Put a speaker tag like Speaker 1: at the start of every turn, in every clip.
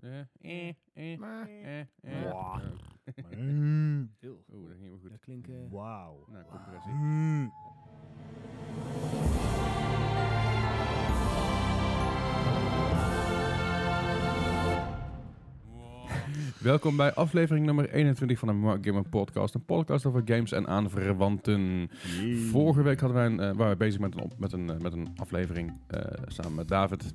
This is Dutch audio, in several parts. Speaker 1: eh, eh, eh, eh, eh.
Speaker 2: Mwah.
Speaker 3: Heel.
Speaker 1: Oeh, dat ging wel goed.
Speaker 3: Dat klinkt... eh,
Speaker 2: Wauw.
Speaker 1: Nou, compressie.
Speaker 2: Wow.
Speaker 1: Welkom bij aflevering nummer 21 van de Mark Gamer Podcast. Een podcast over games en aanverwanten. Vorige week hadden wij een, eh, waren we bezig met een, op- met een, eh, met een aflevering eh, samen met David.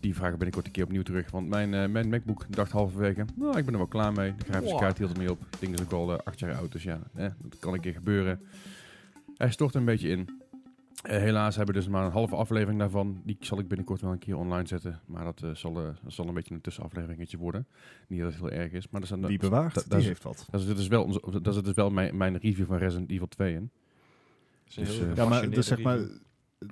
Speaker 1: Die vragen binnenkort een keer opnieuw terug. Want mijn, eh, mijn MacBook dacht halverwege, nou, ik ben er wel klaar mee. De grafische
Speaker 3: Wow.
Speaker 1: kaart hield ermee op. Het ding is ook al eh, acht jaar oud, dus ja, eh, dat kan een keer gebeuren. Hij stort een beetje in. Eh, helaas hebben we dus maar een halve aflevering daarvan. Die zal ik binnenkort wel een keer online zetten. Maar dat, eh, zal, eh, zal een beetje een tussenafleveringetje worden. Niet dat het heel erg is. Maar er zijn
Speaker 2: Die bewaart,
Speaker 1: dat- dat
Speaker 2: die
Speaker 1: is-
Speaker 2: heeft wat.
Speaker 1: daar zit dus wel, onze, daar zit dus wel mijn, mijn review van Resident Evil 2 in.
Speaker 3: is een
Speaker 1: Dus,
Speaker 3: heel
Speaker 1: eh,
Speaker 2: Ja, maar
Speaker 3: gepassioneerde
Speaker 2: dus zeg maar,
Speaker 3: review.
Speaker 2: eh,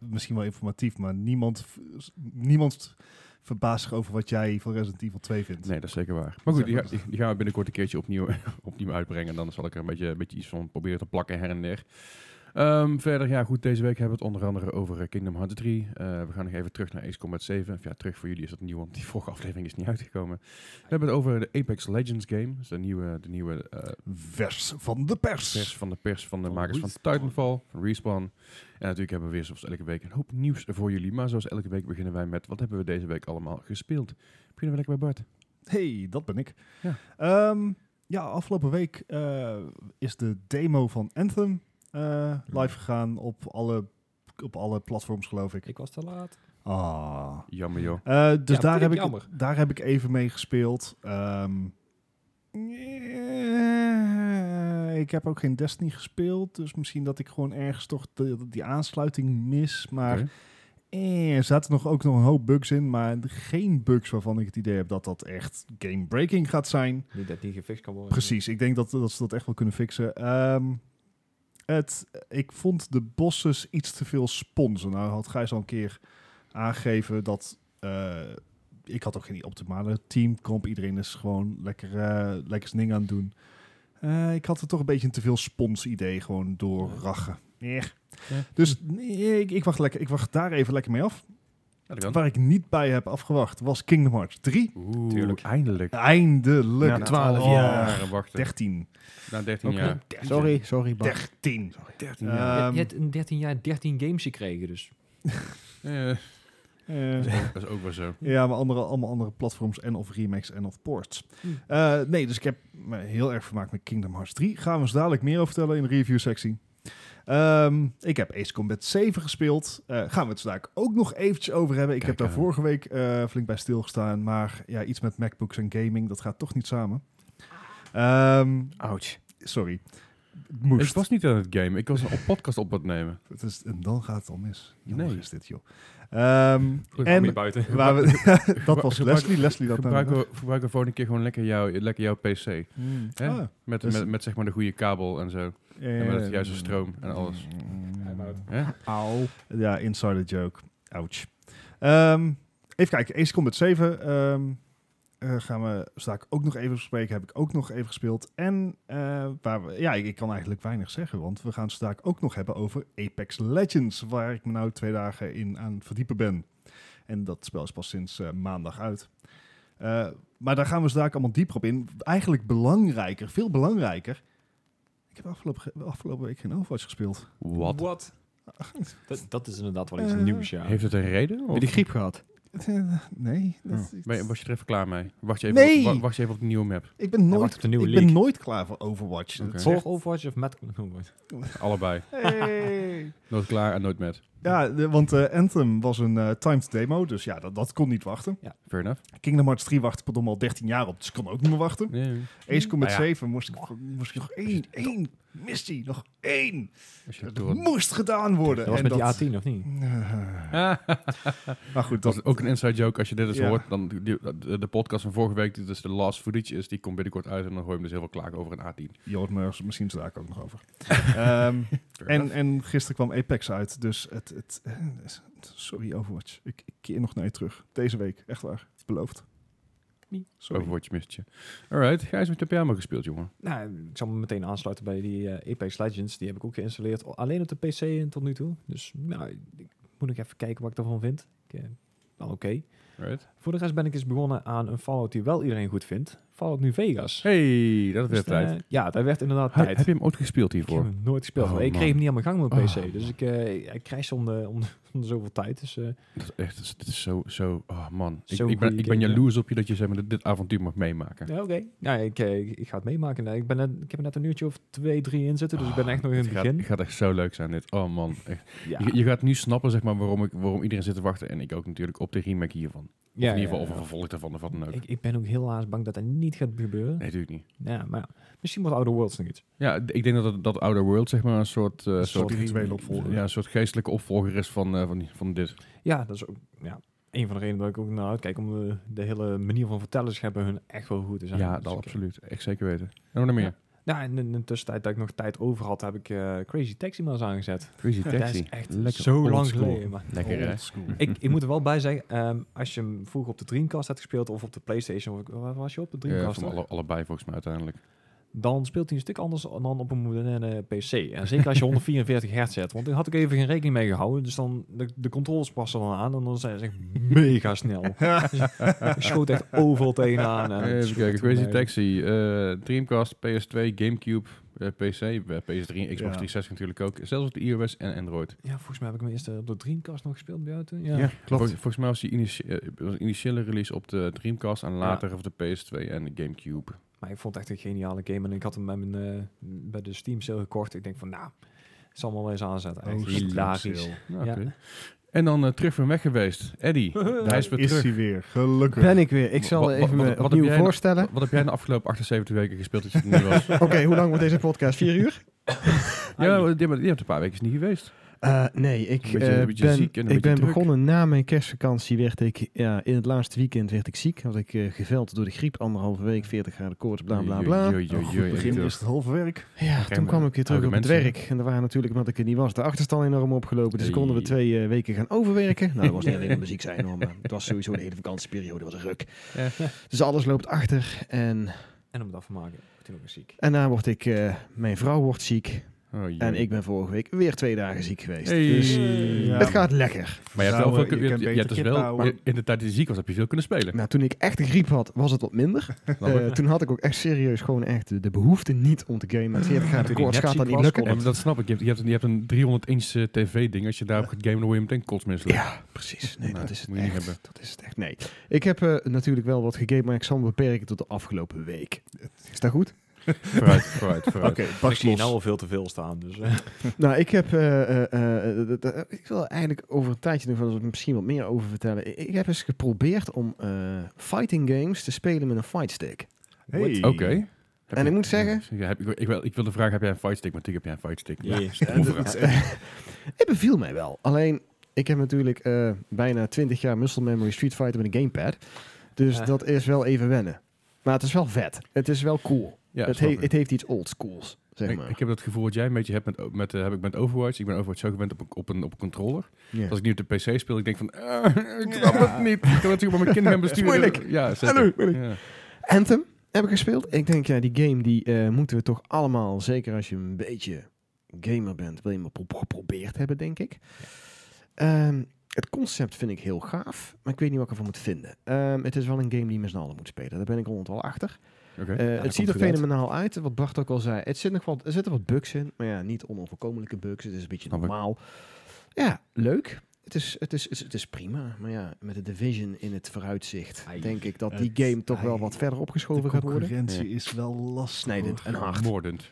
Speaker 2: misschien wel informatief, maar niemand, v- s- niemand verbaast zich over wat jij van Resident Evil 2 vindt.
Speaker 1: Nee, dat is zeker waar. Maar goed,
Speaker 2: Zeg
Speaker 1: die,
Speaker 2: maar.
Speaker 1: ga- die, die gaan we binnenkort een keertje opnieuw, opnieuw uitbrengen. En dan zal ik er een beetje, een beetje iets van proberen te plakken her en der. Ehm, verder, ja goed, deze week hebben we het onder andere over eh, Kingdom Hearts 3. Eh, we gaan nog even terug naar Ace Combat 7. Of ja, terug voor jullie is dat nieuw, want die vorige aflevering is niet uitgekomen. We hebben het over de Apex Legends game. Dus de nieuwe, de nieuwe eh,
Speaker 2: Vers van de pers.
Speaker 1: pers van de pers van de
Speaker 3: Van
Speaker 1: makers van
Speaker 3: Respawn.
Speaker 1: Titanfall, van Respawn. En natuurlijk hebben we weer zoals elke week een hoop nieuws voor jullie. Maar zoals elke week beginnen wij met wat hebben we deze week allemaal gespeeld. Beginnen we lekker bij Bart.
Speaker 2: Hey, dat ben ik.
Speaker 1: Ja.
Speaker 2: Ja, ja afgelopen week eh, is de demo van Anthem eh, live gegaan op alle, op alle platforms, geloof ik.
Speaker 3: Ik was te laat.
Speaker 2: Ah.
Speaker 1: Jammer joh.
Speaker 2: Eh, dus
Speaker 3: Ja,
Speaker 2: daar,
Speaker 3: vind
Speaker 2: heb
Speaker 3: ik
Speaker 2: ik,
Speaker 3: jammer.
Speaker 2: daar heb ik even mee gespeeld. Ehm, eh, ik heb ook geen Destiny gespeeld. Dus misschien dat ik gewoon ergens toch de- die aansluiting mis. Maar
Speaker 1: Oké.
Speaker 2: eh, er zaten nog ook nog een hoop bugs in. Maar geen bugs waarvan ik het idee heb dat dat echt game-breaking gaat zijn.
Speaker 3: Niet dat die gefixt kan
Speaker 1: Eh,
Speaker 3: worden.
Speaker 2: Precies, ik denk dat, dat ze dat echt wel kunnen fixen. Ehm, het, ik vond de bosses iets te veel sponsen. Nou had Gijs al een keer aangegeven dat... eh, ik had ook geen optimale teamcomp. Iedereen is gewoon lekker, eh, lekker zijn ding aan het doen. Eh, ik had er toch een beetje een te veel spons idee gewoon door
Speaker 3: Ja.
Speaker 2: rachen. Eh.
Speaker 1: Ja.
Speaker 2: Dus nee, ik, ik, wacht lekker, ik wacht daar even lekker mee af.
Speaker 1: Ja, dat kan.
Speaker 2: Waar ik niet bij heb afgewacht was Kingdom Hearts 3.
Speaker 1: Oeh,
Speaker 3: Tuurlijk.
Speaker 1: eindelijk.
Speaker 2: Eindelijk. Oh,
Speaker 1: Na 12 jaar wachten.
Speaker 2: 13.
Speaker 1: Na 13
Speaker 3: Oké.
Speaker 1: jaar.
Speaker 3: Sorry, sorry,
Speaker 2: 13.
Speaker 1: 13
Speaker 2: jaar.
Speaker 3: je,
Speaker 2: Ehm.
Speaker 3: je hebt in 13 jaar 13 games gekregen, dus. eh,
Speaker 1: dat is ook wel zo.
Speaker 2: ja, maar andere, allemaal andere platforms en of remakes en of ports.
Speaker 3: Hmm.
Speaker 2: Eh, nee, dus ik heb me heel erg vermaakt met Kingdom Hearts 3. Gaan we eens dadelijk meer over vertellen in de review sectie. Ehm, ik heb Ace Combat 7 gespeeld. Eh, gaan we het daar ook nog eventjes over hebben. Ik
Speaker 1: Kijk
Speaker 2: heb daar
Speaker 1: aan.
Speaker 2: vorige week eh, flink bij stilgestaan. Maar ja, iets met MacBooks en gaming, dat gaat toch niet samen. Ehm,
Speaker 3: Ouch.
Speaker 2: sorry. Het Moest.
Speaker 1: Ik was niet aan het game. Ik was een op podcast op wat nemen.
Speaker 2: Het is, en dan gaat het al mis. Jammer
Speaker 1: Nee.
Speaker 2: is dit, joh. Ehm, en
Speaker 3: buiten.
Speaker 2: Waar we, dat was
Speaker 1: Gebruik-
Speaker 2: Leslie. Leslie dat
Speaker 1: Gebruiken we, gebruiken we volgende keer gewoon lekker, jou, lekker jouw PC.
Speaker 2: Hmm.
Speaker 1: Hè?
Speaker 2: Ah,
Speaker 1: Met,
Speaker 2: Dus-
Speaker 1: met, met zeg maar de goede kabel en zo. En met
Speaker 2: eh,
Speaker 1: het juiste stroom en alles.
Speaker 2: Mm.
Speaker 1: Hè?
Speaker 2: Auw. Ja, insider joke. Ouch. Ehm, even kijken, Ace Combat 7 ehm, eh, gaan we straks ook nog even bespreken. Heb ik ook nog even gespeeld. En eh, waar we, ja, ik, ik kan eigenlijk weinig zeggen, want we gaan straks ook nog hebben over Apex Legends, waar ik me nou twee dagen in aan het verdiepen ben. En dat spel is pas sinds eh, maandag uit. Eh, maar daar gaan we straks allemaal dieper op in. Eigenlijk belangrijker, veel belangrijker. Ik heb afgelopen, ge- afgelopen week geen Overwatch gespeeld.
Speaker 1: Wat?
Speaker 3: Dat, dat is inderdaad wel iets
Speaker 2: Eh,
Speaker 3: nieuws, ja.
Speaker 1: Heeft het een reden? of-
Speaker 4: Heb je die griep gehad?
Speaker 2: Eh, Nee, dat
Speaker 1: Oh.
Speaker 2: is-
Speaker 1: Ben je- was je er even klaar mee? Wacht je even,
Speaker 2: Nee!
Speaker 1: op, wa- wacht je even op de nieuwe map.
Speaker 2: ik ben nooit,
Speaker 3: wacht op de nieuwe
Speaker 2: ik ben
Speaker 3: leak.
Speaker 2: nooit klaar voor Overwatch. dus-
Speaker 1: Oké.
Speaker 2: Het is
Speaker 3: Voor
Speaker 2: echt-
Speaker 3: Overwatch of Oh, met Overwatch?
Speaker 1: Allebei.
Speaker 2: Hey.
Speaker 1: Nooit klaar en nooit met.
Speaker 2: ja, de- want eh, Anthem was een eh, timed demo, dus ja, dat, dat kon niet wachten.
Speaker 1: Fair enough.
Speaker 2: Kingdom Hearts 3 wachtte pardon al 13 jaar op, dus ik kon ook niet meer wachten.
Speaker 1: Ja.
Speaker 2: Ace Combat
Speaker 1: Nou ja.
Speaker 2: 7 moest ik, moest ik nog één, één, missie, nog één.
Speaker 1: Als je
Speaker 2: Dat
Speaker 1: door-
Speaker 2: moest gedaan worden.
Speaker 3: Dat was
Speaker 2: En
Speaker 3: met
Speaker 2: dat-
Speaker 3: die A10, of niet?
Speaker 2: Eh,
Speaker 1: Ah.
Speaker 2: maar goed,
Speaker 1: Dat
Speaker 2: dat,
Speaker 1: is ook een inside joke. Als je dit eens
Speaker 2: Ja.
Speaker 1: hoort, dan die- de, de podcast van vorige week, die dus de last footage is, die komt binnenkort uit en dan hoor je hem dus heel veel klagen over een A10.
Speaker 2: je hoort me er misschien daar ook nog over. Ehm, En, en gisteren kwam Apex uit, dus het, het, eh, sorry Overwatch, ik, ik keer nog naar je terug. Deze week, echt waar, beloofd.
Speaker 3: Nee.
Speaker 2: Sorry.
Speaker 1: Overwatch mist je. Alright, Gijs, wat heb jij allemaal gespeeld, jongen?
Speaker 3: Nou, ik zal me meteen aansluiten bij die eh, Apex Legends. Die heb ik ook geïnstalleerd. al- Alleen op de PC en tot nu toe. Dus nou, ik moet nog even kijken wat ik daarvan vind. Ik, eh, wel oké.
Speaker 1: Right?
Speaker 3: Voor de rest ben ik eens begonnen aan een Fallout die wel iedereen goed vindt. Fallout New Vegas.
Speaker 1: Hey, dat
Speaker 3: Dus,
Speaker 1: werd tijd.
Speaker 3: eh, ja, daar werd inderdaad
Speaker 1: Heb-
Speaker 3: tijd.
Speaker 1: Heb je hem ooit gespeeld
Speaker 3: Ik heb
Speaker 1: hiervoor?
Speaker 3: hem nooit gespeeld.
Speaker 1: Oh,
Speaker 3: maar ik
Speaker 1: man.
Speaker 3: kreeg hem niet aan mijn gang met mijn
Speaker 1: Oh,
Speaker 3: PC. Dus ik, eh ik crash om de, om, de- om de zoveel tijd. Dus eh,
Speaker 1: Dat is echt, dat is- dit is zo, zo, oh man. Ik,
Speaker 3: Zo'n
Speaker 1: ik ben,
Speaker 3: goeie
Speaker 1: ik ben
Speaker 3: game, ja.
Speaker 1: jaloers op je dat je zeg maar, dit- dit avontuur mag meemaken.
Speaker 3: ja, oké. Nou, ik, eh, ik, ik ga het meemaken. Nou, Ik, ben net, ik heb er net een uurtje of twee, drie in zitten. Dus ik ben echt nog in
Speaker 1: Ah, Het
Speaker 3: het
Speaker 1: gaat,
Speaker 3: begin.
Speaker 1: het gaat echt zo leuk zijn dit. Oh man, echt.
Speaker 3: Ja.
Speaker 1: Je, je gaat nu snappen zeg maar, waarom, ik, waarom iedereen zit te wachten. En ik ook natuurlijk op de remake hiervan. Of
Speaker 3: Ja,
Speaker 1: in ieder geval
Speaker 3: ja,
Speaker 1: of een
Speaker 3: ja.
Speaker 1: vervolg daarvan of wat dan ook.
Speaker 3: Ik, ik ben ook heel haast bang dat dat niet gaat gebeuren.
Speaker 1: Nee, Eh, natuurlijk niet.
Speaker 3: Ja, maar ja, misschien wordt Outer Worlds nog iets.
Speaker 1: Ja, d- ik denk dat, dat- dat Outer World zeg maar, een soort, eh,
Speaker 3: Een
Speaker 1: soort,
Speaker 2: spirituele opvolger.
Speaker 1: ja, een soort geestelijke opvolger is van, eh, van, die- van dit.
Speaker 3: Ja, dat is ook ja, een van de redenen dat ik ook naar uitkijk. Om de, de hele manier van vertellen hebben hun echt wel goed te
Speaker 1: Ja,
Speaker 3: zijn. Dus
Speaker 1: dat
Speaker 3: ik, eh,
Speaker 1: absoluut. Echt zeker weten. En nog meer.
Speaker 3: Ja. Nou, en in de tussentijd dat ik nog tijd over had, heb ik eh, Crazy Taxi maar eens aangezet.
Speaker 1: Crazy
Speaker 3: Dat
Speaker 1: Taxi.
Speaker 3: is echt
Speaker 1: Lekker
Speaker 3: zo lang
Speaker 1: oldschool.
Speaker 3: geleden. Maar
Speaker 1: Lekker hè?
Speaker 2: Old school.
Speaker 3: ik, ik moet er wel bij zeggen, ehm, als je hem vroeger op de Dreamcast had gespeeld of op de Playstation, of waar was je op de
Speaker 1: Ja,
Speaker 3: Dreamcast?
Speaker 1: Eh, van alle, allebei volgens mij uiteindelijk.
Speaker 3: dan speelt hij een stuk anders dan op een moderne PC. En zeker als je 144 hertz zet, want daar had ik even geen rekening mee gehouden. Dus dan, de, de controls passen dan aan en dan zijn ze echt mega snel. ik schoot echt overal tegenaan. En het
Speaker 1: Eh, Even
Speaker 3: sloeg
Speaker 1: kijken,
Speaker 3: toen
Speaker 1: Crazy
Speaker 3: mij-
Speaker 1: Taxi, eh, Dreamcast, PS2, Gamecube, eh, PC, eh, PS3, Xbox
Speaker 2: Ja.
Speaker 1: 360 natuurlijk ook. Zelfs op de iOS en Android.
Speaker 3: Ja, volgens mij heb ik hem eerst eh, op de Dreamcast nog gespeeld bij jou toen. Ja.
Speaker 1: Vol- volgens mij was die initi- eh, was de initiële release op de Dreamcast en later op de PS2 en de Gamecube.
Speaker 3: Maar ik vond het echt een geniale game. En ik had hem bij, mijn, eh, bij de Steam sale gekocht. Ik denk van, nou, ik zal hem wel eens aanzetten. Echt
Speaker 2: Oh,
Speaker 3: hilarisch.
Speaker 2: stil.
Speaker 1: Nou,
Speaker 3: Ja.
Speaker 1: oké. En dan eh, terug van weg geweest. Eddie, hij is weer
Speaker 2: Is
Speaker 1: terug.
Speaker 2: hij weer, gelukkig.
Speaker 4: Ben ik weer. Ik zal
Speaker 1: Wat- wat-
Speaker 4: even
Speaker 1: wat-
Speaker 4: me
Speaker 1: wat heb
Speaker 4: opnieuw
Speaker 1: jij nou-
Speaker 4: voorstellen.
Speaker 1: Wat, wat heb jij de afgelopen 78 weken gespeeld dat je er niet was?
Speaker 4: Oké, hoe lang wordt deze podcast? Vier uur?
Speaker 1: ja, je hebt, je hebt een paar weken niet geweest.
Speaker 4: Eh, nee, ik
Speaker 1: Een beetje-
Speaker 4: eh,
Speaker 1: een beetje
Speaker 4: ben,
Speaker 1: ziek en een
Speaker 4: ik
Speaker 1: beetje
Speaker 4: ben
Speaker 1: druk.
Speaker 4: begonnen na mijn kerstvakantie. Werd ik, ja, in het laatste weekend werd ik ziek. Had ik eh, geveld door de griep. Anderhalve week, 40 graden koorts, bla bla bla. Oh,
Speaker 1: Joi, joi,
Speaker 2: Een goed
Speaker 1: joi,
Speaker 2: begin
Speaker 1: Eddie.
Speaker 2: is het halve werk.
Speaker 4: Ja, toen
Speaker 1: maar
Speaker 4: kwam ik weer terug op
Speaker 1: oude
Speaker 4: het
Speaker 1: mensen.
Speaker 4: werk. En daar waren natuurlijk, omdat ik er niet was, de achterstand enorm opgelopen. Dus
Speaker 1: Hey.
Speaker 4: konden we twee eh, weken gaan overwerken. Nou, dat was niet
Speaker 1: Ja.
Speaker 4: alleen omdat we ziek zijn hoor, maar het was sowieso de hele vakantieperiode was een ruk.
Speaker 1: Ja.
Speaker 4: Dus alles loopt achter. En
Speaker 3: En om het af te maken, ik ben toen ook weer ziek.
Speaker 4: en daarna word ik, eh, mijn vrouw wordt ziek.
Speaker 1: Oh, joi.
Speaker 4: En ik ben vorige week weer twee dagen ziek geweest.
Speaker 1: Hey.
Speaker 4: Dus
Speaker 2: Ja.
Speaker 4: het gaat lekker.
Speaker 1: Maar je hebt wel
Speaker 2: Vrouwen,
Speaker 1: veel
Speaker 2: je
Speaker 1: kun- je,
Speaker 2: kan
Speaker 1: je- je
Speaker 2: beter
Speaker 1: hebt dus
Speaker 2: kippen
Speaker 1: wel,
Speaker 2: houden.
Speaker 1: in de tijd die je ziek was, heb je veel kunnen spelen.
Speaker 4: Nou, toen ik echt een griep had, was het wat minder.
Speaker 1: Snap ik.
Speaker 4: Eh, toen had ik ook echt serieus gewoon echt de, de behoefte niet om te gamen. Want 40 graden
Speaker 3: Toen
Speaker 4: koorts
Speaker 3: die
Speaker 4: gaat dat
Speaker 3: nepziek was,
Speaker 4: niet lukken.
Speaker 1: Ja, maar dat snap ik. Je hebt, je hebt, een- je hebt een 300 inch tv-ding. Als je daarop gaat gamen, dan word je meteen kotsmisselijk.
Speaker 4: Ja, precies. Nee,
Speaker 1: Nou,
Speaker 4: dat is het
Speaker 1: moet je niet
Speaker 4: echt.
Speaker 1: hebben.
Speaker 4: Dat is het echt. Nee. Ik heb eh, natuurlijk wel wat gegamed, maar ik zal me beperken tot de afgelopen week. Is dat goed?
Speaker 1: Vooruit, vooruit, vooruit.
Speaker 2: Oké,
Speaker 3: ik
Speaker 2: pas
Speaker 3: zie je
Speaker 2: los.
Speaker 3: nou al veel te veel staan. Dus, eh.
Speaker 4: nou, ik heb... eh, eh, eh, dat- dat- ik wil eigenlijk over een tijdje nog wel eens misschien wat meer over vertellen. Ik- Ik heb eens geprobeerd om eh, fighting games te spelen met een fightstick.
Speaker 2: Hey.
Speaker 1: Oké. Heb
Speaker 4: En
Speaker 1: je-
Speaker 4: ik moet zeggen-
Speaker 1: Ja, heb, ik, ik, wil, ik wil de vraag, heb jij een fightstick? Maar natuurlijk heb jij een fightstick.
Speaker 3: Ja.
Speaker 1: is een proefvraag.
Speaker 4: Het beviel mij wel. Alleen, ik heb natuurlijk eh, bijna 20 jaar muscle memory Street Fighter met een gamepad. Dus
Speaker 3: Ja.
Speaker 4: dat is wel even wennen. Maar het is wel vet. Het is wel cool.
Speaker 1: Ja,
Speaker 4: het,
Speaker 1: snap
Speaker 4: he-
Speaker 1: ik.
Speaker 4: het heeft iets oldschools, zeg
Speaker 1: Ik,
Speaker 4: maar.
Speaker 1: ik heb dat gevoel dat jij een beetje hebt met, o- met, eh, heb ik met Overwatch. Ik ben Overwatch zo gewend op een, op een, op een controller.
Speaker 4: Ja.
Speaker 1: Als ik nu op de PC speel, ik denk van... eh, ik snap het niet. Ik kan natuurlijk maar mijn kinderen gaan besturen.
Speaker 4: moeilijk.
Speaker 1: Ja,
Speaker 4: Hallo,
Speaker 1: zeker.
Speaker 4: moeilijk.
Speaker 1: Ja.
Speaker 4: Anthem heb ik gespeeld. Ik denk, ja, die game die eh, moeten we toch allemaal, zeker als je een beetje gamer bent, wil je hem gepro- geprobeerd hebben, denk ik. Ehm, het concept vind ik heel gaaf, maar ik weet niet wat ik ervan moet vinden. Ehm, het is wel een game die je met z'n allen moet spelen. Daar ben ik rond wel achter.
Speaker 1: Oké.
Speaker 4: Eh,
Speaker 3: dat
Speaker 4: het
Speaker 3: komt
Speaker 4: ziet er
Speaker 3: goed uit.
Speaker 4: fenomenaal uit, wat Bart ook al zei. Het zit nog wat, er zitten wat bugs in, maar ja, niet onoverkomelijke bugs. Het is een beetje
Speaker 1: Snap ik.
Speaker 4: normaal. Ja, leuk. Het is, het, is, het, is, het is prima, maar ja, met de Division in het vooruitzicht...
Speaker 3: Ai.
Speaker 4: denk ik dat
Speaker 2: Het-
Speaker 4: die game toch wel
Speaker 2: ai.
Speaker 4: wat verder opgeschoven
Speaker 2: De
Speaker 4: gaat worden.
Speaker 2: concurrentie is wel lastig.
Speaker 4: Snijdend en hard.
Speaker 1: Moordend.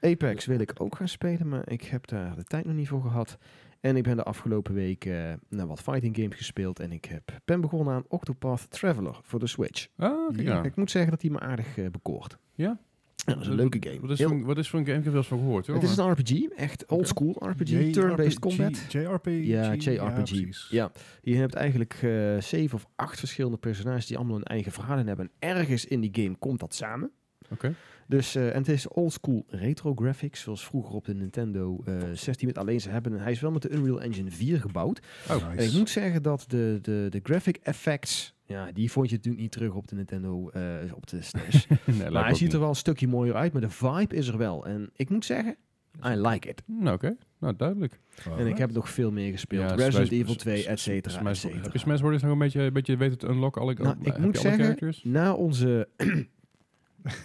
Speaker 4: Apex wil ik ook gaan spelen, maar ik heb daar de tijd nog niet voor gehad. En ik ben de afgelopen week eh, naar wat fighting games gespeeld... en ik heb, ben begonnen aan Octopath Traveler voor de Switch.
Speaker 1: Ah, oké.
Speaker 2: Ja.
Speaker 1: ja.
Speaker 4: Ik moet zeggen dat die me aardig eh, bekoort.
Speaker 1: Ja?
Speaker 4: Ja, dat is een leuke game.
Speaker 1: Wat is,
Speaker 4: Heel-
Speaker 1: voor, een- wat is voor een game? Ik heb wel eens van gehoord. Hoor.
Speaker 4: Het is een RPG, echt old school RPG,
Speaker 2: JRPG,
Speaker 4: turn-based combat.
Speaker 2: JRPG.
Speaker 4: Ja, JRPG.
Speaker 2: precies.
Speaker 4: Ja, je hebt eigenlijk eh, zeven of acht verschillende personages die allemaal hun eigen verhalen hebben. En ergens in die game komt dat samen.
Speaker 1: Oké.
Speaker 4: Dus, eh, en het is old school retro graphics, zoals vroeger op de Nintendo eh 16 met alleen ze hebben. Hij is wel met de Unreal Engine 4 gebouwd.
Speaker 1: Oh.
Speaker 4: En ik moet zeggen dat de, de, de graphic effects, ja, die vond je natuurlijk niet terug op de Nintendo, eh, op de SNES.
Speaker 1: Nee, lijkt me
Speaker 4: maar hij
Speaker 1: ook
Speaker 4: ziet er
Speaker 1: niet.
Speaker 4: wel een stukje mooier uit, maar de vibe is er wel. En ik moet zeggen, I like it.
Speaker 1: Nou, oké. Nou, duidelijk.
Speaker 2: Oh,
Speaker 4: En ik heb nog veel meer gespeeld.
Speaker 1: Ja,
Speaker 4: Resident
Speaker 1: Smash-
Speaker 4: Evil 2, et cetera, et
Speaker 1: Smash,
Speaker 4: cetera.
Speaker 1: heb je Smash Bros. nog een beetje, een beetje weten te unlocken? Alle, oh,
Speaker 4: Nou,
Speaker 1: heb
Speaker 4: ik
Speaker 1: je
Speaker 4: moet
Speaker 1: alle
Speaker 4: zeggen-
Speaker 1: characters?
Speaker 4: Na onze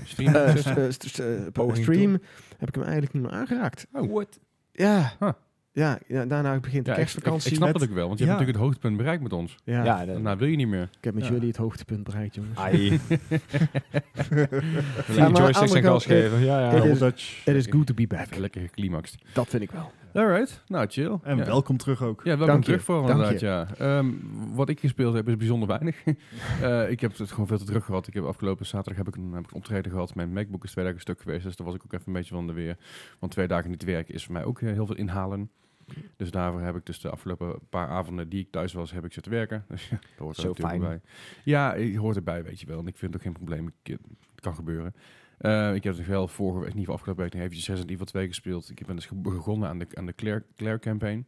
Speaker 1: Steam
Speaker 4: eh,
Speaker 1: access?
Speaker 4: s- eh, st- st- eh,
Speaker 3: Poging
Speaker 4: stream heb ik hem eigenlijk niet meer aangeraakt.
Speaker 1: Oh.
Speaker 3: What?
Speaker 4: Ja.
Speaker 1: Huh.
Speaker 4: Ja, ja, daarna begint de
Speaker 1: Ja, ik, ik, ik
Speaker 4: kerstvakantie.
Speaker 1: snap
Speaker 2: Met-
Speaker 1: dat ik wel, want je hebt
Speaker 2: Ja.
Speaker 1: natuurlijk het Ah, hoogtepunt bereikt met ons.
Speaker 4: ja,
Speaker 3: Ja, dat-
Speaker 1: Daarna wil je niet meer.
Speaker 4: ik heb met
Speaker 2: Ja.
Speaker 4: jullie het hoogtepunt bereikt, jongens.
Speaker 3: Ai.
Speaker 4: maar aan
Speaker 3: Ja,
Speaker 4: de
Speaker 3: joysticks
Speaker 4: andere
Speaker 3: en gas
Speaker 4: kant, eh,
Speaker 3: geven. Ja, ja.
Speaker 4: kijk, dit-
Speaker 2: Double Dutch.
Speaker 4: It is good to be back.
Speaker 1: Even lekker geclimaxed.
Speaker 4: Dat vind ik wel.
Speaker 1: Alright, nou chill.
Speaker 2: En
Speaker 1: ja.
Speaker 2: welkom terug ook.
Speaker 1: Ja, welkom
Speaker 4: Dank je,
Speaker 1: terug voor
Speaker 4: dank
Speaker 1: inderdaad, ja. Ehm, wat ik gespeeld heb is bijzonder weinig. Eh, ik heb het gewoon veel te druk gehad. Ik heb afgelopen zaterdag heb ik, een, heb ik een optreden gehad. Mijn MacBook is twee dagen stuk geweest, dus daar was ik ook even een beetje van de weer. Want twee dagen niet werken is voor mij ook eh, heel veel inhalen. Dus daarvoor heb ik dus de afgelopen paar avonden die ik thuis was, heb ik zitten werken. Dus ja, dat hoort er
Speaker 3: Zo
Speaker 1: natuurlijk
Speaker 3: fijn.
Speaker 1: bij. Ja, eh, je hoort erbij, weet je wel. En ik vind het ook geen probleem. Ik, eh, het kan gebeuren. Eh, ik heb dus wel vorige week, in ieder geval afgelopen week, nog eventjes Resident Evil 2 gespeeld. Ik ben dus ge- begonnen aan de, aan de Claire, Claire campaign.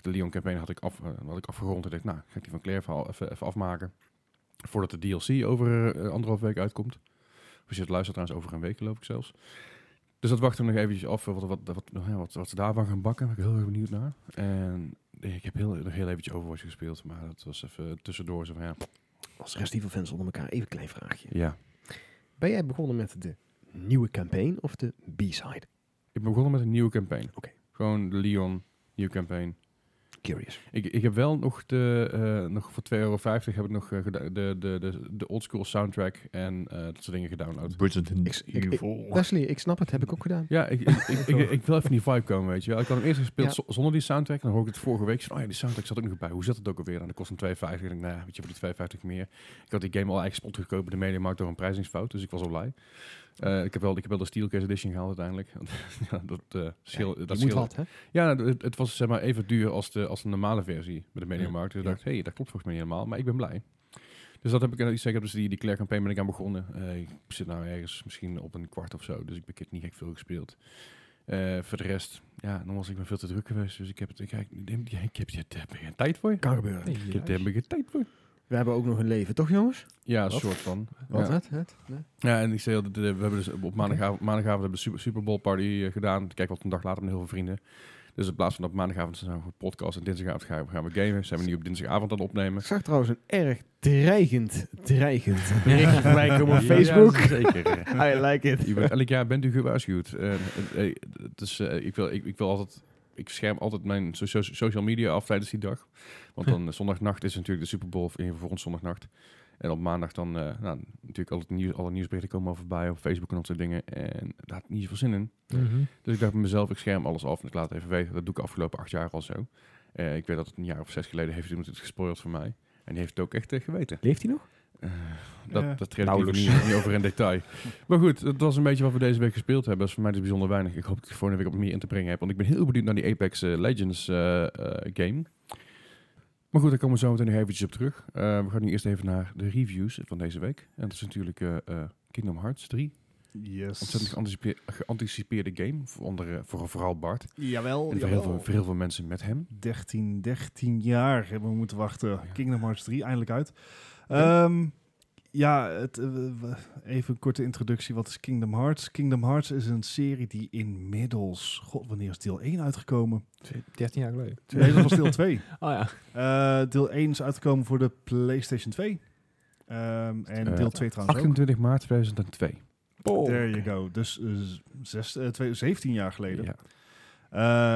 Speaker 1: De Leon campaign had ik, af, eh, had ik afgerond. Ik dacht, nou, ga ik die van Claire verhaal even, even afmaken. Voordat de DLC over eh, anderhalf week uitkomt. Als je het luistert trouwens, over een week geloof ik zelfs. Dus dat wachten we nog eventjes af, eh, wat, wat, wat, nou ja, wat, wat ze daarvan gaan bakken. Daar ben ik heel erg benieuwd naar. En ik heb heel, nog heel eventjes Overwatch gespeeld, maar dat was even tussendoor. Zo van, ja,
Speaker 4: Als rest die fans onder elkaar, even een klein vraagje.
Speaker 1: ja.
Speaker 4: Ben jij begonnen met de nieuwe campaign of de B-side?
Speaker 1: Ik ben begonnen met een nieuwe campaign.
Speaker 4: Oké.
Speaker 1: Gewoon de Leon, nieuwe campaign.
Speaker 4: Curious.
Speaker 1: Ik, ik heb wel nog, de, eh, nog voor 2,50 euro heb ik nog eh, geda- de, de, de, de oldschool soundtrack en eh, dat soort dingen gedownload.
Speaker 3: Bridgerton
Speaker 4: Ik- ik- Leslie, ik snap het, heb ik ook gedaan.
Speaker 1: Ja, ik, ik, ik, ik, ik wil even in die vibe komen, weet je wel. Ik had hem eerst gespeeld
Speaker 4: Ja.
Speaker 1: zo- zonder die soundtrack. En dan hoor ik het vorige week. Zo, oh ja, die soundtrack zat ook nog bij. Hoe zat het ook alweer? En dat kost een 2,50. Ik denk, nou, weet je, voor die 2,50 meer. Ik had die game al eigenlijk spot gekopen in de mediamarkt door een prijzingsfout. Dus ik was al lui. Eh, ik, heb wel, ik heb wel de Steelcase Edition gehaald uiteindelijk. ja, dat eh schil,
Speaker 4: Ja, je
Speaker 1: dat
Speaker 4: moet
Speaker 1: scheelde-
Speaker 4: wat, hè?
Speaker 1: ja, nou, het, het was zeg maar even duur als de, als de normale versie bij de Mediamarkt. Dus ik
Speaker 4: Ja.
Speaker 1: dacht, hé, hey, dat klopt volgens mij niet helemaal, maar ik ben blij. Dus dat heb ik, eh, ik zeg, ik heb dus die, die Claire campaign ben ik aan begonnen. Eh, ik zit nou ergens misschien op een kwart of zo, dus ik heb- ik heb niet gek veel gespeeld. Eh, voor de rest, ja, dan was ik maar veel te druk geweest, dus ik heb het, ik, ik, ik, ik, ik heb, daar heb ik geen tijd voor.
Speaker 4: Kan gebeuren.
Speaker 3: Nee,
Speaker 1: Ik heb er geen tijd voor.
Speaker 4: We hebben ook nog een leven, toch jongens?
Speaker 1: Ja, een
Speaker 3: Wat?
Speaker 1: soort van.
Speaker 4: Wat?
Speaker 1: Ja.
Speaker 4: Wat? Wat? Nee?
Speaker 1: Ja, en ik zei, al, dat, eh, we hebben dus op maandagavond, maandagavond hebben we de Super, Super Bowl party eh, gedaan. Kijk wat een dag later met heel veel vrienden. Dus in plaats van op maandagavond zijn we een podcast en dinsdagavond gaan we, gaan we gamen. Zijn we nu op dinsdagavond aan het opnemen.
Speaker 4: Ik zag trouwens een erg dreigend, dreigend berichtje
Speaker 1: Berichtje
Speaker 4: van mij komen op Facebook.
Speaker 1: zeker.
Speaker 4: I like it.
Speaker 1: U bent, elk jaar bent u gewaarschuwd. Eh, eh, eh, het is, eh, ik, wil, ik, ik wil altijd... Ik scherm altijd mijn so- so- social media af tijdens die dag. Want dan eh, zondagnacht is natuurlijk de Super Bowl of in ieder geval voor ons zondagnacht. En op maandag dan eh, nou, natuurlijk al het nieuws, alle nieuwsberichten komen al voorbij op Facebook en dat soort dingen. En daar had ik niet zoveel zin in.
Speaker 3: Mhm.
Speaker 1: Dus ik dacht bij mezelf, ik scherm alles af en ik laat het even weten. Dat doe ik afgelopen acht jaar al zo. Eh, ik weet dat het een jaar of zes geleden heeft iemand het gespoild voor mij. En die heeft het ook echt eh, geweten.
Speaker 4: Leeft hij nog?
Speaker 1: Eh, dat,
Speaker 2: Ja.
Speaker 1: dat treedt
Speaker 3: Nauwelijks.
Speaker 1: niet, niet over in detail. Maar goed, dat was een beetje wat we deze week gespeeld hebben. Dat is voor mij dus bijzonder weinig. Ik hoop dat ik het volgende week op meer in te brengen heb. Want ik ben heel benieuwd naar die Apex eh, Legends eh, eh, game. Maar goed, daar komen we zo meteen nog eventjes op terug. Eh, we gaan nu eerst even naar de reviews van deze week. En dat is natuurlijk eh, eh, Kingdom Hearts 3.
Speaker 2: Yes.
Speaker 1: Ontzettend geanticipeer- geanticipeerde game. Voor onder, eh, voor, vooral Bart.
Speaker 2: Jawel,
Speaker 1: En voor heel, veel, voor heel veel mensen met hem.
Speaker 2: 13, 13 jaar hebben we moeten wachten. Kingdom Hearts 3 eindelijk uit. Ehm, ja, het, eh, we- even een korte introductie. Wat is Kingdom Hearts? Kingdom Hearts is een serie die inmiddels... God, wanneer is deel 1 uitgekomen?
Speaker 3: 13 jaar geleden.
Speaker 2: Nee, dat was deel 2.
Speaker 3: Oh ja.
Speaker 2: Eh, deel 1 is uitgekomen voor de PlayStation 2. Ehm, en
Speaker 1: Eh,
Speaker 2: deel 2 trouwens ook.
Speaker 1: 28 maart 2002.
Speaker 4: Oh.
Speaker 1: Oh,
Speaker 2: There you go. Dus eh, zes, eh, twee- 17 jaar geleden.
Speaker 1: Ja.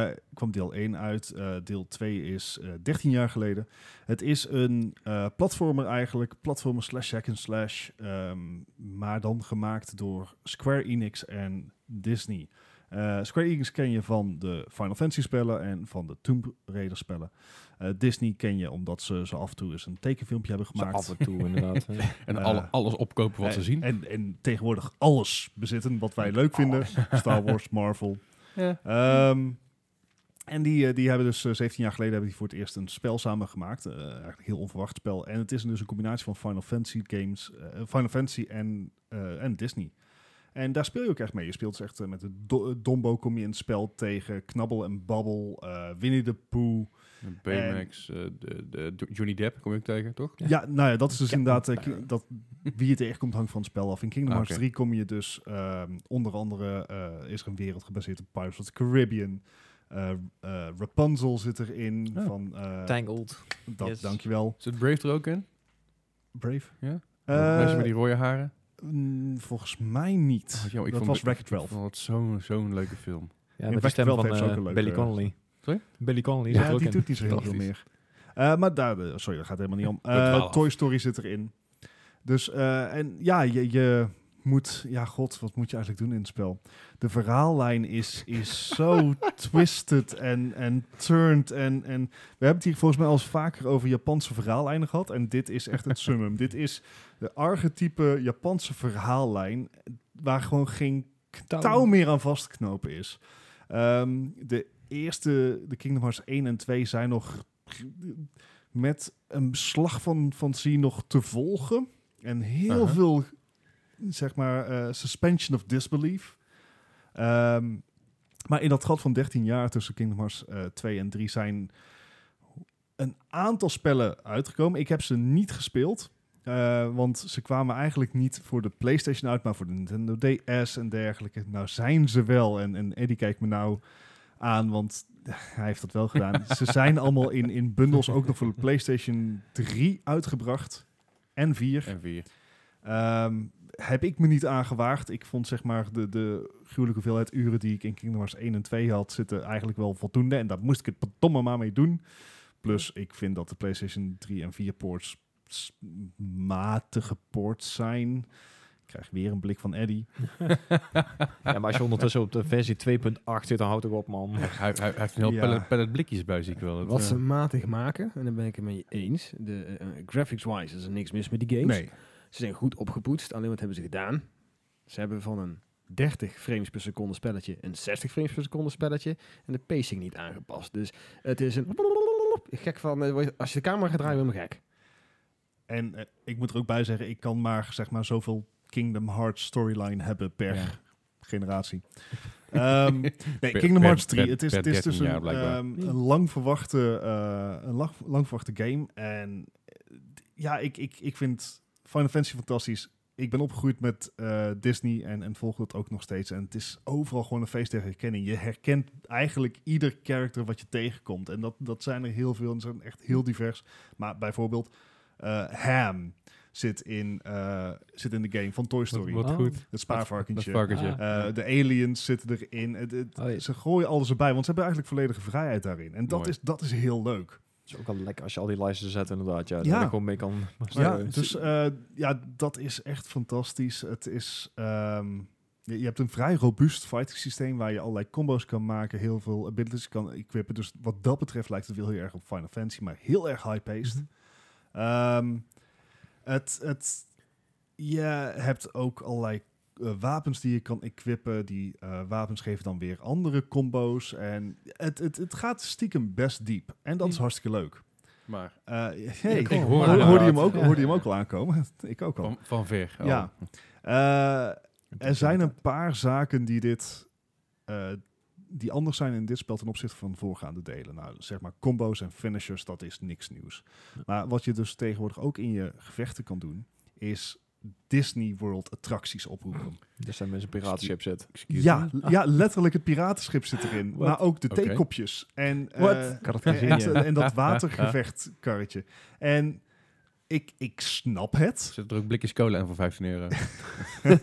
Speaker 2: Eh, kwam deel 1 uit. Eh, deel 2 is eh 13 jaar geleden. Het is een eh, platformer eigenlijk. Platformer slash hack and slash. ehm, maar dan gemaakt door Square Enix en Disney. Eh, Square Enix ken je van de Final Fantasy spellen en van de Tomb Raider spellen. Eh, Disney ken je omdat ze zo af en toe eens een tekenfilmpje hebben
Speaker 3: Zo
Speaker 2: gemaakt.
Speaker 3: af en toe inderdaad. hè.
Speaker 1: En
Speaker 2: Eh,
Speaker 1: alle, alles opkopen wat ze
Speaker 2: En-
Speaker 1: zien.
Speaker 2: En, en tegenwoordig alles bezitten wat wij leuk vinden. Star Wars, Marvel. Ehm, en die, eh, die hebben dus eh, 17 jaar geleden hebben die voor het eerst een spel samen gemaakt. Eh, eigenlijk een heel onverwacht spel. En het is dus een combinatie van Final Fantasy games, eh, Final Fantasy en, eh, en Disney. En daar speel je ook echt mee. Je speelt dus echt eh, met de do- Dombo kom je in het spel tegen. Knabbel en Babbel, eh, Winnie the Pooh.
Speaker 1: Baymax, eh, de, de, de- Johnny Depp kom ik tegen, toch?
Speaker 2: Ja.
Speaker 3: Ja.
Speaker 2: nou ja, dat is dus inderdaad eh, ki- dat, wie het echt komt hangt van het spel af. In Kingdom
Speaker 1: Ah,
Speaker 2: Hearts
Speaker 1: oké.
Speaker 2: 3 kom je dus ehm, onder andere eh, is er een wereld gebaseerd op Pirates of the Caribbean. Eh, eh, Rapunzel zit erin.
Speaker 1: Oh.
Speaker 2: Van, eh,
Speaker 3: Tangled.
Speaker 2: dat,
Speaker 3: yes.
Speaker 2: Dankjewel.
Speaker 1: Zit Brave er ook in?
Speaker 2: Brave.
Speaker 1: Ja?
Speaker 2: Eh,
Speaker 1: Meisje met die rode haren?
Speaker 2: mm, volgens mij niet.
Speaker 1: Oh, joh, ik
Speaker 2: dat
Speaker 1: vond
Speaker 2: was
Speaker 1: het-
Speaker 2: Wreck-It
Speaker 1: Ik
Speaker 2: Ralph.
Speaker 1: vond het zo'n zo'n leuke film.
Speaker 3: Ja,
Speaker 2: In
Speaker 3: met de
Speaker 2: Wreck-It
Speaker 3: stem
Speaker 2: Ralph
Speaker 3: van
Speaker 2: heeft ze ook
Speaker 3: eh,
Speaker 2: een leuke-
Speaker 3: Billy Connolly.
Speaker 1: Sorry?
Speaker 3: Billy Connolly zit
Speaker 2: Ja,
Speaker 3: er ook
Speaker 2: die
Speaker 3: in.
Speaker 2: doet niet zo heel veel
Speaker 1: Fantastisch.
Speaker 2: meer. Eh, maar daar, eh, sorry, dat gaat helemaal niet om.
Speaker 1: We
Speaker 2: Eh,
Speaker 1: dwalen af.
Speaker 2: Toy Story zit erin. Dus, eh, en ja, je, je moet, ja god, wat moet je eigenlijk doen in het spel? De verhaallijn is, is zo twisted en, en turned en, en we hebben het hier volgens mij al eens vaker over Japanse verhaallijnen gehad en dit is echt het summum. dit is de archetype Japanse verhaallijn waar gewoon geen touw meer aan vastknopen is. Ehm, de eerste, de Kingdom Hearts 1 en 2 zijn nog met een slag van fantasie nog te volgen. En heel
Speaker 1: Aha.
Speaker 2: veel, zeg maar, eh, suspension of disbelief. Ehm, maar in dat gat van 13 jaar tussen Kingdom Hearts eh, 2 en 3 zijn een aantal spellen uitgekomen. Ik heb ze niet gespeeld. Eh, want ze kwamen eigenlijk niet voor de PlayStation uit, maar voor de Nintendo DS en dergelijke. Nou zijn ze wel. En, en Eddie kijkt me nou aan, want hij heeft dat wel gedaan. ze zijn allemaal in, in bundels ook nog voor de PlayStation 3 uitgebracht. En 4.
Speaker 1: En vier.
Speaker 2: Ehm, heb ik me niet aangewaagd. Ik vond zeg maar de, de gruwelijke hoeveelheid uren die ik in Kingdom Hearts 1 en 2 had zitten eigenlijk wel voldoende. En daar moest ik het verdomme maar mee doen. Plus ik vind dat de PlayStation 3 en 4 ports s- matige ports zijn. Ik krijg weer een blik van Eddie.
Speaker 3: Ja, maar als je ondertussen op de versie 2.8 zit, dan houdt ook op, man.
Speaker 1: Hij, hij, hij heeft een heel
Speaker 2: Ja.
Speaker 1: pallet, pallet blikjes bij, zie ik wel. Dat,
Speaker 4: Wat
Speaker 1: eh,
Speaker 4: ze matig maken, en daar ben ik het mee eens. De, eh, graphics-wise is er niks mis met die games. Ze zijn goed opgepoetst, alleen wat hebben ze gedaan? Ze hebben van een 30 frames per seconde spelletje een 60 frames per seconde spelletje en de pacing niet aangepast. Dus het is een gek van, eh, word je- als je de camera gaat draaien, ben je gek.
Speaker 2: En eh, ik moet er ook bij zeggen, ik kan maar zeg maar zoveel Kingdom Hearts storyline hebben per
Speaker 1: Ja.
Speaker 2: generatie. Ehm, nee,
Speaker 1: Per-
Speaker 2: Kingdom Hearts
Speaker 1: per-
Speaker 2: 3.
Speaker 1: per-
Speaker 2: het is,
Speaker 1: per
Speaker 2: het is dus
Speaker 1: 13 jaar
Speaker 2: een,
Speaker 1: blijkbaar.
Speaker 2: ehm, een lang verwachte, eh, een lang, lang verwachte game. En eh, d- ja, ik, ik, ik vind Final Fantasy fantastisch. Ik ben opgegroeid met eh, Disney en, en volg dat ook nog steeds. En het is overal gewoon een feest der herkenning. Je herkent eigenlijk ieder character wat je tegenkomt. En dat, dat zijn er heel veel en ze zijn echt heel divers. Maar bijvoorbeeld eh, Ham zit in, eh, zit in de game van Toy Story.
Speaker 1: Wat
Speaker 3: Oh.
Speaker 1: goed.
Speaker 2: Het
Speaker 1: Dat
Speaker 2: spaarvarkentje.
Speaker 1: varkentje.
Speaker 3: Ah.
Speaker 2: Eh, de aliens zitten erin. Het- het-
Speaker 3: Oh, ja.
Speaker 2: Ze gooien alles erbij, want ze hebben eigenlijk volledige vrijheid daarin. En dat,
Speaker 1: Mooi.
Speaker 2: is, dat is heel leuk.
Speaker 3: Het is ook wel lekker als je al die lijsten zet, inderdaad. Ja,
Speaker 2: Ja.
Speaker 3: Dat je gewoon mee kan.
Speaker 2: Ja,
Speaker 3: spelen.
Speaker 2: dus eh, ja, dat is echt fantastisch. Het is, ehm, je, je hebt een vrij robuust fighting systeem waar je allerlei combo's kan maken, heel veel abilities kan equippen. Dus wat dat betreft lijkt het wel heel erg op Final Fantasy, maar heel erg high-paced. Ehm, het, het, je hebt ook allerlei eh, wapens die je kan equippen. Die eh, wapens geven dan weer andere combo's. En het, het, het gaat stiekem best diep. En dat is
Speaker 1: Ja.
Speaker 2: hartstikke leuk.
Speaker 1: Maar
Speaker 2: Eh, hey,
Speaker 1: ik hoor
Speaker 2: hoor-
Speaker 1: hem
Speaker 2: hoorde, je hem
Speaker 1: inderdaad.
Speaker 2: ook,
Speaker 1: Ja.
Speaker 2: hoorde je hem ook al aankomen? ik ook al.
Speaker 1: van, van ver. Oh.
Speaker 2: Ja. Eh, er zijn een paar zaken die dit... eh, die anders zijn in dit spel ten opzichte van de voorgaande delen. Nou, zeg maar combo's en finishers, dat is niks nieuws. Maar wat je dus tegenwoordig ook in je gevechten kan doen... is Disney World attracties oproepen.
Speaker 3: Dus zijn mensen piratenschip zit.
Speaker 1: Excuse
Speaker 2: Ja,
Speaker 1: me.
Speaker 2: ja, letterlijk het piratenschip zit erin.
Speaker 3: Wat?
Speaker 2: Maar ook de
Speaker 1: Oké.
Speaker 2: theekopjes. En, eh,
Speaker 3: Wat?
Speaker 4: Ik had het
Speaker 2: en,
Speaker 4: gezien, ja.
Speaker 2: en- en dat watergevechtkarretje. En ik, ik snap het.
Speaker 1: Zit er ook blikjes cola in voor 15 euro.
Speaker 2: They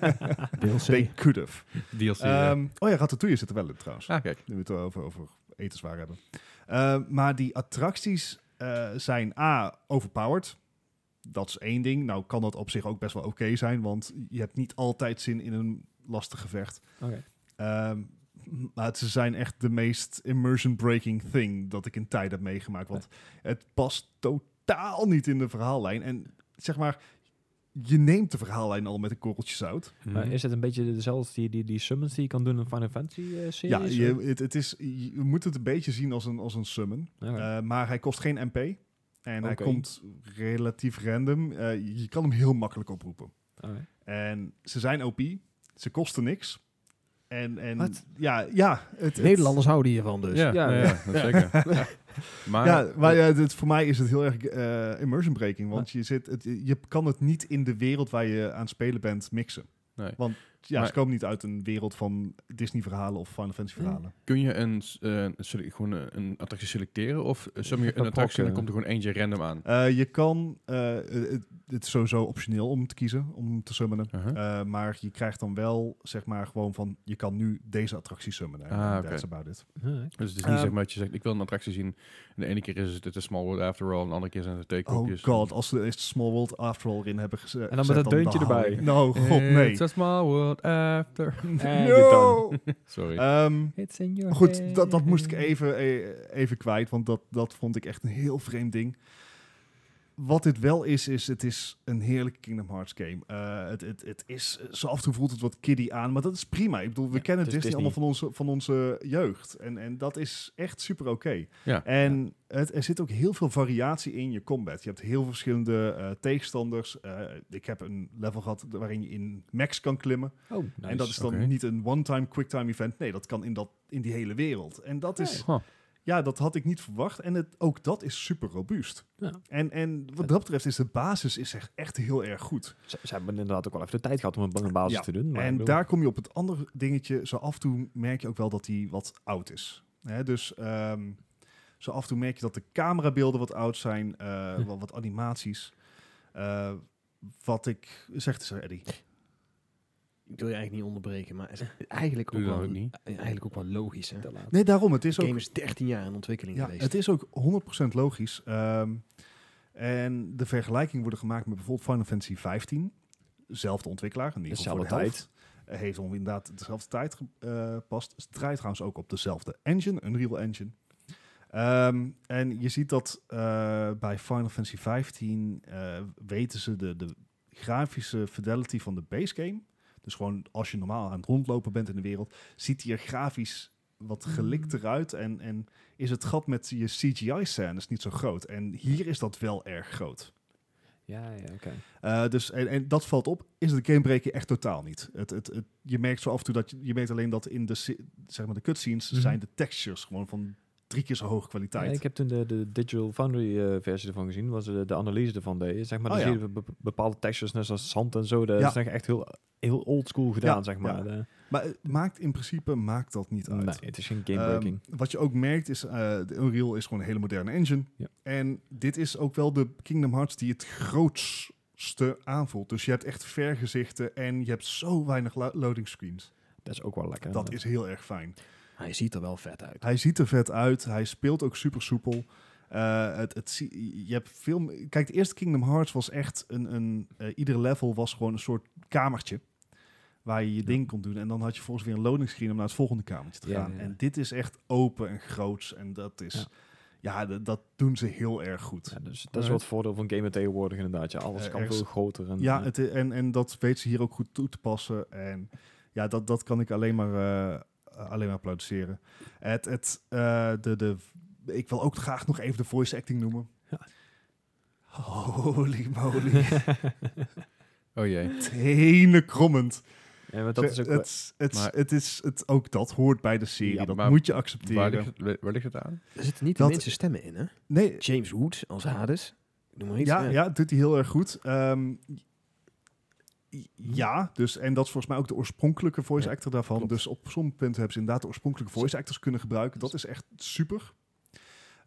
Speaker 4: DLC.
Speaker 2: could have.
Speaker 1: DLC. ja.
Speaker 2: Ehm, oh ja, Ratatouille zit er wel in trouwens.
Speaker 1: eh, ah, kijk.
Speaker 2: Nu we het over, over etenswaar hebben. Ehm, maar die attracties eh, zijn A, overpowered. Dat is één ding. Nou kan dat op zich ook best wel oké zijn, want je hebt niet altijd zin in een lastig gevecht.
Speaker 3: Oké.
Speaker 2: Ehm, maar het- ze zijn echt de meest immersion-breaking thing dat ik in tijd heb meegemaakt. Want het past totaal niet in de verhaallijn. En zeg maar, je neemt de verhaallijn al met een korreltje zout.
Speaker 3: Maar
Speaker 1: Mhm.
Speaker 3: is het een beetje dezelfde die, die, die summons die je kan doen in Final Fantasy eh,
Speaker 2: Ja,
Speaker 3: series?
Speaker 2: je, het, het is, je moet het een beetje zien als een, als een summon.
Speaker 3: Oké.
Speaker 2: Eh, maar hij kost geen MP. En hij
Speaker 3: Oké.
Speaker 2: komt relatief random. Eh, je kan hem heel makkelijk oproepen.
Speaker 3: Oké.
Speaker 2: En ze zijn OP. Ze kosten niks. En, en
Speaker 3: Wat?
Speaker 2: ja, ja, het, het-
Speaker 4: Nederlanders houden hiervan dus.
Speaker 1: Ja,
Speaker 3: Ja,
Speaker 1: nou ja, dat zeker. maar,
Speaker 2: ja, maar ja, dit, voor mij is het heel erg eh, immersion breaking. Want je, zit, het, je kan het niet in de wereld waar je aan het spelen bent mixen.
Speaker 1: Nee.
Speaker 2: Want ja,
Speaker 1: Maar-
Speaker 2: ze komen niet uit een wereld van Disney-verhalen of Final Fantasy-verhalen.
Speaker 1: Kun je een, s- eh, sele- gewoon eh, een attractie selecteren? Of sommige
Speaker 3: Dat
Speaker 1: een attractie en
Speaker 3: blokken.
Speaker 1: dan komt er gewoon eentje random aan?
Speaker 2: Eh, je kan, eh, het, het is sowieso optioneel om te kiezen, om te summonen.
Speaker 1: Uh-huh.
Speaker 2: Eh, maar je krijgt dan wel, zeg maar, gewoon van, je kan nu deze attractie summonen.
Speaker 1: Ah,
Speaker 2: And
Speaker 1: oké.
Speaker 2: That's about it.
Speaker 1: Dus het is niet
Speaker 2: Ehm,
Speaker 1: zeg maar dat je zegt, ik wil een attractie zien. En de ene keer is het, het is Small World After All. En de andere keer zijn het
Speaker 2: Oh
Speaker 1: theekopjes.
Speaker 2: god, als ze eerst Small World After All in hebben gezet.
Speaker 3: En dan met dat deuntje erbij. Eh,
Speaker 2: Nou, god, nee.
Speaker 1: It's a Small World After...
Speaker 2: No!
Speaker 1: Sorry.
Speaker 2: Ehm,
Speaker 3: It's in your
Speaker 2: goed, dat, dat moest ik even, eh, even kwijt, want dat, dat vond ik echt een heel vreemd ding. Wat dit wel is, is het is een heerlijke Kingdom Hearts game. Eh, het, het, het is, zo af en toe voelt het wat kiddie aan, maar dat is prima. Ik bedoel, we
Speaker 3: Ja,
Speaker 2: kennen
Speaker 3: het is
Speaker 2: Disney, allemaal van onze, van onze jeugd. En, en dat is echt super oké.
Speaker 1: Ja.
Speaker 2: En het, er zit ook heel veel variatie in je combat. Je hebt heel veel verschillende eh, tegenstanders. Eh, ik heb een level gehad waarin je in max kan klimmen.
Speaker 3: Oh, nice.
Speaker 2: en dat is dan
Speaker 1: oké.
Speaker 2: niet een one-time quicktime event. Nee, dat kan in, dat, in die hele wereld. En dat is,
Speaker 1: Huh.
Speaker 2: ja, dat had ik niet verwacht. En het, ook dat is super robuust.
Speaker 3: Ja.
Speaker 2: En, en wat dat betreft is de basis is echt, echt heel erg goed.
Speaker 3: Ze, ze hebben inderdaad ook wel even de tijd gehad om een, een basis
Speaker 2: Ja,
Speaker 3: te doen. Maar ik
Speaker 2: en
Speaker 3: bedoel-
Speaker 2: daar kom je op het andere dingetje. Zo af en toe merk je ook wel dat die wat oud is. Hè, dus ehm, zo af en toe merk je dat de camerabeelden wat oud zijn. eh,
Speaker 3: Hm.
Speaker 2: wat, wat animaties. Eh, wat ik... Zeg het eens, Eddie.
Speaker 4: Ik wil je eigenlijk niet onderbreken, maar het is eigenlijk ook,
Speaker 1: Doe dat
Speaker 4: wel, eh,
Speaker 1: ook niet.
Speaker 4: eigenlijk ook wel logisch. Hè?
Speaker 3: te laat.
Speaker 2: Nee, daarom. Het is
Speaker 4: De
Speaker 2: ook...
Speaker 4: game is 13 jaar in ontwikkeling
Speaker 2: Ja,
Speaker 4: geweest.
Speaker 2: het is ook 100% logisch. Ehm, en de vergelijking worden gemaakt met bijvoorbeeld Final Fantasy 15. Zelfde ontwikkelaar, in ieder geval voor de
Speaker 3: Dezelfde
Speaker 2: helft. Eh, Heeft om inderdaad dezelfde tijd gepast. Het draait trouwens ook op dezelfde engine, Unreal Engine. Ehm, en je ziet dat eh, bij Final Fantasy 15 eh, weten ze de, de grafische fidelity van de base game. Dus gewoon als je normaal aan het rondlopen bent in de wereld, ziet hij er grafisch wat gelikt eruit. En, en is het gat met je CGI-scènes niet zo groot. En hier is dat wel erg groot.
Speaker 3: Ja, ja, oké.
Speaker 2: Eh, dus, en, en dat valt op, is het gamebreaker echt totaal niet. Het, het, het, je merkt zo af en toe dat je, je merkt alleen dat in de, si- zeg maar de cutscenes
Speaker 3: Mhm.
Speaker 2: zijn de textures gewoon van drie keer zo hoge
Speaker 3: Ja,
Speaker 2: kwaliteit.
Speaker 3: ik heb toen de, de Digital Foundry eh, versie ervan gezien, was de, de analyse ervan deed. Zeg maar,
Speaker 2: Oh,
Speaker 3: dan
Speaker 2: ja.
Speaker 3: zie je be- be- bepaalde textures, net zoals zand en zo. Dat
Speaker 2: Ja.
Speaker 3: is echt echt heel, heel oldschool gedaan,
Speaker 2: Ja,
Speaker 3: zeg maar. De-
Speaker 2: Maar het maakt in principe maakt dat niet uit.
Speaker 3: nee, het is geen gamebreaking.
Speaker 2: Ehm, wat je ook merkt is, eh, de Unreal is gewoon een hele moderne engine.
Speaker 3: Ja.
Speaker 2: En dit is ook wel de Kingdom Hearts die het grootste aanvoelt. Dus je hebt echt vergezichten en je hebt zo weinig lo- loading screens.
Speaker 3: dat is ook wel lekker.
Speaker 2: Ehm, Dat is heel erg fijn.
Speaker 4: Hij ziet er wel vet uit.
Speaker 2: Hij ziet er vet uit. Hij speelt ook super soepel. Eh, het, het, zie- je hebt veel. me- Kijk, de eerste Kingdom Hearts was echt een. een eh, ieder level was gewoon een soort kamertje. Waar je je ding kon doen. En dan had je volgens weer een loading screen om naar het volgende kamertje te
Speaker 3: Ja,
Speaker 2: gaan.
Speaker 3: ja.
Speaker 2: En dit is echt open en groots. En dat is.
Speaker 3: Ja.
Speaker 2: Ja, dat, dat doen ze heel erg goed.
Speaker 3: Ja, dus dat is wel het voordeel van gamen tegenwoordig inderdaad. Ja, alles
Speaker 2: Eh,
Speaker 3: kan
Speaker 2: ergens-
Speaker 3: veel groter. En,
Speaker 2: Ja, het, i- en, en dat weet ze hier ook goed toe te passen. En ja, dat, dat kan ik alleen maar, eh, eh, alleen maar applaudisseren. Het, het, eh, de, de, ik wil ook graag nog even de voice acting noemen.
Speaker 3: Ja.
Speaker 2: Holy moly.
Speaker 1: Oh jee.
Speaker 2: Tenenkrommend.
Speaker 3: en dat is ook wel-
Speaker 2: het, het,
Speaker 1: Maar-
Speaker 2: het is, het, ook dat hoort bij de serie.
Speaker 1: Ja,
Speaker 2: dat
Speaker 1: maar
Speaker 2: moet je
Speaker 1: Waar
Speaker 2: accepteren.
Speaker 1: ligt, het- waar ligt het aan?
Speaker 4: Er zitten niet
Speaker 2: Dat-
Speaker 4: de minste stemmen in, hè?
Speaker 2: Nee,
Speaker 4: James Woods als Hades. Noem maar iets.
Speaker 2: ja, ja, dat doet hij heel erg goed. Ehm, j- ja, dus, en dat is volgens mij ook de oorspronkelijke voice
Speaker 4: Ja,
Speaker 2: actor daarvan.
Speaker 4: klopt.
Speaker 2: Dus op sommige punten hebben ze inderdaad de oorspronkelijke voice actors kunnen gebruiken. Dat is echt super.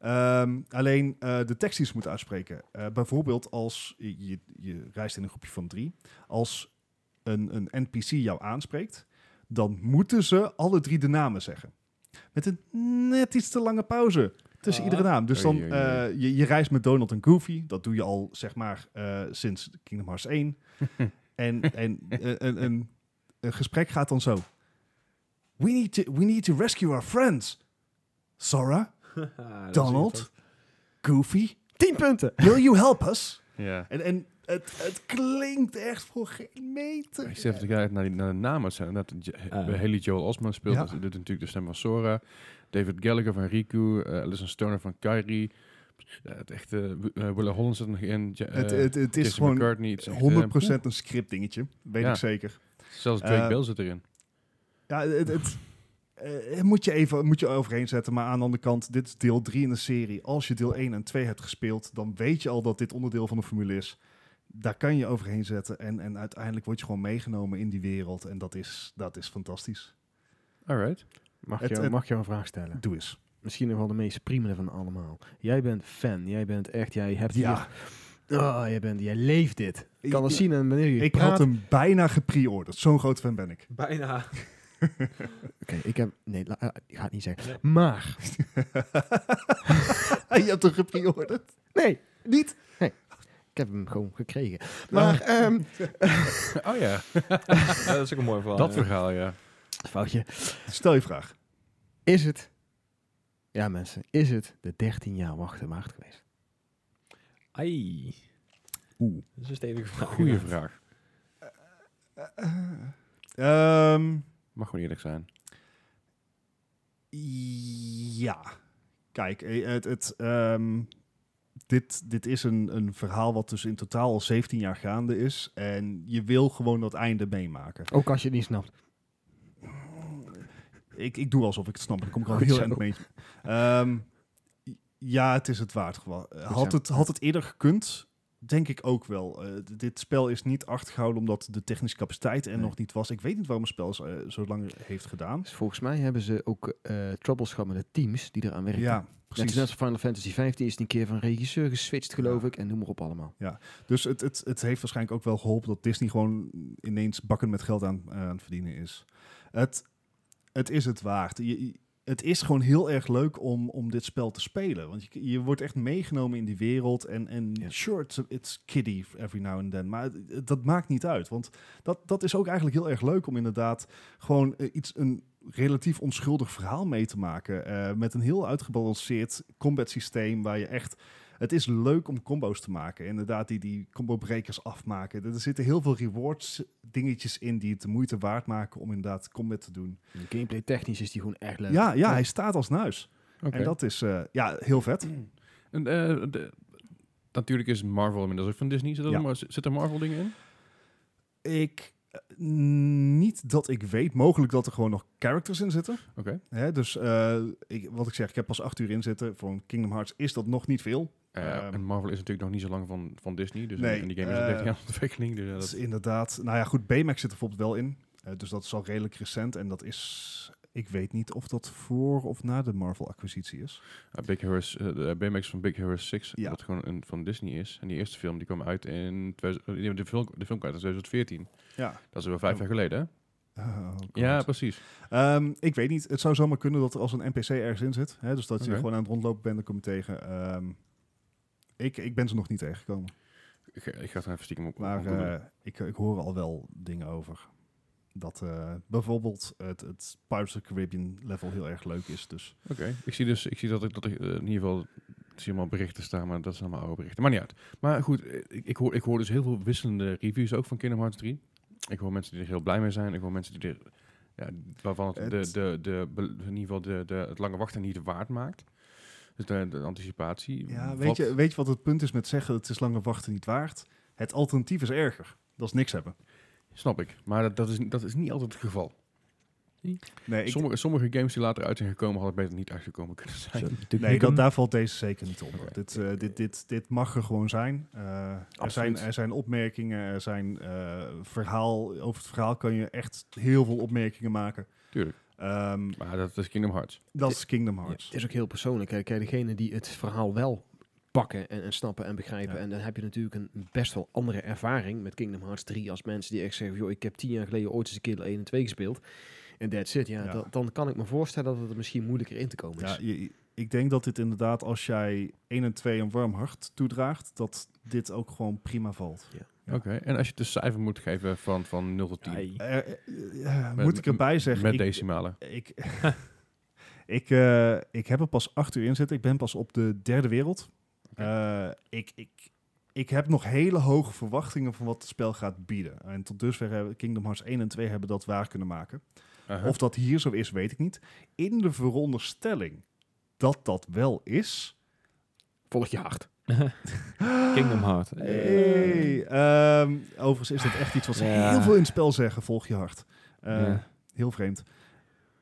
Speaker 2: Ehm, alleen eh, de tekst die ze moeten uitspreken. Eh, bijvoorbeeld als je, je reist in een groepje van drie. Als een, een NPC jou aanspreekt, dan moeten ze alle drie de namen zeggen. Met een net iets te lange pauze tussen
Speaker 3: Ah.
Speaker 2: iedere naam. Dus dan,
Speaker 1: Oei, oei, oei.
Speaker 2: eh, je, je reist met Donald en Goofy. Dat doe je al, zeg maar, eh, sinds Kingdom Hearts 1. en en eh, een, een, een gesprek gaat dan zo. We need, to, we need to rescue our friends. Sora,
Speaker 3: Ah, dat is
Speaker 2: Donald,
Speaker 3: irritant.
Speaker 2: Goofy,
Speaker 4: 10 punten!
Speaker 2: will you help us?
Speaker 1: Ja.
Speaker 2: En, en het, het klinkt echt voor geen meter.
Speaker 1: Ik zit even te kijken naar, die- naar de namen. Het zijn inderdaad J- eh,
Speaker 3: Ah.
Speaker 1: Haley Joel Osment speelt.
Speaker 2: Eh. Ja.
Speaker 1: Dat doet natuurlijk de stem van Sora. David Gallagher van Riku. eh Alison Stoner van Kairi. Ja, het echte Willa Willa Holland zit er nog in. Ja, eh,
Speaker 2: het, het, het is
Speaker 1: Jesse
Speaker 2: gewoon
Speaker 1: McCartney. Het is echt, eh,
Speaker 2: 100% een script dingetje. Weet
Speaker 1: Ja.
Speaker 2: ik zeker.
Speaker 1: poeh. Zelfs Drake
Speaker 2: Eh,
Speaker 1: Bell zit erin.
Speaker 2: Ja, het, het, eh, moet je even moet je overheen zetten. Maar aan de andere kant, dit is deel 3 in de serie. Als je deel 1 en 2 hebt gespeeld, dan weet je al dat dit onderdeel van de formule is. Daar kan je overheen zetten en, en uiteindelijk word je gewoon meegenomen in die wereld. En dat is, dat is fantastisch.
Speaker 1: Alright.
Speaker 4: Mag,
Speaker 2: Het-
Speaker 4: jou,
Speaker 2: het-
Speaker 4: mag jou een vraag stellen?
Speaker 2: Doe eens.
Speaker 4: Misschien nog wel de meest priemende van allemaal. Jij bent fan. Jij bent echt... Jij hebt
Speaker 2: Ja.
Speaker 4: hier... Oh, jij, bent, jij leeft dit. Ik kan het
Speaker 2: Ik-
Speaker 4: zien en wanneer je
Speaker 2: Ik
Speaker 4: praat...
Speaker 2: had hem bijna gepreorderd. Zo'n groot fan ben ik.
Speaker 3: Bijna.
Speaker 4: Oké, ik heb... Nee, la- eh, ik ga het niet zeggen.
Speaker 3: Nee.
Speaker 4: Maar...
Speaker 2: je hebt hem gepreorderd.
Speaker 4: Nee, niet. Nee. Ik heb hem gewoon gekregen.
Speaker 2: Ah.
Speaker 4: Maar... ehm,
Speaker 1: Oh ja,
Speaker 3: Ja, dat is ook een mooi verhaal.
Speaker 1: dat
Speaker 3: ja.
Speaker 1: verhaal, ja.
Speaker 4: foutje.
Speaker 2: Stel je vraag.
Speaker 4: Is het... Ja, mensen. Is het de 13 jaar wachten waard geweest?
Speaker 3: Ai.
Speaker 2: Oeh.
Speaker 3: Dat is een stevige vraag.
Speaker 1: Goeie vraag.
Speaker 2: Ehm,
Speaker 1: Mag gewoon eerlijk zijn.
Speaker 2: ja. Kijk, eh, het, het, ehm, dit, dit is een, een verhaal wat dus in totaal al 17 jaar gaande is. En je wil gewoon dat einde meemaken.
Speaker 4: Ook als je het niet snapt.
Speaker 2: Ik, ik doe alsof ik het snap. maar Ik kom er al
Speaker 4: Oh,
Speaker 2: heel
Speaker 4: zo.
Speaker 2: erg mee. Ehm, ja, het is het waard. gewa- Had
Speaker 4: zo.
Speaker 2: het, had het eerder gekund, denk ik ook wel. Eh, d- dit spel is niet achtergehouden omdat de technische capaciteit er
Speaker 4: Nee.
Speaker 2: nog niet was. Ik weet niet waarom het spel zo, eh, zo lang heeft gedaan.
Speaker 4: Dus volgens mij hebben ze ook eh troubles gehad met de teams die eraan werken.
Speaker 2: Ja,
Speaker 4: Net
Speaker 2: precies.
Speaker 4: als net als Final Fantasy 15 is het een keer van regisseur geswitcht, geloof
Speaker 2: Ja.
Speaker 4: ik. En noem maar op allemaal.
Speaker 2: Dus het, het, het heeft waarschijnlijk ook wel geholpen dat Disney gewoon ineens bakken met geld aan, aan het verdienen is. Het, het is het waard. Je, je- het is gewoon heel erg leuk om, om dit spel te spelen. Want je, je wordt echt meegenomen in die wereld. En, en
Speaker 4: Ja.
Speaker 2: sure, it's, it's kiddie every now and then. Maar het- het- dat maakt niet uit. Want dat, dat is ook eigenlijk heel erg leuk om inderdaad gewoon eh, iets, een relatief onschuldig verhaal mee te maken. eh, met een heel uitgebalanceerd combat systeem waar je echt het is leuk om combo's te maken. Inderdaad, die, die combo-brekers afmaken. Er zitten heel veel rewards dingetjes in die het de moeite waard maken om inderdaad combat te doen.
Speaker 4: De gameplay technisch is die gewoon echt leuk.
Speaker 2: Ja, ja hij staat als nuis.
Speaker 1: Oké.
Speaker 2: En dat is eh, ja, heel vet.
Speaker 1: En, eh, de- natuurlijk is Marvel inmiddels ook van Disney. Zit er,
Speaker 2: Ja.
Speaker 1: maar, zit er Marvel dingen in?
Speaker 2: Ik, eh, niet dat ik weet, mogelijk dat er gewoon nog characters in zitten.
Speaker 1: Oké.
Speaker 2: Hè, dus eh, ik, wat ik zeg, ik heb pas acht uur in zitten. Voor een Kingdom Hearts is dat nog niet veel.
Speaker 1: Eh,
Speaker 2: Ehm.
Speaker 1: en Marvel is natuurlijk nog niet zo lang van, van Disney. Dus
Speaker 2: Nee,
Speaker 1: en die game is al
Speaker 2: eh,
Speaker 1: 13 jaar in ontwikkeling. Dus, eh,
Speaker 2: Dat is
Speaker 1: dat,
Speaker 2: inderdaad. Nou ja, goed, Baymax zit er bijvoorbeeld wel in. Eh, dus dat is al redelijk recent. En dat is. Ik weet niet of dat voor of na de Marvel-acquisitie is.
Speaker 1: eh, Big Hero, s- eh, de BMX van Big Hero 6,
Speaker 2: Ja.
Speaker 1: dat gewoon een, van Disney is. En die eerste film die kwam uit in... 2000 eh, nee, de film, de film kwam uit in 2014.
Speaker 2: Ja.
Speaker 1: Dat is wel vijf
Speaker 2: Oh.
Speaker 1: jaar geleden, hè?
Speaker 2: Oh, God.
Speaker 1: Ja, precies.
Speaker 2: Ehm, ik weet niet. Het zou zomaar kunnen dat er als een NPC ergens in zit. Hè? Dus dat je
Speaker 1: Oké.
Speaker 2: gewoon aan het rondlopen bent en kom je tegen. Ehm, ik, ik ben ze nog niet tegengekomen.
Speaker 1: Ik, ik ga het even stiekem op.
Speaker 2: Maar
Speaker 1: op googlen.
Speaker 2: eh, ik, ik hoor al wel dingen over. Dat eh, bijvoorbeeld het, het Pirates of the Caribbean level heel erg leuk is. Dus
Speaker 1: Oké, ik zie dus ik zie dat ik dat ik, eh, in ieder geval ik zie allemaal berichten staan, maar dat zijn allemaal oude berichten. Maar niet uit. Maar goed, eh, ik, ik, hoor, ik hoor dus heel veel wisselende reviews ook van Kingdom Hearts 3. Ik hoor mensen die er heel blij mee zijn. Ik hoor mensen die er ja, waarvan het,
Speaker 2: Het-
Speaker 1: De, de, de, be- in ieder geval de, de, het lange wachten niet waard maakt. Dus de, de anticipatie.
Speaker 2: ja,
Speaker 1: Wat-
Speaker 2: weet je, weet je wat het punt is met zeggen het is langer wachten niet waard? Het alternatief is erger. Dat is niks hebben.
Speaker 1: Snap ik. Maar dat, dat, is, dat is niet altijd het geval.
Speaker 2: Nee, ik,
Speaker 1: Sommige, sommige games die later uit zijn gekomen, hadden beter niet uitgekomen kunnen zijn.
Speaker 2: nee dat, daar valt deze zeker niet onder.
Speaker 1: Oké.
Speaker 2: Dit, eh, dit, dit, dit mag er gewoon zijn. Eh, er
Speaker 1: Absoluut.
Speaker 2: zijn. Er zijn opmerkingen, er zijn eh, verhaal. Over het verhaal kan je echt heel veel opmerkingen maken.
Speaker 1: Tuurlijk.
Speaker 2: Ehm,
Speaker 1: Maar dat is Kingdom Hearts.
Speaker 2: dat is Kingdom
Speaker 4: Ja, het
Speaker 2: Hearts.
Speaker 4: is ook heel persoonlijk. hè. Kijk, degene die het verhaal wel pakken en, en snappen en begrijpen.
Speaker 2: Ja.
Speaker 4: En dan heb je natuurlijk een best wel andere ervaring met Kingdom Hearts 3. Als mensen die echt zeggen, joh, ik heb tien jaar geleden ooit eens een keer de 1 en 2 gespeeld. En that's it. Ja,
Speaker 2: Ja.
Speaker 4: dat- dan kan ik me voorstellen dat het er misschien moeilijker in te komen is.
Speaker 2: Ja, je- ik denk dat dit inderdaad, als jij 1 en 2 een warm hart toedraagt, dat dit ook gewoon prima valt. Ja.
Speaker 1: Oké. En als je het een cijfer moet geven van, van 0 tot 10.
Speaker 3: Ai.
Speaker 2: Eh, eh, eh,
Speaker 1: Met-
Speaker 2: moet ik erbij zeggen?
Speaker 1: Met
Speaker 2: ik,
Speaker 1: decimalen.
Speaker 2: Ik, ik, eh, ik heb er pas acht uur in zitten. Ik ben pas op de derde wereld.
Speaker 1: Oké.
Speaker 2: Eh, ik, ik, ik heb nog hele hoge verwachtingen van wat het spel gaat bieden. En tot dusver hebben Kingdom Hearts 1 en 2 hebben dat waar kunnen maken.
Speaker 1: Aha.
Speaker 2: Of dat hier zo is, weet ik niet. In de veronderstelling dat dat wel is.
Speaker 4: Volg je hart.
Speaker 3: Kingdom Heart.
Speaker 2: Hey, ehm, overigens is dat echt iets wat ze
Speaker 3: Ja.
Speaker 2: heel veel in het spel zeggen. Volg je hart. Eh,
Speaker 3: Ja.
Speaker 2: Heel vreemd.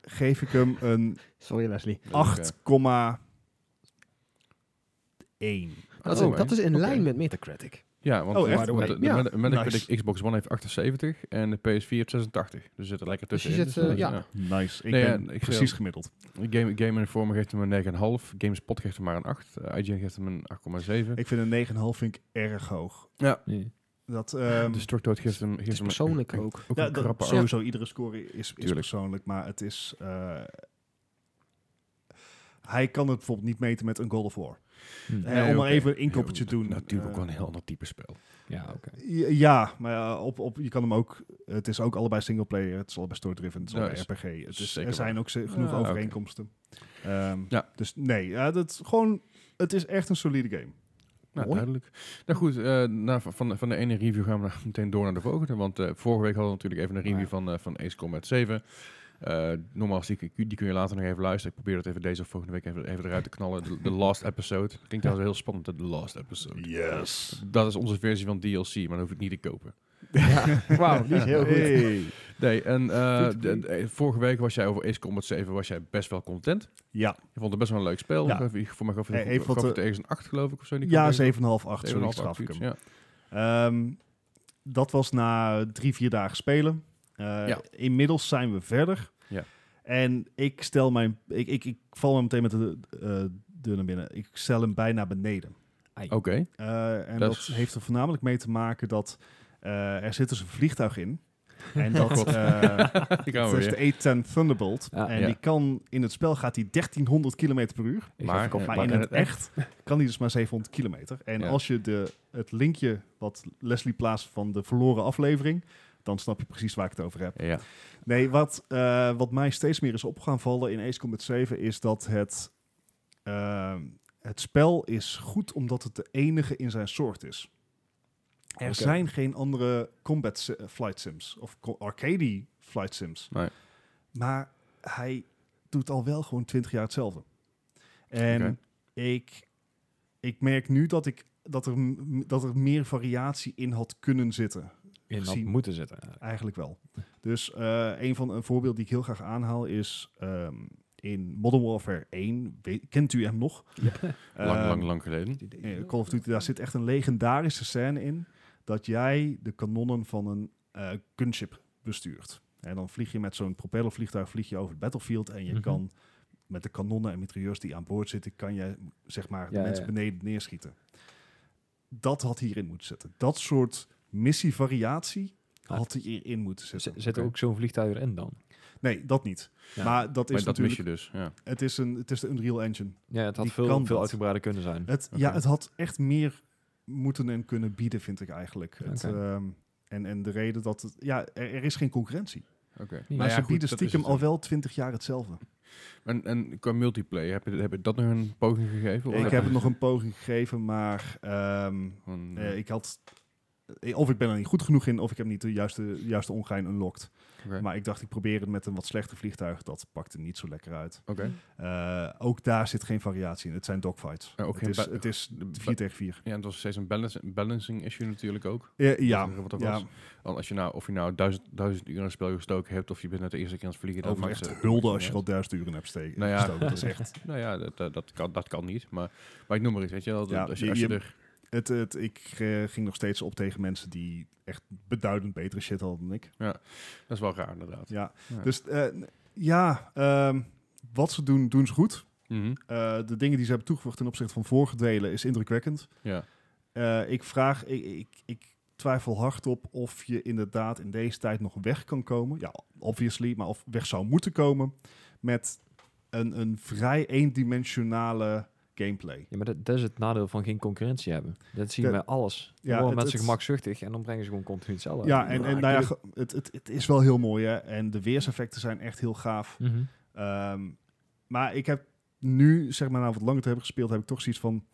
Speaker 2: Geef ik hem een
Speaker 4: Sorry, Leslie.
Speaker 2: 8,1.
Speaker 4: Dat is,
Speaker 1: Oh,
Speaker 4: dat is in
Speaker 1: Oké.
Speaker 4: lijn met Metacritic.
Speaker 1: Ja, want
Speaker 2: Oh,
Speaker 1: de-
Speaker 2: echt?
Speaker 1: want de, de,
Speaker 4: Ja.
Speaker 1: Meta- Metacritic
Speaker 2: Nice.
Speaker 1: Xbox One heeft 78 en de PS4 heeft 86. Dus zit er lekker
Speaker 4: Dus je
Speaker 1: tussen.
Speaker 4: zit, eh, ja.
Speaker 2: Nice. Ik
Speaker 1: Nee,
Speaker 2: ben
Speaker 1: ja, ik
Speaker 2: precies
Speaker 1: zei-
Speaker 2: gemiddeld.
Speaker 1: Game, Game Informer geeft hem een 9,5. GameSpot geeft hem maar een 8. Eh, IGN geeft hem een 8,7.
Speaker 2: Ik vind een 9,5 vind ik erg hoog.
Speaker 3: Nee.
Speaker 2: Dat, ehm,
Speaker 1: Destructoid geeft hem... Geeft
Speaker 4: Het is
Speaker 1: hem
Speaker 4: persoonlijk
Speaker 1: een,
Speaker 4: ook.
Speaker 1: dus ook
Speaker 2: ja,
Speaker 1: een
Speaker 2: dat-
Speaker 1: krappe acht.
Speaker 2: sowieso iedere score is, is
Speaker 1: Tuurlijk.
Speaker 2: persoonlijk, maar het is... eh, hij kan het bijvoorbeeld niet meten met een God of War.
Speaker 3: Hm.
Speaker 2: Eh, om maar
Speaker 1: oké.
Speaker 2: even een inkoppertje te
Speaker 1: Heel-
Speaker 2: doen.
Speaker 1: Natuurlijk ook
Speaker 2: Eh,
Speaker 1: wel een heel ander type spel.
Speaker 3: Ja, oké.
Speaker 2: Ja, Ja, maar ja, op, op, je kan hem ook. Het is ook allebei singleplayer, het is allebei story-driven, het is
Speaker 1: Ja,
Speaker 2: allebei
Speaker 1: is-
Speaker 2: RPG. Het is,
Speaker 1: zeker
Speaker 2: er zijn
Speaker 1: waar.
Speaker 2: ook ze- genoeg
Speaker 1: Ja, oké.
Speaker 2: overeenkomsten. Ehm,
Speaker 1: Ja.
Speaker 2: Dus nee, ja, dat is gewoon. Het is echt een solide game.
Speaker 1: Nou,
Speaker 4: Mooi.
Speaker 1: duidelijk. Nou goed, eh, na, van, van de ene review gaan we nou meteen door naar de volgende. Want eh, vorige week hadden we natuurlijk even een review
Speaker 2: Ja.
Speaker 1: van, eh, van Ace Combat 7. Eh, normaal zie ik, die kun je later nog even luisteren. Ik probeer dat even deze of volgende week even, even eruit te knallen. De, de last episode. Klinkt trouwens heel spannend, de last episode.
Speaker 2: Yes.
Speaker 1: Dat is onze versie van DLC, maar dan hoef je het niet te kopen.
Speaker 4: Wauw, die is heel goed.
Speaker 1: Nee, en eh,
Speaker 4: Goed, goed.
Speaker 1: de- de- vorige week was jij over Ace Combat 7 was jij best wel content.
Speaker 2: Ja,
Speaker 1: Je vond het best wel een leuk spel.
Speaker 2: Ja.
Speaker 1: Ik- Voor mij gaf
Speaker 2: Eh,
Speaker 1: het,
Speaker 2: even
Speaker 1: gaf
Speaker 2: wat,
Speaker 1: het ergens een 8 geloof ik of zo. die
Speaker 2: ja 7,5,
Speaker 1: kon
Speaker 2: 8. Sorry, ik
Speaker 1: 7,5,
Speaker 2: straf ik
Speaker 1: zoiets,
Speaker 2: hem.
Speaker 1: ja.
Speaker 2: Ehm, dat was na drie, vier dagen spelen. Eh,
Speaker 1: Ja.
Speaker 2: Inmiddels zijn we verder.
Speaker 1: Ja.
Speaker 2: En ik stel mijn. Ik, ik, ik val maar meteen met de eh, deur naar binnen. Ik stel hem bijna beneden.
Speaker 1: Oké.
Speaker 2: Eh, en
Speaker 1: Dat
Speaker 2: dat,
Speaker 1: is-
Speaker 2: heeft er voornamelijk mee te maken dat eh, er zit dus een vliegtuig in. En dat,
Speaker 1: God.
Speaker 2: eh
Speaker 1: Die gaan
Speaker 2: dat
Speaker 1: we
Speaker 2: is
Speaker 1: weer.
Speaker 2: de A10 Thunderbolt.
Speaker 3: Ja.
Speaker 2: en
Speaker 1: Oh, Ja.
Speaker 2: die kan, in het spel gaat die 1300 km per uur.
Speaker 3: Ik
Speaker 1: Maar-
Speaker 3: maar,
Speaker 1: Ja,
Speaker 2: maar
Speaker 1: maar
Speaker 2: Nou, in
Speaker 1: in
Speaker 2: het
Speaker 1: het
Speaker 2: echt kan die dus maar 700 kilometer. En
Speaker 1: Ja.
Speaker 2: als je de, het linkje wat Leslie plaatst van de verloren aflevering, dan snap je precies waar ik het over heb.
Speaker 1: Ja.
Speaker 2: Nee, wat, eh, wat mij steeds meer is op gaan vallen in Ace Combat 7 is dat het, ehm, het spel is goed omdat het de enige in zijn soort is. Er
Speaker 1: Oké.
Speaker 2: zijn geen andere combat si- eh, flight sims of co- arcade flight sims.
Speaker 1: Nee.
Speaker 2: Maar hij doet al wel gewoon 20 jaar hetzelfde. En
Speaker 1: Oké.
Speaker 2: ik, ik merk nu dat, ik, dat, er, m- dat er meer variatie in had kunnen zitten
Speaker 3: in dat
Speaker 2: gezien.
Speaker 3: moeten zitten. eigenlijk.
Speaker 2: eigenlijk wel. Dus eh, een van een voorbeeld die ik heel graag aanhaal is ehm, in Modern Warfare 1. Weet- kent u hem nog?
Speaker 1: Lang,
Speaker 2: Ehm,
Speaker 1: lang, lang geleden.
Speaker 2: eh, Call of Duty, daar zit echt een legendarische scène in dat jij de kanonnen van een eh, gunship bestuurt. En dan vlieg je met zo'n propellervliegtuig vlieg je over het battlefield en je
Speaker 3: Mhm.
Speaker 2: kan met de kanonnen en mitrailleurs die aan boord zitten, kan je zeg maar de
Speaker 3: Ja,
Speaker 2: mensen
Speaker 3: ja.
Speaker 2: beneden neerschieten. Dat had hierin moeten zitten. Dat soort missievariatie had hierin moeten
Speaker 3: Z-
Speaker 2: zitten.
Speaker 3: Zit er ook zo'n vliegtuig erin dan?
Speaker 2: Nee, dat niet.
Speaker 3: Ja.
Speaker 2: Maar dat is
Speaker 1: Maar dat mis
Speaker 2: natuurlijk...
Speaker 1: je dus. Ja.
Speaker 2: Het is, een, het is de Unreal Engine.
Speaker 3: Ja, het had
Speaker 2: Die
Speaker 3: veel,
Speaker 2: kan
Speaker 3: veel
Speaker 2: dat.
Speaker 3: uitgebreider kunnen zijn.
Speaker 2: Het,
Speaker 1: Oké.
Speaker 2: Ja, het had echt meer moeten en kunnen bieden, vind ik eigenlijk. Het,
Speaker 3: Oké.
Speaker 2: ehm, en, en de reden dat... Het, ja, er, er is geen concurrentie.
Speaker 1: Oké.
Speaker 3: Maar
Speaker 2: Maar
Speaker 1: Nou ja,
Speaker 2: ze
Speaker 1: goed,
Speaker 2: bieden
Speaker 1: dat is
Speaker 2: stiekem
Speaker 1: het
Speaker 2: al
Speaker 1: dan.
Speaker 2: wel twintig jaar hetzelfde.
Speaker 1: En, en qua multiplayer, heb je, heb je dat nog een poging gegeven?
Speaker 2: ik heb het nog een poging gegeven, maar ehm,
Speaker 1: Gewoon,
Speaker 2: eh,
Speaker 1: eh,
Speaker 2: ik had... eh, Of ik ben er niet goed genoeg in, of ik heb niet de juiste, juiste ongein unlocked.
Speaker 1: oké.
Speaker 2: Maar ik dacht, ik probeer het met een wat slechter vliegtuig. Dat pakte niet zo lekker uit.
Speaker 1: Oké.
Speaker 2: Eh, ook daar zit geen variatie in. Het zijn dogfights.
Speaker 1: Ja, eh, ook
Speaker 2: het,
Speaker 1: geen
Speaker 2: is,
Speaker 1: ba-
Speaker 2: het is
Speaker 1: de ba-
Speaker 2: 4 tegen 4.
Speaker 1: Ja, en het was steeds een balance- een balancing issue natuurlijk ook.
Speaker 2: Ja, ja.
Speaker 1: Wat er- wat er
Speaker 2: ja.
Speaker 1: was. Want als je nou, of je nou duizend, duizend uur in een spel gestoken hebt, of je bent net de eerste keer aan het vliegen, dat
Speaker 2: Overigens
Speaker 1: maakt
Speaker 2: echt
Speaker 1: het-
Speaker 2: hulde als je
Speaker 1: niet
Speaker 2: er al duizend uren hebt steken.
Speaker 1: Nou ja.
Speaker 2: gestoken. Dat is echt.
Speaker 1: uit. Nou ja, dat, dat, dat kan, dat kan niet. Maar, maar ik noem maar iets, weet je wel.
Speaker 2: Ja,
Speaker 1: als je,
Speaker 2: je-
Speaker 1: als je
Speaker 2: je-
Speaker 1: er...
Speaker 2: Het, het, ik eh, ging nog steeds op tegen mensen die echt beduidend betere shit hadden dan ik.
Speaker 1: Dat is wel raar, inderdaad.
Speaker 2: Ja.
Speaker 1: Ja.
Speaker 2: Dus eh, n- ja, ehm, wat ze doen, doen ze goed.
Speaker 1: Mhm.
Speaker 2: Eh, de dingen die ze hebben toegevoegd ten opzichte van vorige delen is indrukwekkend.
Speaker 1: Ja.
Speaker 2: Eh, ik vraag, ik, ik, ik twijfel hard op of je inderdaad in deze tijd nog weg kan komen. Ja, obviously, maar of weg zou moeten komen met een, een vrij eendimensionale gameplay.
Speaker 3: Ja, maar dat, dat is het nadeel van geen concurrentie hebben. Dat zie je
Speaker 2: Ja.
Speaker 3: bij alles.
Speaker 2: Ja,
Speaker 3: Ja, worden
Speaker 2: het-
Speaker 3: mensen
Speaker 2: het-
Speaker 3: gemakzuchtig en dan brengen ze gewoon continu hetzelfde.
Speaker 2: Ja,
Speaker 3: uit.
Speaker 2: en, en nou ja, ge- het, het, het is wel heel mooi hè. En de weerseffecten zijn echt heel gaaf.
Speaker 3: Mhm.
Speaker 2: Ehm, maar ik heb nu, zeg maar, na wat langer te hebben gespeeld, heb ik toch zoiets van...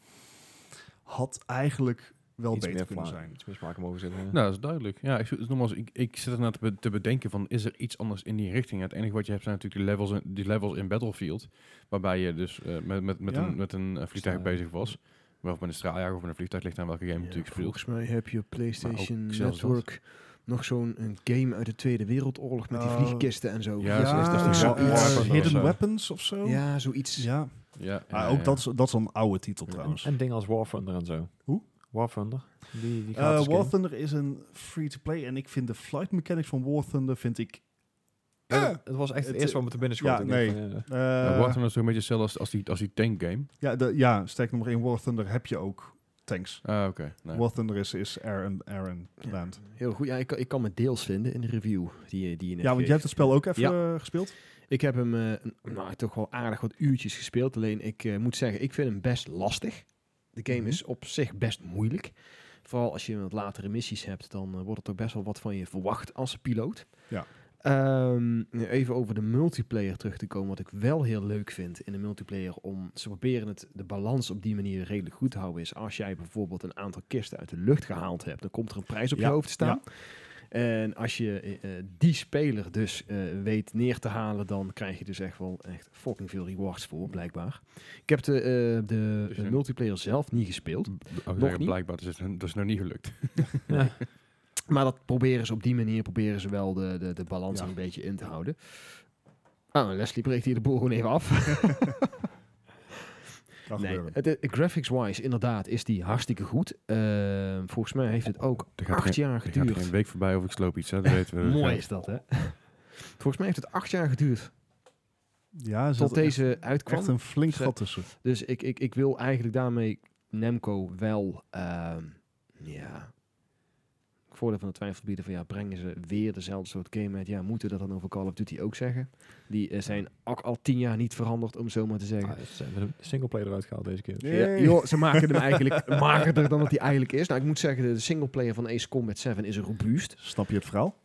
Speaker 2: Had eigenlijk wel
Speaker 3: Iets
Speaker 2: beter
Speaker 3: meer
Speaker 2: kunnen
Speaker 3: smaak-
Speaker 2: zijn.
Speaker 3: Iets meer smaak mogen zitten. ja.
Speaker 1: Nou, dat is duidelijk. Ja, ik, dus nogmaals, ik, ik zit ernaar te, be- te bedenken van, is er iets anders in die richting? Het enige wat je hebt zijn natuurlijk die levels in, die levels in Battlefield, waarbij je dus eh, met, met, met
Speaker 2: Ja.
Speaker 1: een, met een eh, vliegtuig
Speaker 3: Straal-
Speaker 1: bezig was. Of met een straaljager of met een vliegtuig, ligt aan welke game je natuurlijk speelt.
Speaker 4: volgens mij heb je op PlayStation
Speaker 1: Maar ook zelfs dat.
Speaker 4: Network nog zo'n een game uit de Tweede Wereldoorlog met die
Speaker 2: Oh.
Speaker 4: vliegkisten en zo.
Speaker 1: Ja, zo is dat
Speaker 4: ook
Speaker 1: die
Speaker 4: zoiets.
Speaker 1: War- Warhammer War-
Speaker 2: Hidden
Speaker 1: zo.
Speaker 2: Weapons of zo?
Speaker 4: Ja, zoiets.
Speaker 2: Ja,
Speaker 1: Ja,
Speaker 2: maar
Speaker 1: ja,
Speaker 2: ook
Speaker 1: ja.
Speaker 2: Dat, is, dat is een oude titel
Speaker 3: en,
Speaker 2: trouwens.
Speaker 3: en dingen als War Thunder en zo.
Speaker 2: Hoe?
Speaker 3: War Thunder. Die, die
Speaker 2: Eh
Speaker 1: dus
Speaker 3: gratis
Speaker 2: War
Speaker 3: game.
Speaker 2: Thunder is een free-to-play en ik vind de flight mechanics van War Thunder vind ik...
Speaker 3: Ja, dat- Het was echt het
Speaker 2: Eh, Het-
Speaker 3: eerste wat me te binnen
Speaker 2: ja,
Speaker 3: schoot. Ik denk van, ja.
Speaker 2: eh,
Speaker 1: Ja, Warzone Nou, is toch een beetje hetzelfde als, als, die, als die tank game.
Speaker 2: ja, de, ja, sterk nummer 1, War Thunder heb je ook tanks.
Speaker 1: Ah, oké. nee.
Speaker 2: War Thunder is, is air and, air and
Speaker 4: Ja.
Speaker 2: land.
Speaker 4: Heel goed. Ja, ik, kan- ik kan me deels vinden in de review die, je- die je net
Speaker 2: Ja, want
Speaker 4: geeft.
Speaker 2: jij hebt het spel ook even eh, gespeeld?
Speaker 4: Ik heb hem eh, een- nou, toch wel aardig wat uurtjes gespeeld. Alleen ik eh, moet zeggen, ik vind hem best lastig. De game
Speaker 2: Mhm.
Speaker 4: is op zich best moeilijk. Vooral als je wat latere missies hebt, dan eh, wordt er toch best wel wat van je verwacht als piloot.
Speaker 2: Ja.
Speaker 4: Ehm, even over de multiplayer terug te komen. Wat ik wel heel leuk vind in de multiplayer, om ze proberen het, de balans op die manier redelijk goed te houden, is als jij bijvoorbeeld een aantal kisten uit de lucht gehaald hebt, dan komt er een prijs op
Speaker 2: Ja,
Speaker 4: je hoofd te staan. En als je eh, eh, die speler dus eh, weet neer te halen, dan krijg je dus echt wel echt fucking veel rewards voor, blijkbaar. Ik heb de, eh, de
Speaker 1: Dus je-
Speaker 4: multiplayer zelf niet gespeeld.
Speaker 1: B- oh,
Speaker 4: Nog
Speaker 1: ja,
Speaker 4: niet?
Speaker 1: Blijkbaar, dat is, het- dat is nog niet gelukt.
Speaker 4: Maar dat proberen ze op die manier, proberen ze wel de, de, de balans
Speaker 2: Ja.
Speaker 4: er een beetje in te houden. Ah, Leslie breekt hier de boel gewoon even af.
Speaker 2: Kan
Speaker 4: Nee,
Speaker 2: gebeuren.
Speaker 4: het- het- graphics-wise, inderdaad, is die hartstikke goed. Eh, volgens mij heeft het ook
Speaker 1: Er gaat,
Speaker 4: acht
Speaker 1: geen,
Speaker 4: jaar
Speaker 1: er gaat geen
Speaker 4: geduurd.
Speaker 1: week voorbij of ik sloop iets, hè. Dat weten we.
Speaker 4: Mooi
Speaker 1: Ja.
Speaker 4: is dat, hè? Volgens mij heeft het acht jaar geduurd
Speaker 2: Ja, er zat
Speaker 4: tot
Speaker 2: echt-
Speaker 4: deze uitkwam.
Speaker 2: Dus echt een flink
Speaker 4: Ze-
Speaker 2: gat tussen.
Speaker 4: Dus ik, ik, ik wil eigenlijk daarmee Nemco wel, ehm, ja, het voordeel van de twijfel bieden van ja, brengen ze weer dezelfde soort game uit. Ja, moeten we dat dan over Call of Duty ook zeggen? Die eh, zijn ook al tien jaar niet veranderd, om zo maar te zeggen.
Speaker 3: Ah, het is, eh, met een singleplayer eruit gehaald deze keer.
Speaker 4: Ja, joh, ze maken hem eigenlijk magerder dan dat hij eigenlijk is. Nou, ik moet zeggen, de singleplayer van Ace Combat 7 is robuust.
Speaker 2: Snap je het verhaal?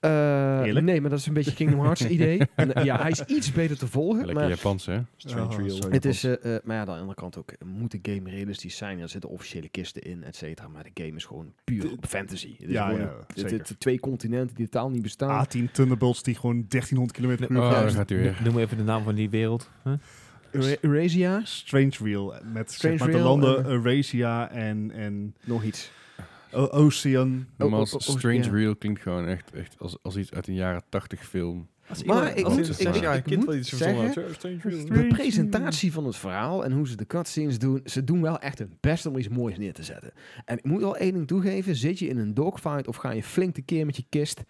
Speaker 4: Eh,
Speaker 2: Eerlijk?
Speaker 4: nee, maar dat is een beetje Kingdom Hearts idee. En, ja, hij is iets beter te volgen.
Speaker 1: Lekker
Speaker 4: Maar
Speaker 1: Japans, hè.
Speaker 3: Strange
Speaker 2: Oh,
Speaker 3: Real.
Speaker 2: sorry.
Speaker 4: Het is, eh, eh, maar ja, aan de andere kant ook, moet de game realistisch zijn? Er zitten officiële kisten in, et cetera. Maar de game is gewoon puur op fantasy. Het is
Speaker 2: ja,
Speaker 4: gewoon
Speaker 2: ja,
Speaker 4: een- het-
Speaker 2: zeker. Ah,
Speaker 4: het- twee continenten die totaal niet bestaan.
Speaker 2: A10 Thunderbolts die gewoon 1300 km per uur
Speaker 1: Oh, daar
Speaker 2: vliegen.
Speaker 1: gaat hij weer.
Speaker 3: Noem even de naam van die wereld. Huh?
Speaker 4: Eura-
Speaker 2: dus-
Speaker 4: Eurasia?
Speaker 2: Strange Real met
Speaker 4: Strange
Speaker 2: zeg maar, de
Speaker 4: Real,
Speaker 2: landen
Speaker 4: eh,
Speaker 2: Eurasia en, en
Speaker 4: Nog iets.
Speaker 2: O- Ocean.
Speaker 1: Noem
Speaker 4: Oh,
Speaker 1: als
Speaker 4: oh, oh, oh,
Speaker 1: Strange
Speaker 4: ja.
Speaker 1: Real klinkt gewoon echt, echt als, als iets uit een jaren 80 film.
Speaker 4: Maar ik
Speaker 1: als
Speaker 4: moet,
Speaker 1: een
Speaker 4: ik,
Speaker 1: zesjarig
Speaker 4: ik moet zeggen, de presentatie van het verhaal en hoe ze de cutscenes doen, ze doen wel echt hun best om iets moois neer te zetten. En ik moet wel één ding toegeven, zit je in een dogfight of ga je flink tekeer met je kist,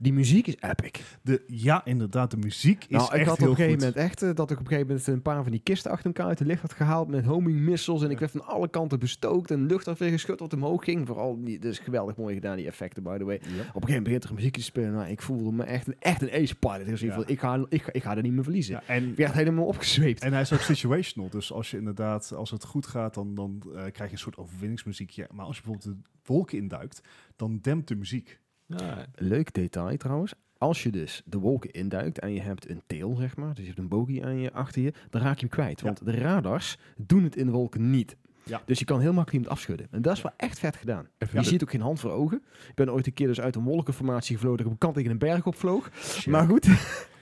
Speaker 4: die muziek is epic.
Speaker 2: De, ja, inderdaad, de muziek is
Speaker 4: nou, ik
Speaker 2: echt
Speaker 4: had op
Speaker 2: heel
Speaker 4: een gegeven
Speaker 2: goed.
Speaker 4: moment echt eh, dat ik op een gegeven moment een paar van die kisten achter elkaar uit de licht had gehaald met homing missiles. En ik werd van alle kanten bestookt en lucht had weer geschud wat omhoog ging. Vooral, die, dat is geweldig mooi gedaan, die effecten, by the way. Op een gegeven moment begint er een muziekje te spelen. Nou, ik voelde me echt, een- echt een ace pilot. Dus
Speaker 2: Ja.
Speaker 4: ik, ga, ik, ga, ik ga er niet meer verliezen.
Speaker 2: Ja, en,
Speaker 4: Ik werd helemaal opgezweept.
Speaker 2: en hij is ook situational. Dus als je inderdaad, als het goed gaat, dan, dan eh, krijg je een soort overwinningsmuziekje. Maar als je bijvoorbeeld de wolken induikt, dan dempt de muziek.
Speaker 3: Ja,
Speaker 4: Leuk detail trouwens. Als je dus de wolken induikt en je hebt een tail, zeg maar, dus je hebt een bogie aan je achter je, dan raak je hem kwijt.
Speaker 2: Ja.
Speaker 4: Want de radars doen het in de wolken niet.
Speaker 2: Ja.
Speaker 4: Dus je kan heel makkelijk iemand afschudden. En dat is wel echt vet gedaan.
Speaker 1: Even
Speaker 4: Je
Speaker 1: de-
Speaker 4: ziet ook geen hand voor ogen. Ik ben ooit een keer dus uit een wolkenformatie gevlogen. Dat ik op een kant tegen een berg opvloog. Maar goed,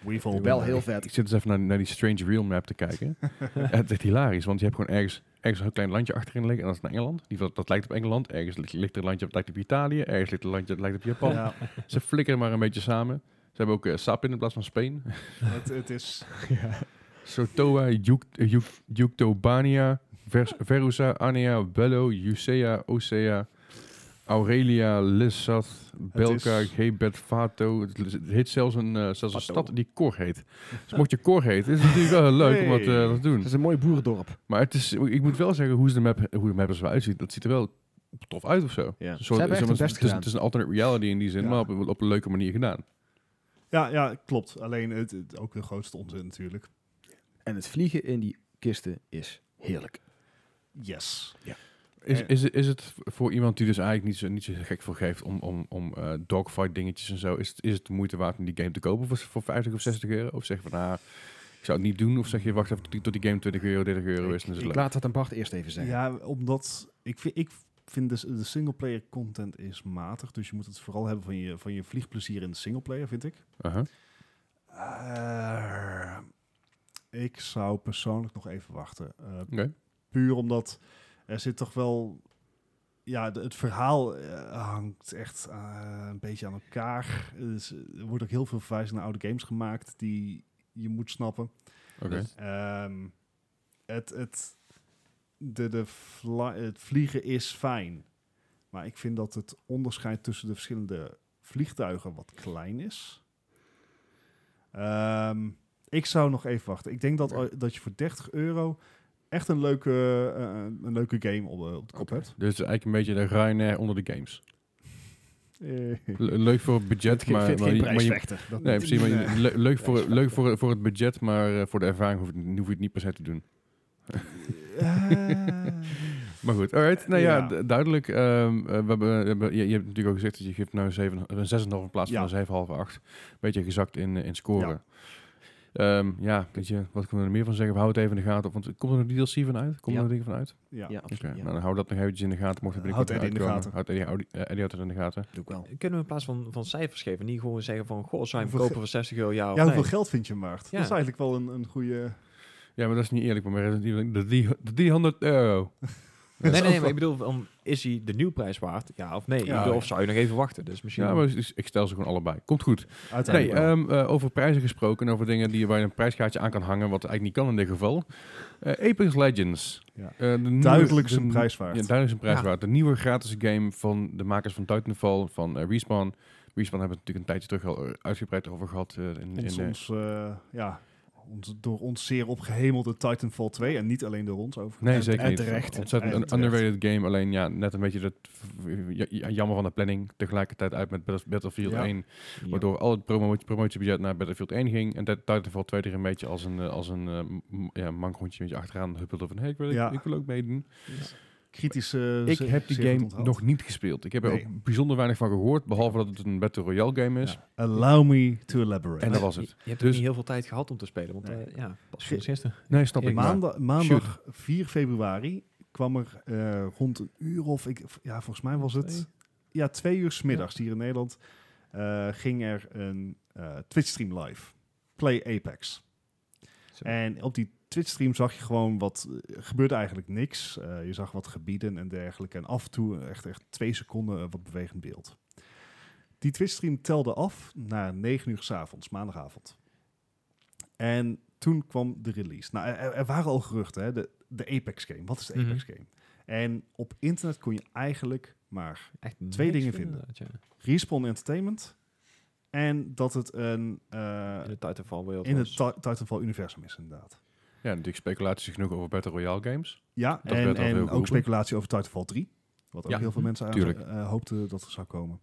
Speaker 2: We've all
Speaker 4: wel
Speaker 2: been
Speaker 4: heel
Speaker 2: there.
Speaker 1: Ik
Speaker 4: vet.
Speaker 1: zit eens even naar, naar die Strange Real map te kijken. het is echt hilarisch, want je hebt gewoon ergens, ergens een klein landje achterin liggen. En dat is naar Engeland. Die, dat, dat lijkt op Engeland. Ergens ligt, ligt er een landje op, lijkt op Italië. Ergens ligt er een landje dat lijkt op Japan.
Speaker 2: Ja,
Speaker 1: Ze flikkeren maar een beetje samen. Ze hebben ook eh, sap in in plaats van Spain.
Speaker 2: het, het is...
Speaker 1: Sotoa, Yuk- eh, Yuk- Yuktobania, Vers- Verusa, Anea, Bello, Jusea, Osea, Aurelia, Lissath, Belka,
Speaker 2: is-
Speaker 1: Gebet, Fato. Het is- het heet zelfs een, eh, zelfs een
Speaker 2: Fato.
Speaker 1: stad die Cor heet. Dus mocht je Cor heet, is het natuurlijk wel heel leuk om dat, eh,
Speaker 2: Hey.
Speaker 1: dat te doen.
Speaker 4: Het is een mooi boerendorp.
Speaker 1: Maar het is, ik moet wel zeggen hoe, ze de map, hoe de map er zo uitziet. Dat ziet er wel tof uit of zo.
Speaker 4: Ja.
Speaker 1: Een
Speaker 4: Ze hebben echt
Speaker 1: zeg maar,
Speaker 4: hun best
Speaker 1: het is,
Speaker 4: gedaan.
Speaker 1: het is een alternate reality in die zin,
Speaker 2: Ja.
Speaker 1: maar op, op een leuke manier gedaan.
Speaker 2: Ja, ja, klopt. Alleen het, het- ook de grootste onzin natuurlijk.
Speaker 4: En het vliegen in die kisten is heerlijk.
Speaker 2: Yes.
Speaker 1: Is,
Speaker 2: Eh.
Speaker 1: is, het- is het voor iemand die dus eigenlijk niet zo, niet zo gek voor geeft om, om, om eh, dogfight dingetjes en zo, is het, is het de moeite waard om die game te kopen voor, voor 50 of 60 euro? Of zeg je van, ah, ik zou het niet doen? Of zeg je, wacht even tot die, tot die game 20 euro, 30 euro is en dan is
Speaker 4: Ik
Speaker 1: het leuk?
Speaker 4: laat dat aan Bart eerst even zeggen.
Speaker 2: Ja, omdat ik, vi- ik vind dus de singleplayer content is matig. Dus je moet het vooral hebben van je, van je vliegplezier in de singleplayer, vind ik.
Speaker 1: Aha.
Speaker 2: Eh, ik zou persoonlijk nog even wachten. Eh,
Speaker 1: Oké.
Speaker 2: Puur omdat er zit toch wel... Ja, de- het verhaal eh, hangt echt eh, een beetje aan elkaar. Dus er wordt ook heel veel verwijzing naar oude games gemaakt
Speaker 4: Dus-
Speaker 2: die je moet snappen.
Speaker 1: Oké.
Speaker 2: Ehm, het, het, de, de vla- het vliegen is fijn. Maar ik vind dat het onderscheid tussen de verschillende vliegtuigen wat klein is. Ehm, ik zou nog even wachten. Ik denk dat,
Speaker 1: Ja.
Speaker 2: dat je voor 30 euro echt een leuke, eh, een leuke game op, de- op de kop hebt.
Speaker 1: Dus het is eigenlijk een beetje de Ryanair onder de games.
Speaker 2: Eh,
Speaker 1: Le- leuk voor het budget,
Speaker 4: Ge-
Speaker 1: maar...
Speaker 4: vindt
Speaker 1: maar
Speaker 4: geen
Speaker 1: je- maar je-
Speaker 4: prijsvechter. Dat-
Speaker 1: Nee, precies. Maar je-
Speaker 2: Nee.
Speaker 1: le- leuk voor, leuk voor, voor het budget, maar eh, voor de ervaring hoef, je- hoef je het niet per se te doen. Maar goed, alright. Nou ja,
Speaker 2: Ja.
Speaker 1: du- duidelijk. ehm, eh, we hebben, we hebben- je, je hebt natuurlijk ook gezegd dat je geeft nou een, zeven, een 6,5 in plaats
Speaker 2: Ja.
Speaker 1: van een 7,5 8. Beetje gezakt in, eh, in scoren. Ja. ja, weet je, wat kunnen we er meer van zeggen? We houden het even in de gaten. Want komt er een DLC van uit? Komt
Speaker 4: Ja.
Speaker 1: er een ding van uit?
Speaker 2: ja.
Speaker 4: Ja,
Speaker 1: Oké,
Speaker 4: absoluut. ja.
Speaker 1: nou dan hou dat nog eventjes in de gaten. Mocht er
Speaker 2: Eh,
Speaker 1: binnenkort
Speaker 2: houd Eddie in de
Speaker 1: uitkomen.
Speaker 2: gaten.
Speaker 1: Houd Eddie, houd Eddie, Eddie altijd in de gaten.
Speaker 4: Doe ik wel.
Speaker 3: Kunnen we in plaats van, van cijfers geven, niet gewoon zeggen van, goh, zou je hem
Speaker 2: Hoeveel
Speaker 3: kopen voor 60 euro, ja of
Speaker 2: ja,
Speaker 3: nee?
Speaker 2: hoeveel geld vind je hem waard?
Speaker 3: Ja.
Speaker 2: Dat is eigenlijk wel een, een goede...
Speaker 1: Ja, maar dat is niet eerlijk. Maar Resident Evil, de die- de 300 euro.
Speaker 3: Nee, nee,
Speaker 2: Dat is
Speaker 3: nee,
Speaker 2: ook
Speaker 3: maar ik bedoel, van, is hij de nieuwprijs waard, ja of nee?
Speaker 2: Ja.
Speaker 3: Ik bedoel, of zou je nog even wachten? Dus misschien...
Speaker 1: Ja, maar ik- ik stel ze gewoon allebei. Komt goed.
Speaker 2: wel- Uiteindelijk
Speaker 1: Nee,
Speaker 2: wel.
Speaker 1: ehm, eh, over prijzen gesproken en over dingen die, waar je een prijskaartje aan kan hangen, wat eigenlijk niet kan in dit geval. Eh, Apex Legends.
Speaker 2: Ja.
Speaker 1: Eh, de nieuwe-
Speaker 2: Duidelijk zijn
Speaker 1: de-
Speaker 2: prijs
Speaker 1: Ja,
Speaker 2: waard.
Speaker 1: duidelijk zijn prijs
Speaker 3: Ja.
Speaker 1: waard. De nieuwe gratis game van de makers van Titanfall, van eh, Respawn. Respawn hebben we het natuurlijk een tijdje terug al eh, uitgebreid over gehad. eh, in,
Speaker 2: ons,
Speaker 1: in, eh,
Speaker 2: ons, eh, ja, ons, door ons zeer opgehemelde Titanfall 2. En niet alleen door ons over.
Speaker 1: nee,
Speaker 4: en-
Speaker 1: zeker
Speaker 4: en
Speaker 1: niet.
Speaker 4: terecht.
Speaker 1: Ontzettend
Speaker 2: En
Speaker 1: een
Speaker 2: terecht.
Speaker 1: underrated game. Alleen ja, net een beetje dat ja, ja, jammer van de planning. Tegelijkertijd uit met Battle- Battlefield
Speaker 2: Ja.
Speaker 1: 1.
Speaker 3: Ja.
Speaker 1: Waardoor al het promo- promotiebudget naar Battlefield 1 ging. En dat Titanfall 2 er een beetje als een, eh, als een eh, m- ja, mankhondje een beetje achteraan huppelde van... Hey, ik, wil,
Speaker 2: Ja.
Speaker 1: ik wil ook meedoen.
Speaker 2: Kritische...
Speaker 1: Ik
Speaker 2: ze-
Speaker 1: heb die
Speaker 2: zeer goed
Speaker 1: game
Speaker 2: onthaald.
Speaker 1: nog niet gespeeld. Ik heb er
Speaker 2: Nee.
Speaker 1: ook bijzonder weinig van gehoord. Behalve dat het een Battle Royale game is.
Speaker 2: Ja. Allow me to elaborate.
Speaker 1: En dat was
Speaker 3: Je,
Speaker 1: het.
Speaker 3: je hebt
Speaker 1: Dus-
Speaker 3: dus niet heel veel tijd gehad om te spelen, want
Speaker 2: Nee.
Speaker 3: eh, ja, pas
Speaker 2: Ge-
Speaker 3: sinds gisteren.
Speaker 1: Nee, snap
Speaker 3: Ja,
Speaker 1: ik. maar.
Speaker 2: Maandag, maandag 4 februari kwam er eh, rond een uur of... Ik, ja, volgens mij was het...
Speaker 3: Twee?
Speaker 2: Ja, twee uur 's middags hier in Nederland eh, ging er een eh, Twitch-stream live. Play Apex.
Speaker 3: Zo.
Speaker 2: En op die Twitch-stream zag je gewoon wat... eh, gebeurde eigenlijk niks. Eh, je zag wat gebieden en dergelijke. En af en toe echt, echt twee seconden eh, wat bewegend beeld. Die Twitch-stream telde af naar 9 uur 's avonds, maandagavond. En toen kwam de release. Nou, er, er waren al geruchten, hè? De, de Apex-game. Wat is de
Speaker 3: Mhm.
Speaker 2: Apex-game? En op internet kon je eigenlijk maar
Speaker 3: Echt
Speaker 2: Twee
Speaker 3: niks
Speaker 2: dingen
Speaker 3: inderdaad, ja.
Speaker 2: Respawn Entertainment. En dat het een eh,
Speaker 3: In de Titanfall wereld
Speaker 2: in het
Speaker 3: was.
Speaker 2: Ti- Titanfall-universum is, inderdaad.
Speaker 1: Ja, natuurlijk speculaties genoeg over Battle Royale games.
Speaker 2: Ja,
Speaker 1: Dat werd
Speaker 2: en,
Speaker 1: al veel
Speaker 2: en ook
Speaker 1: geroepen.
Speaker 2: speculatie over Titanfall 3. Wat ook
Speaker 1: Ja,
Speaker 2: heel veel mensen aan,
Speaker 1: tuurlijk.
Speaker 2: eh, hoopten dat er zou komen.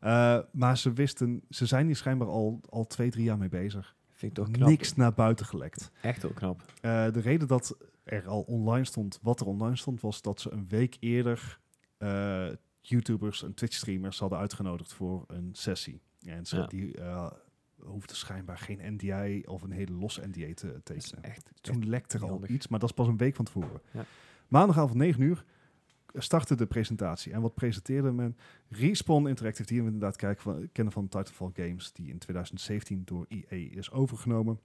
Speaker 2: Eh, maar ze wisten, ze zijn hier schijnbaar al, al twee, drie jaar mee bezig.
Speaker 3: Vind ik toch knap.
Speaker 2: Niks naar buiten gelekt.
Speaker 3: Echt heel knap.
Speaker 2: Eh, de reden dat er al online stond, wat er online stond, was dat ze een week eerder eh, YouTubers en Twitch-streamers hadden uitgenodigd voor een sessie. En ze
Speaker 3: Ja.
Speaker 2: die eh, hoefden schijnbaar geen NDI of een hele losse NDA te
Speaker 3: Dat is
Speaker 2: tekenen.
Speaker 3: echt...
Speaker 2: Toen lekte er
Speaker 3: niet
Speaker 2: al
Speaker 3: handig.
Speaker 2: iets, maar dat is pas een week van tevoren.
Speaker 3: Ja.
Speaker 2: Maandagavond 9 uur eh, startte de presentatie. En wat presenteerde men? Respawn Interactive, die we inderdaad kijken van, kennen van Titanfall Games, die in 2017 door EA is overgenomen.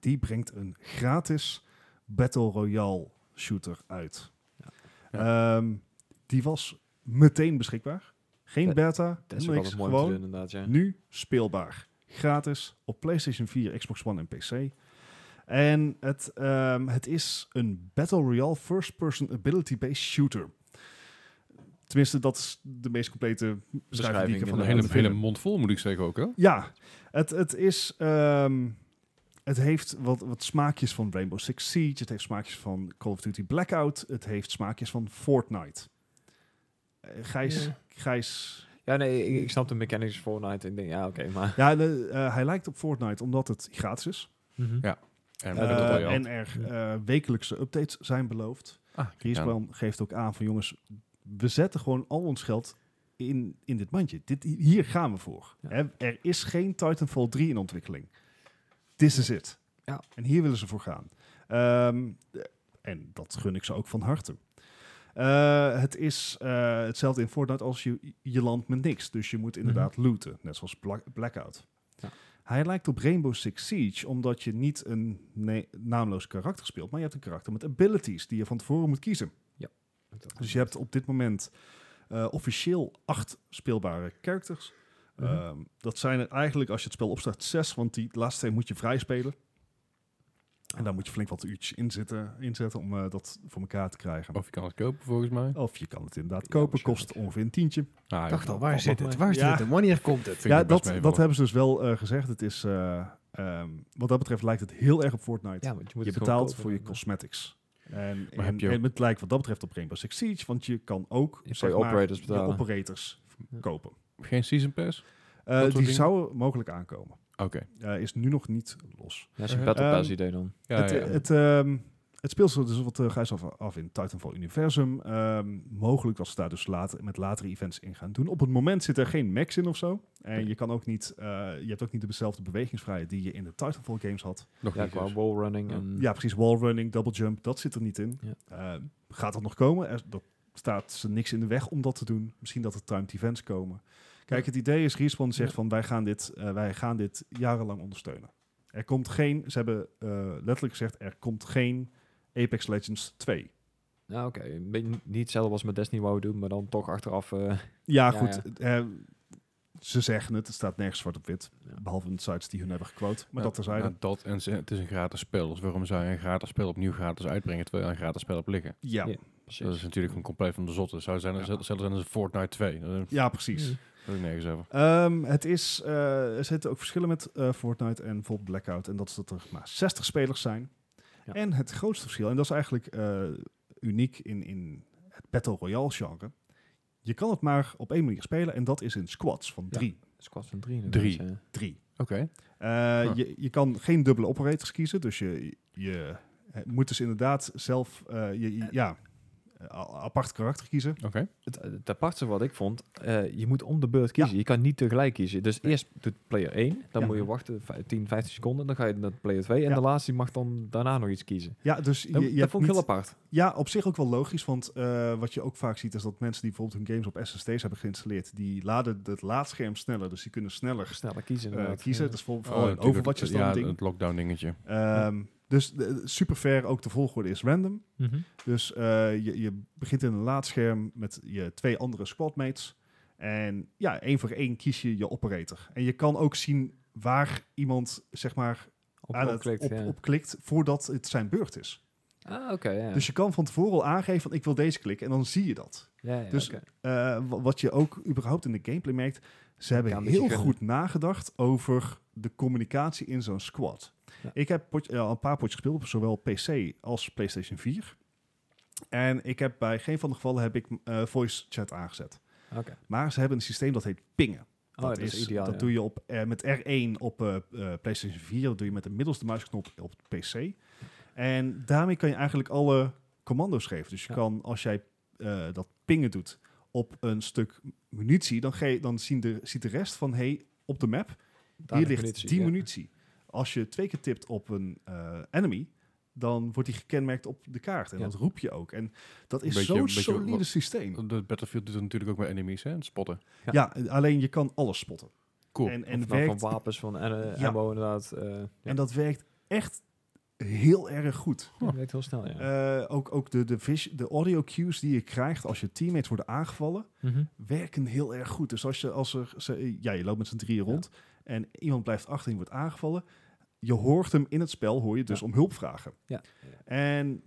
Speaker 2: Die brengt een gratis Battle Royale shooter uit.
Speaker 3: Ja.
Speaker 2: Ehm, die was meteen beschikbaar. Geen
Speaker 3: Dat-
Speaker 2: beta,
Speaker 3: Dat is ook
Speaker 2: niks,
Speaker 3: altijd mooi om te
Speaker 2: gewoon
Speaker 3: doen, inderdaad, ja.
Speaker 2: nu speelbaar. Gratis op PlayStation 4, Xbox One en PC. En het, ehm, het is een Battle Royale first-person ability-based shooter. Tenminste, dat is de meest complete beschrijving die ik
Speaker 3: Beschrijving,
Speaker 2: ervan
Speaker 1: Van een
Speaker 2: heb
Speaker 1: hele,
Speaker 2: kunnen
Speaker 1: hele
Speaker 2: vinden.
Speaker 1: mond vol, moet ik zeggen ook. Hè?
Speaker 2: Ja, het, het is... ehm, het heeft wat, wat smaakjes van Rainbow Six Siege. Het heeft smaakjes van Call of Duty Blackout. Het heeft smaakjes van Fortnite. Eh, Gijs,
Speaker 3: Ja.
Speaker 2: Gijs
Speaker 3: Ja, nee, ik, ik snap de mechanics van Fortnite. Ik denk, ja, oké, maar...
Speaker 2: Ja, de, eh, hij lijkt op Fortnite omdat het gratis is.
Speaker 1: Ja. En
Speaker 2: Eh,
Speaker 1: Battle Royale.
Speaker 2: en er eh, wekelijkse updates zijn beloofd.
Speaker 1: Ah, kijk aan.
Speaker 2: Respawn geeft ook aan van jongens, we zetten gewoon al ons geld in, in dit mandje. Dit, hier gaan we voor.
Speaker 3: Ja.
Speaker 2: Hè, er is geen Titanfall 3 in ontwikkeling. This is it.
Speaker 3: Ja.
Speaker 2: En hier willen ze voor gaan. Ehm, en dat gun ik ze ook van harte. Eh, het is eh, hetzelfde in Fortnite als je, je landt met niks. Dus je moet inderdaad looten, net zoals Bla- Blackout.
Speaker 3: Ja.
Speaker 2: Hij lijkt op Rainbow Six Siege, omdat je niet een ne- naamloos karakter speelt, maar je hebt een karakter met abilities die je van tevoren moet kiezen. Dus je hebt op dit moment eh, officieel acht speelbare characters.
Speaker 3: Mhm.
Speaker 2: Ehm, dat zijn er eigenlijk, als je het spel opstart, zes, want die laatste twee moet je vrij spelen. En daar moet je flink wat uurtjes in zitten, inzetten om eh, dat voor elkaar te krijgen. Of,
Speaker 1: Of je kan het kopen, volgens mij.
Speaker 2: je kan het inderdaad
Speaker 3: Ja,
Speaker 2: kopen, kost
Speaker 3: waarschijnlijk, ja.
Speaker 2: ongeveer een tientje.
Speaker 1: Ah,
Speaker 4: Ik dacht al,
Speaker 1: dat
Speaker 4: waar
Speaker 1: valt
Speaker 4: zit
Speaker 1: nog
Speaker 4: het?
Speaker 1: mee.
Speaker 4: Waar zit
Speaker 2: Ja.
Speaker 4: het? en Wanneer komt het?
Speaker 1: Vind ik
Speaker 2: Ja,
Speaker 1: nog best
Speaker 2: dat, dat
Speaker 1: meevallen.
Speaker 2: hebben ze dus wel eh, gezegd. Het is, eh, ehm, wat dat betreft lijkt het heel erg op Fortnite.
Speaker 3: want moet
Speaker 2: je
Speaker 3: het gewoon
Speaker 2: betaalt
Speaker 3: kopen.
Speaker 2: voor je cosmetics. En, en,
Speaker 1: heb je ook-
Speaker 2: en het lijkt wat dat betreft op Rainbow Six Siege, want je kan ook
Speaker 3: Je
Speaker 2: zeg
Speaker 3: kan je
Speaker 2: maar,
Speaker 3: operators
Speaker 2: je
Speaker 3: betalen.
Speaker 2: operators
Speaker 3: Ja.
Speaker 2: kopen.
Speaker 1: Geen season pass?
Speaker 2: Eh,
Speaker 1: soort
Speaker 2: die
Speaker 1: dingen.
Speaker 2: zouden mogelijk aankomen.
Speaker 1: Oké.
Speaker 2: Eh, is nu nog niet los.
Speaker 3: Ja, is een
Speaker 1: Eh,
Speaker 3: battle
Speaker 2: ehm,
Speaker 3: pass idee dan.
Speaker 1: Ja,
Speaker 2: het,
Speaker 1: ja.
Speaker 2: Het, ehm, het speelt zich dus wat eh, grijs af, af in Titanfall Universum. Ehm, mogelijk dat ze daar dus later, met latere events in gaan doen. Op het moment zit er geen max in of zo. En je, kan ook niet, eh, je hebt ook niet dezelfde bewegingsvrijheid die je in de Titanfall games had.
Speaker 1: nog
Speaker 3: Ja,
Speaker 1: niet
Speaker 3: qua
Speaker 1: dus.
Speaker 3: wallrunning
Speaker 1: Ja.
Speaker 3: en...
Speaker 2: Ja, precies. Wallrunning, double jump, dat zit er niet in.
Speaker 3: Ja.
Speaker 2: Eh, gaat dat nog komen? Er dat staat ze niks in de weg om dat te doen. Misschien dat er timed events komen. Kijk, het idee is, Respawn zegt
Speaker 3: Ja.
Speaker 2: van wij gaan, dit, eh, wij gaan dit jarenlang ondersteunen. Er komt geen, ze hebben eh, letterlijk gezegd, er komt geen Apex Legends 2.
Speaker 3: Ja, oké. Een beetje Niet hetzelfde als met Destiny wou doen, maar dan toch achteraf... eh,
Speaker 2: Ja,
Speaker 3: Ja,
Speaker 2: goed. eh, ze zeggen het, het staat nergens zwart op wit.
Speaker 3: Ja.
Speaker 2: Behalve in de sites die hun hebben gequote. Maar
Speaker 1: Ja,
Speaker 2: dat terzijde.
Speaker 1: nou, dat en ze- het is een gratis spel. Dus waarom zou je een gratis spel opnieuw gratis uitbrengen terwijl je een gratis spel hebt liggen?
Speaker 2: Ja, ja.
Speaker 3: Ja.
Speaker 1: Dat is natuurlijk een compleet van de zotte. Zou zijn,
Speaker 2: Ja.
Speaker 1: zelfs zijn als Fortnite 2. Daar heb
Speaker 2: precies.
Speaker 1: ik nergens over.
Speaker 2: Ehm, het is, eh, er zitten ook verschillen met eh, Fortnite en bijvoorbeeld Blackout. En dat is dat er maar 60 spelers zijn.
Speaker 3: Ja.
Speaker 2: En het grootste verschil, en dat is eigenlijk eh, uniek in, in het Battle Royale genre. Je kan het maar op één manier spelen en dat is in squads van
Speaker 3: Ja.
Speaker 2: drie.
Speaker 3: Squad van drie.
Speaker 1: Drie.
Speaker 3: inderdaad, ja.
Speaker 2: drie.
Speaker 1: Oké.
Speaker 2: Eh,
Speaker 1: Huh.
Speaker 2: je, je kan geen dubbele operators kiezen, dus je, je eh, moet dus inderdaad zelf eh, je, je- ja, eh, a- apart karakter kiezen.
Speaker 1: Oké.
Speaker 3: Het, het aparte wat ik vond, eh, je moet om de beurt kiezen. Je kan niet tegelijk kiezen. Dus eerst doet player 1, dan
Speaker 2: Ja.
Speaker 3: moet je wachten vij- 10, 15 seconden. Dan ga je naar player 2 en
Speaker 2: Ja.
Speaker 3: de laatste die mag dan daarna nog iets kiezen.
Speaker 2: Ja, dus je,
Speaker 3: Dat,
Speaker 2: je
Speaker 3: dat
Speaker 2: hebt
Speaker 3: vond ik
Speaker 2: niet-
Speaker 3: heel apart.
Speaker 2: Ja, op zich ook wel logisch, want eh, wat je ook vaak ziet is dat mensen die bijvoorbeeld hun games op SSD's hebben geïnstalleerd, die laden het laadscherm sneller, dus die kunnen sneller
Speaker 3: Sneller kiezen
Speaker 2: eh,
Speaker 3: inderdaad.
Speaker 2: kiezen.
Speaker 3: Ja.
Speaker 2: Dat is voor,
Speaker 1: Oh,
Speaker 2: vooral in
Speaker 1: natuurlijk,
Speaker 2: Overwatch is
Speaker 1: eh,
Speaker 2: dat
Speaker 1: ja,
Speaker 2: een ding.
Speaker 1: het lockdown dingetje.
Speaker 2: Ehm, dus eh, super fair, ook de volgorde is random.
Speaker 3: Mhm.
Speaker 2: Dus eh, je, je begint in een laadscherm met je twee andere squadmates. En ja, één voor één kies je je operator. En je kan ook zien waar iemand zeg maar
Speaker 3: Op,
Speaker 2: aan het
Speaker 3: opklikt,
Speaker 2: op,
Speaker 3: ja.
Speaker 2: op klikt voordat het zijn beurt is.
Speaker 3: Ah, oké. ja.
Speaker 2: Dus je kan van tevoren al aangeven van ik wil deze klikken en dan zie je dat.
Speaker 3: ja, ja,
Speaker 2: dus-
Speaker 3: oké.
Speaker 2: Eh, wa- wat je ook überhaupt in de gameplay merkt, ze hebben
Speaker 3: kan een
Speaker 2: heel
Speaker 3: beetje gunnen.
Speaker 2: goed nagedacht over de communicatie in zo'n squad.
Speaker 3: Ja.
Speaker 2: Ik heb pot- eh, al een paar potjes gespeeld op zowel PC als PlayStation 4. En ik heb bij geen van de gevallen heb ik eh, voice chat aangezet.
Speaker 3: Oké.
Speaker 2: Maar ze hebben een systeem dat heet pingen.
Speaker 3: Oh, dat is ideaal,
Speaker 2: dat
Speaker 3: ja.
Speaker 2: doe je op, eh, met R1 op eh, eh, PlayStation 4. Dat doe je met de middelste muisknop op de PC. En daarmee kan je eigenlijk alle commando's geven. Dus je
Speaker 3: Ja.
Speaker 2: kan, als jij eh, dat pingen doet op een stuk munitie, dan, ge dan zien de, ziet de rest van, hey, op de map,
Speaker 3: Daar
Speaker 2: hier
Speaker 3: de
Speaker 2: ligt
Speaker 3: munitie,
Speaker 2: die
Speaker 3: ja.
Speaker 2: munitie. Als je twee keer tipt op een eh, enemy, dan wordt die gekenmerkt op de kaart. En
Speaker 3: Ja.
Speaker 2: dat roep je ook. En dat is
Speaker 1: Beetje-
Speaker 2: zo'n
Speaker 1: beetje
Speaker 2: solide
Speaker 1: wat-
Speaker 2: systeem.
Speaker 1: De Battlefield doet het natuurlijk ook met enemies, hè? Het spotten.
Speaker 2: Ja. alleen je kan alles spotten.
Speaker 1: Cool.
Speaker 2: En, en,
Speaker 3: En nou, van
Speaker 2: werkt,
Speaker 3: wapens, van eh,
Speaker 2: Ja.
Speaker 3: ammo inderdaad. eh, ja.
Speaker 2: en dat werkt echt heel erg goed.
Speaker 3: dat werkt heel snel, ja.
Speaker 2: Eh, ook ook de, de, vis, de audio cues die je krijgt als je teammates worden aangevallen,
Speaker 3: Mhm.
Speaker 2: werken heel erg goed. Dus als je, als er, ze- ja, je loopt met z'n drieën rond en iemand blijft achter en die wordt aangevallen, je hoort hem in het spel, hoor je dus
Speaker 3: Ja.
Speaker 2: om hulp vragen.
Speaker 3: Ja.
Speaker 2: En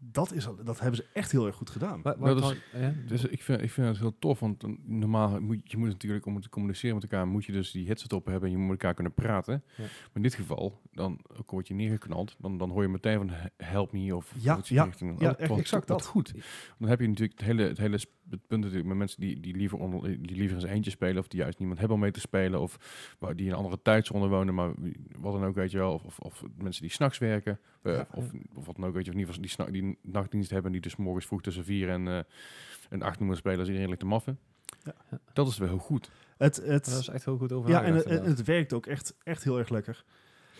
Speaker 2: dat, is, al- dat hebben ze echt heel erg goed gedaan.
Speaker 3: Wa-
Speaker 1: Nou,
Speaker 3: wat
Speaker 1: dat
Speaker 3: dan- ja?
Speaker 1: Dus ik vind, ik vind het heel tof, want eh, normaal moet je moet natuurlijk om te communiceren met elkaar, moet je dus die headset op hebben en je moet met elkaar kunnen praten.
Speaker 3: Ja.
Speaker 1: Maar in dit geval, dan ook al word je neergeknald, dan, dan hoor je meteen van "He- help me of
Speaker 2: Ja,
Speaker 1: of iets in
Speaker 2: ja,
Speaker 1: die richting.
Speaker 2: ja,
Speaker 1: Oh,
Speaker 2: echt
Speaker 1: wat-
Speaker 2: exact
Speaker 1: wat
Speaker 2: dat.
Speaker 1: goed. Dan heb je natuurlijk het hele, het hele sp- het punt natuurlijk met mensen die, die, liever onder, die liever eens eentje spelen of die juist niemand hebben om mee te spelen of waar- die in een andere tijdzone wonen, maar wie- wat dan ook, weet je wel. Of, of, of mensen die s'nachts werken eh,
Speaker 3: Ja,
Speaker 1: of, of wat dan ook, weet je, of in ieder geval die, s'na- die nachtdienst hebben en die dus morgens vroeg tussen vier en... eh, een acht nummer spelen als iedereen ligt te maffen.
Speaker 2: Ja.
Speaker 1: Dat is wel heel goed.
Speaker 2: Het,
Speaker 3: Maar
Speaker 2: het,
Speaker 3: dat is echt heel goed over
Speaker 2: ja, en het,
Speaker 3: nagedacht,
Speaker 2: het-
Speaker 3: inderdaad.
Speaker 2: het werkt ook echt, echt heel erg lekker.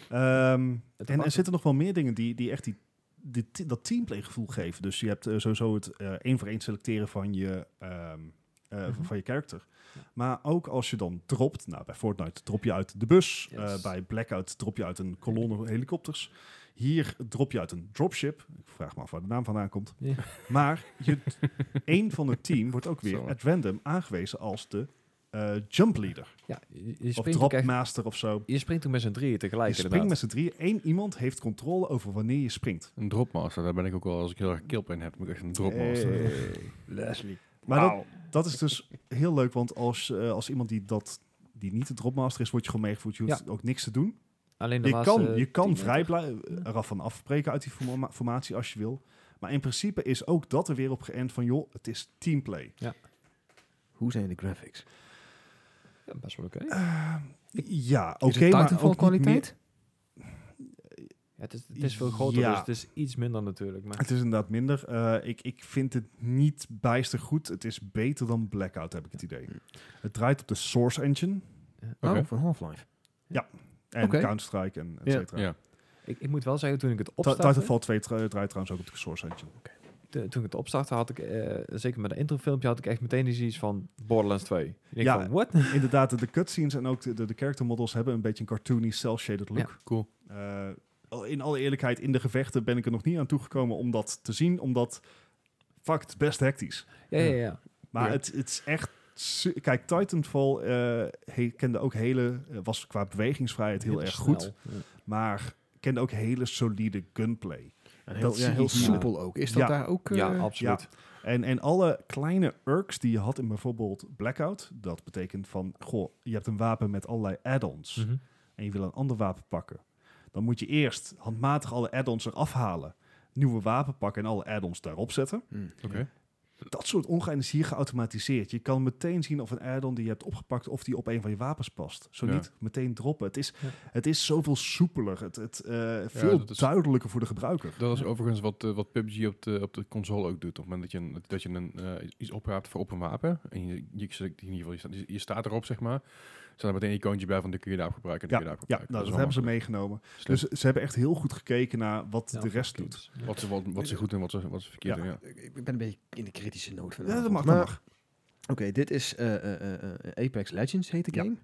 Speaker 2: Ehm, en
Speaker 3: Het
Speaker 2: er
Speaker 3: aparte-
Speaker 2: zitten nog wel meer dingen die, die echt die, die te- dat teamplay-gevoel geven. Dus je hebt eh, sowieso het eh, één voor één selecteren van je, ehm, eh,
Speaker 3: Mhm.
Speaker 2: van je character.
Speaker 3: Ja.
Speaker 2: Maar ook als je dan dropt, nou bij Fortnite drop je uit de bus,
Speaker 3: Yes.
Speaker 2: eh, bij Blackout drop je uit een kolonne helikopters. Hier drop je uit een dropship. Ik vraag me af waar de naam vandaan komt.
Speaker 3: Ja.
Speaker 2: Maar je, één van het team wordt ook weer
Speaker 1: Zo.
Speaker 2: at random aangewezen als de eh, eh, Jump Leader.
Speaker 3: Ja, je, je
Speaker 2: Of
Speaker 3: springt ook
Speaker 2: Drop
Speaker 3: echt-
Speaker 2: Master of zo.
Speaker 3: je springt toen met z'n drieën tegelijk
Speaker 2: Je springt
Speaker 3: inderdaad.
Speaker 2: met z'n drieën. Eén iemand heeft controle over wanneer je springt.
Speaker 1: Een dropmaster, daar ben ik ook wel, als ik heel erg killpijn heb, moet ik echt een dropmaster.
Speaker 2: Leslie. Maar dat, dat is dus heel leuk, want als, eh, als iemand die, dat, die niet de dropmaster is, word je gewoon meegevoerd. Je hoeft ook niks te doen.
Speaker 3: Alleen eh, de
Speaker 2: Je
Speaker 3: laatste
Speaker 4: eh,
Speaker 2: kan, je kan
Speaker 3: 10
Speaker 2: vrij blij- eraf van afbreken uit die forma- formatie als je wil. Maar in principe is ook dat er weer op geënt van, joh, het is teamplay.
Speaker 4: Hoe zijn de graphics?
Speaker 3: Ja, best wel oké.
Speaker 2: Ja, oké,
Speaker 4: Is het
Speaker 2: maar ook
Speaker 4: Titanfall
Speaker 2: niet
Speaker 4: kwaliteit?
Speaker 3: Ja, het, is, het is veel groter,
Speaker 2: Ja.
Speaker 3: dus het is iets minder natuurlijk.
Speaker 2: meer-
Speaker 3: Maar
Speaker 2: Het is inderdaad minder. Eh, ik, ik vind het niet bijster goed. Het is beter dan Blackout, heb ik het idee. Het draait op de Source Engine
Speaker 1: Oké.
Speaker 4: Oh, van Half-Life.
Speaker 2: en
Speaker 4: Oké.
Speaker 2: Counter-Strike en et
Speaker 4: Ja.
Speaker 2: cetera.
Speaker 1: Ja.
Speaker 3: ik, ik moet wel zeggen, toen ik het
Speaker 2: Ti-
Speaker 3: opstartte,
Speaker 2: Titanfall 2 tra- draait trouwens ook op de Source Engine.
Speaker 3: to- toen ik het opstartte had ik, eh, zeker met de introfilmpje, had ik echt meteen iets van Borderlands 2. Ik
Speaker 2: Ja.
Speaker 3: ja. van, what?
Speaker 2: Inderdaad, de- de cutscenes en ook de, de, de character models hebben een beetje een cartoony, cel-shaded look.
Speaker 1: Cool.
Speaker 2: Eh, al- in alle eerlijkheid, in de gevechten ben ik er nog niet aan toegekomen om dat te zien, omdat fuck, het is best hectisch.
Speaker 3: Ja, ja, ja.
Speaker 2: Maar
Speaker 4: Ja.
Speaker 2: het, het is echt. su- Kijk, Titanfall eh, he- kende ook hele, eh, was qua bewegingsvrijheid heel, erg goed,
Speaker 3: snel. Ja.
Speaker 2: maar kende ook hele solide gunplay.
Speaker 4: En heel,
Speaker 2: Dat
Speaker 4: ja,
Speaker 2: zie
Speaker 4: heel
Speaker 2: ik
Speaker 3: niet.
Speaker 4: soepel ook. Is dat
Speaker 2: Ja.
Speaker 4: daar ook... eh,
Speaker 3: Ja, absoluut.
Speaker 2: En, en alle kleine irks die je had in bijvoorbeeld Blackout, dat betekent van, goh, je hebt een wapen met allerlei add-ons.
Speaker 3: Mhm.
Speaker 2: en je wil een ander wapen pakken, dan moet je eerst handmatig alle add-ons eraf halen, nieuwe wapen pakken en alle add-ons daarop zetten.
Speaker 4: hm.
Speaker 1: Oké.
Speaker 2: Dat soort ongein is hier geautomatiseerd. Je kan meteen zien of een add-on die je hebt opgepakt, of die op een van je wapens past. Zo
Speaker 1: Ja.
Speaker 2: niet, meteen droppen. Het is,
Speaker 3: Ja.
Speaker 2: het is zoveel soepeler, het, het, eh, veel
Speaker 1: dat is-
Speaker 2: duidelijker voor de gebruiker.
Speaker 1: Dat is overigens wat, eh, wat PUBG op de, op de console ook doet. Op het moment dat je, een, dat je een, eh, iets opraapt voor op een wapen. En je, je, in ieder geval, je, staat, je, je staat erop, zeg maar. staat er meteen een icoontje bij van, dit kun je daarop gebruiken. en
Speaker 2: Ja,
Speaker 1: dit
Speaker 2: ja
Speaker 1: kun je
Speaker 2: nou,
Speaker 1: daarop
Speaker 2: dat,
Speaker 1: gebruiken. is wel
Speaker 2: hebben ze
Speaker 1: makkelijk.
Speaker 2: meegenomen.
Speaker 1: Slim.
Speaker 2: Dus ze hebben echt heel goed gekeken naar wat
Speaker 3: Ja,
Speaker 2: de rest
Speaker 3: oké.
Speaker 2: doet.
Speaker 1: wat, ze, wat, wat ze goed en wat ze, wat ze verkeerd
Speaker 2: Ja.
Speaker 1: doen, ja.
Speaker 4: Ik- Ik ben een beetje in de kritische noot van de
Speaker 2: Ja, dat mag,
Speaker 4: avond.
Speaker 2: dat
Speaker 4: Maar-
Speaker 2: mag.
Speaker 4: Oké, dit is eh, eh, eh, eh, Apex Legends, heet de
Speaker 2: Ja.
Speaker 4: game.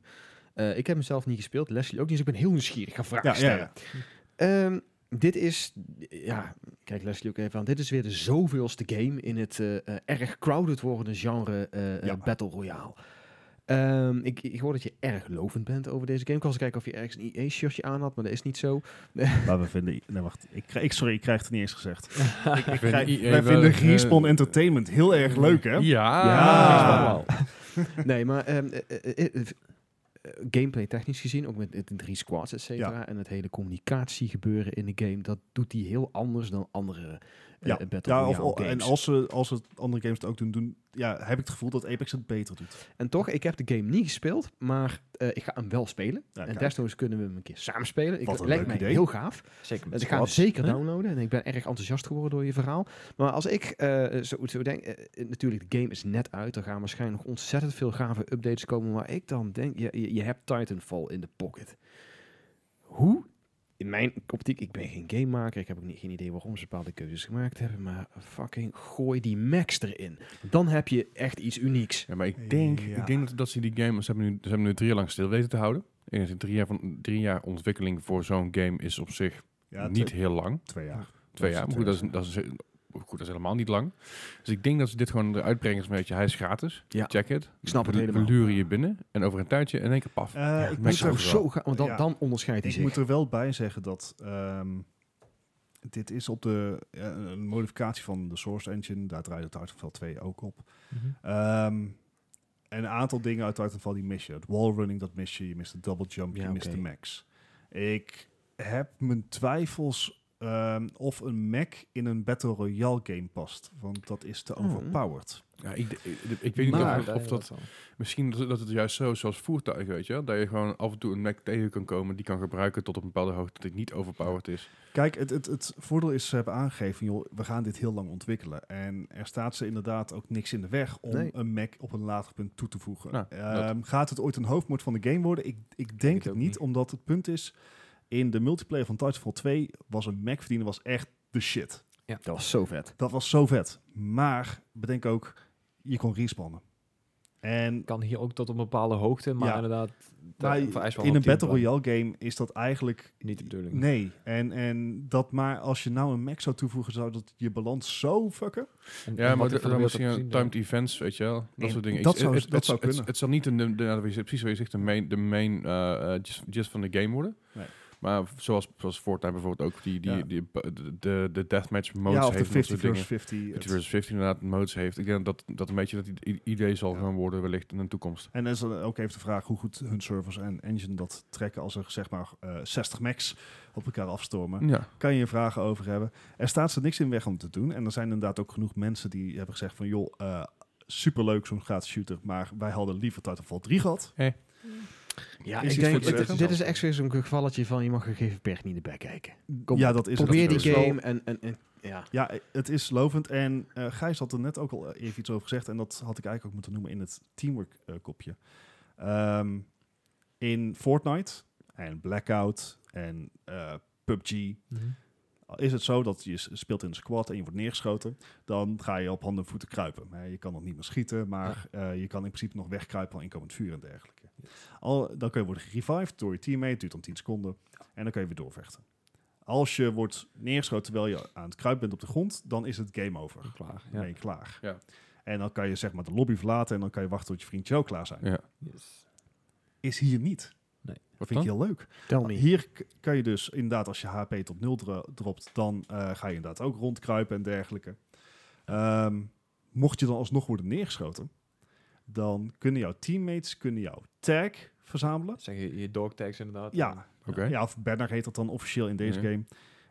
Speaker 4: Eh, ik heb hem zelf niet gespeeld, Leslie ook niet, dus ik ben heel nieuwsgierig. Ga vragen
Speaker 2: Ja, ja,
Speaker 4: stellen.
Speaker 2: ja.
Speaker 4: Ehm, dit is, ja, kijk Leslie ook even aan. Dit is weer de zoveelste game in het eh, eh, erg crowded wordende genre eh, eh,
Speaker 2: Ja.
Speaker 4: Battle Royale. Ehm, ik, ik hoor dat je erg lovend bent over deze game. Ik was eens kijken of je ergens een EA-shirtje aan had, maar dat is niet zo.
Speaker 2: Maar we vinden... Nee, wacht. Ik, krijg- ik, sorry, ik krijg het niet eens gezegd.
Speaker 1: Ik vind
Speaker 2: Krijg-
Speaker 1: IE
Speaker 2: wij
Speaker 1: wel
Speaker 2: vinden
Speaker 1: erg, eh,
Speaker 2: Respawn Entertainment heel erg leuk, hè?
Speaker 1: Ja.
Speaker 2: Ja.
Speaker 4: nee, maar ehm, eh, eh, eh, eh, gameplay technisch gezien, ook met de drie squads, et cetera, en het hele communicatie gebeuren in de game, dat doet hij heel anders dan andere eh,
Speaker 2: Ja,
Speaker 4: Battle
Speaker 2: Ja, of,
Speaker 4: Royale games.
Speaker 2: en als ze, als ze andere games het ook doen, doen, ja, heb ik het gevoel dat Apex het beter doet.
Speaker 4: En toch, ik heb de game niet gespeeld, maar eh, ik ga hem wel spelen.
Speaker 2: Ja,
Speaker 4: en
Speaker 2: kijk.
Speaker 4: desnoods kunnen we hem een keer samen spelen. Ik,
Speaker 2: Wat een
Speaker 4: lijkt
Speaker 2: leuk
Speaker 4: mij
Speaker 2: idee.
Speaker 4: heel gaaf.
Speaker 3: Zeker met
Speaker 4: Dus ik ga hem
Speaker 3: squads.
Speaker 4: zeker
Speaker 3: Huh?
Speaker 4: downloaden. En ik ben erg enthousiast geworden door je verhaal. Maar als ik eh, zo, zo denk... eh, eh, natuurlijk, de game is net uit. Er gaan waarschijnlijk nog ontzettend veel gave updates komen. Maar ik dan denk... Je, je, je hebt Titanfall in de pocket. Hoe... In mijn optiek, ik ben geen gamemaker. Ik heb ook niet, geen idee waarom ze bepaalde keuzes gemaakt hebben. Maar fucking gooi die max erin. Dan heb je echt iets unieks.
Speaker 1: Ja, maar ik denk,
Speaker 2: Ja.
Speaker 1: ik denk dat, dat ze die game, ze hebben, nu, ze hebben nu drie jaar lang stil weten te houden. En ik denk drie jaar, van, drie jaar ontwikkeling voor zo'n game is op zich
Speaker 2: Ja,
Speaker 1: niet
Speaker 2: twee,
Speaker 1: heel lang.
Speaker 2: twee jaar.
Speaker 1: Twee
Speaker 2: Dat
Speaker 1: jaar,
Speaker 2: is
Speaker 1: maar goed, dat is,
Speaker 2: twee
Speaker 1: dat, is, goed, dat is helemaal niet lang. Dus ik denk dat ze dit gewoon eruit brengen als een beetje, hij is gratis,
Speaker 4: Ja.
Speaker 1: check it.
Speaker 4: Ik snap het
Speaker 1: We-
Speaker 4: helemaal.
Speaker 1: We luren je binnen en over een tijdje in één keer paf.
Speaker 2: Eh, ik
Speaker 1: maar
Speaker 4: Maar
Speaker 1: zo-
Speaker 2: moet,
Speaker 4: zou
Speaker 2: er,
Speaker 1: wel.
Speaker 4: zo gaan, want dan,
Speaker 2: Ja.
Speaker 4: dan onderscheidt hij
Speaker 2: ik
Speaker 4: zich.
Speaker 2: moet er wel bij zeggen dat ehm, dit is op de ja, een modificatie van de Source Engine. Daar draaide Titanfall 2 ook op.
Speaker 3: Mhm.
Speaker 2: Ehm, en een aantal dingen uit Titanfall die mis je. Het wallrunning, dat mis je. Je mist de double jump,
Speaker 4: Ja,
Speaker 2: je mist
Speaker 4: oké.
Speaker 2: de max. Ik heb mijn twijfels ehm, of een Mac in een Battle Royale game past. Want dat is te
Speaker 4: Oh.
Speaker 2: overpowered.
Speaker 1: Ja, ik, ik, ik weet niet
Speaker 2: Maar-
Speaker 1: of, of dat... Misschien dat, dat het juist zo zoals voertuigen, weet je wel, Dat je gewoon af en toe een Mac tegen kan komen, die kan gebruiken tot op een bepaalde hoogte dat het niet overpowered is.
Speaker 2: Kijk, het, het, het voordeel is, ze hebben aangegeven, joh, we gaan dit heel lang ontwikkelen. En er staat ze inderdaad ook niks in de weg om
Speaker 4: Nee.
Speaker 2: een Mac op een later punt toe te voegen.
Speaker 1: Nou,
Speaker 2: Ehm, gaat het ooit een hoofdmoot van de game worden? Ik, ik denk
Speaker 3: het
Speaker 2: het
Speaker 3: ook
Speaker 2: niet,
Speaker 3: niet.
Speaker 2: omdat het punt is, in de multiplayer van Titanfall 2 was een Mac verdienen was echt de shit.
Speaker 4: Dat was zo vet.
Speaker 2: Dat was zo vet. Maar bedenk ook, je kon respawnen. En
Speaker 3: Kan hier ook tot een bepaalde hoogte, maar
Speaker 2: Ja.
Speaker 3: inderdaad, dat
Speaker 2: maar
Speaker 3: vereist wel
Speaker 2: in
Speaker 3: wat
Speaker 2: een Battle
Speaker 3: teamplay.
Speaker 2: Royale game is dat eigenlijk...
Speaker 3: Niet de bedoeling.
Speaker 2: Nee, en, en dat maar als je nou een mech zou toevoegen, zou dat je balans zo fucken.
Speaker 3: En- en
Speaker 1: Ja,
Speaker 3: wat
Speaker 1: maar
Speaker 3: ik
Speaker 1: dat-
Speaker 3: van
Speaker 1: dan
Speaker 3: beeld heb
Speaker 1: misschien een
Speaker 3: gezien, ja.
Speaker 1: timed events, weet je wel. Dat
Speaker 2: En
Speaker 1: soort dingen.
Speaker 2: dat
Speaker 1: Ik-
Speaker 2: zou-
Speaker 1: het-
Speaker 2: dat
Speaker 1: het-
Speaker 2: zou
Speaker 1: het-
Speaker 2: kunnen.
Speaker 1: Het zal niet een, de, de, nou, dat is precies wat je zegt, de main, de main eh, eh, just, just van de game worden.
Speaker 2: Nee.
Speaker 1: Maar zoals, zoals Fortnite bijvoorbeeld ook, die, die,
Speaker 2: Ja.
Speaker 1: die, de, de, de deathmatch modes
Speaker 2: ja, of de
Speaker 1: heeft. en dat soort
Speaker 2: 50
Speaker 1: dingen.
Speaker 2: versus 50. het-
Speaker 1: 50 versus 50 inderdaad modes heeft. Ik denk dat dat een beetje dat i- idee zal
Speaker 2: Ja.
Speaker 1: gaan worden wellicht in de toekomst.
Speaker 2: En dan is dan ook even de vraag hoe goed hun servers en engine dat trekken als er zeg maar eh, 60 max op elkaar afstormen.
Speaker 1: Ja.
Speaker 2: Kan je vragen over hebben. Er staat ze niks in weg om te doen. En er zijn inderdaad ook genoeg mensen die hebben gezegd van joh, eh, superleuk zo'n gratis shooter, maar wij hadden liever Titanfall 3 gehad.
Speaker 4: Ja,
Speaker 2: Is iets
Speaker 4: ik denk,
Speaker 2: voor te
Speaker 4: dit-
Speaker 2: zeggen?
Speaker 4: dit is echt weer zo'n gevalletje van je mag een gegeven pech niet erbij kijken. Kom
Speaker 2: ja,
Speaker 4: op,
Speaker 2: dat is het.
Speaker 4: Probeer
Speaker 2: Dat
Speaker 4: die
Speaker 2: is wel-
Speaker 4: game en, en, en ja.
Speaker 2: Ja, het is lovend. En eh Gijs had er net ook al even iets over gezegd. En dat had ik eigenlijk ook moeten noemen in het teamwork eh, kopje. Ehm, in Fortnite en Blackout en eh, PUBG
Speaker 3: Mhm.
Speaker 2: is het zo dat je s- speelt in een squad en je wordt neergeschoten, dan ga je op handen en voeten kruipen. Hè, Je kan nog niet meer schieten, maar eh, je kan in principe nog wegkruipen van inkomend vuur en dergelijke. Al, dan kun je worden gerevived door je teammate, duurt dan 10 seconden, en dan kun je weer doorvechten. Als je wordt neergeschoten terwijl je aan het kruipen bent op de grond, dan is het game over. Dan
Speaker 3: Klaar,
Speaker 2: ben
Speaker 3: ja.
Speaker 2: je klaar.
Speaker 1: Ja.
Speaker 2: En dan kan je zeg maar de lobby verlaten en dan kan je wachten tot je vriendje ook klaar zijn.
Speaker 1: ja.
Speaker 3: Yes.
Speaker 2: Is hier niet.
Speaker 1: Wat
Speaker 2: Vind
Speaker 1: dan?
Speaker 2: ik heel leuk.
Speaker 4: Tell me.
Speaker 2: Hier k- kan je dus inderdaad, als je HP tot nul dro- dropt, dan eh, ga je inderdaad ook rondkruipen en dergelijke. Ehm, mocht je dan alsnog worden neergeschoten, dan kunnen jouw teammates kunnen jouw tag verzamelen.
Speaker 3: Zeg je, je dog tags inderdaad.
Speaker 2: Ja,
Speaker 1: Oké.
Speaker 2: ja, of banner heet dat dan officieel in deze
Speaker 1: Ja.
Speaker 2: game.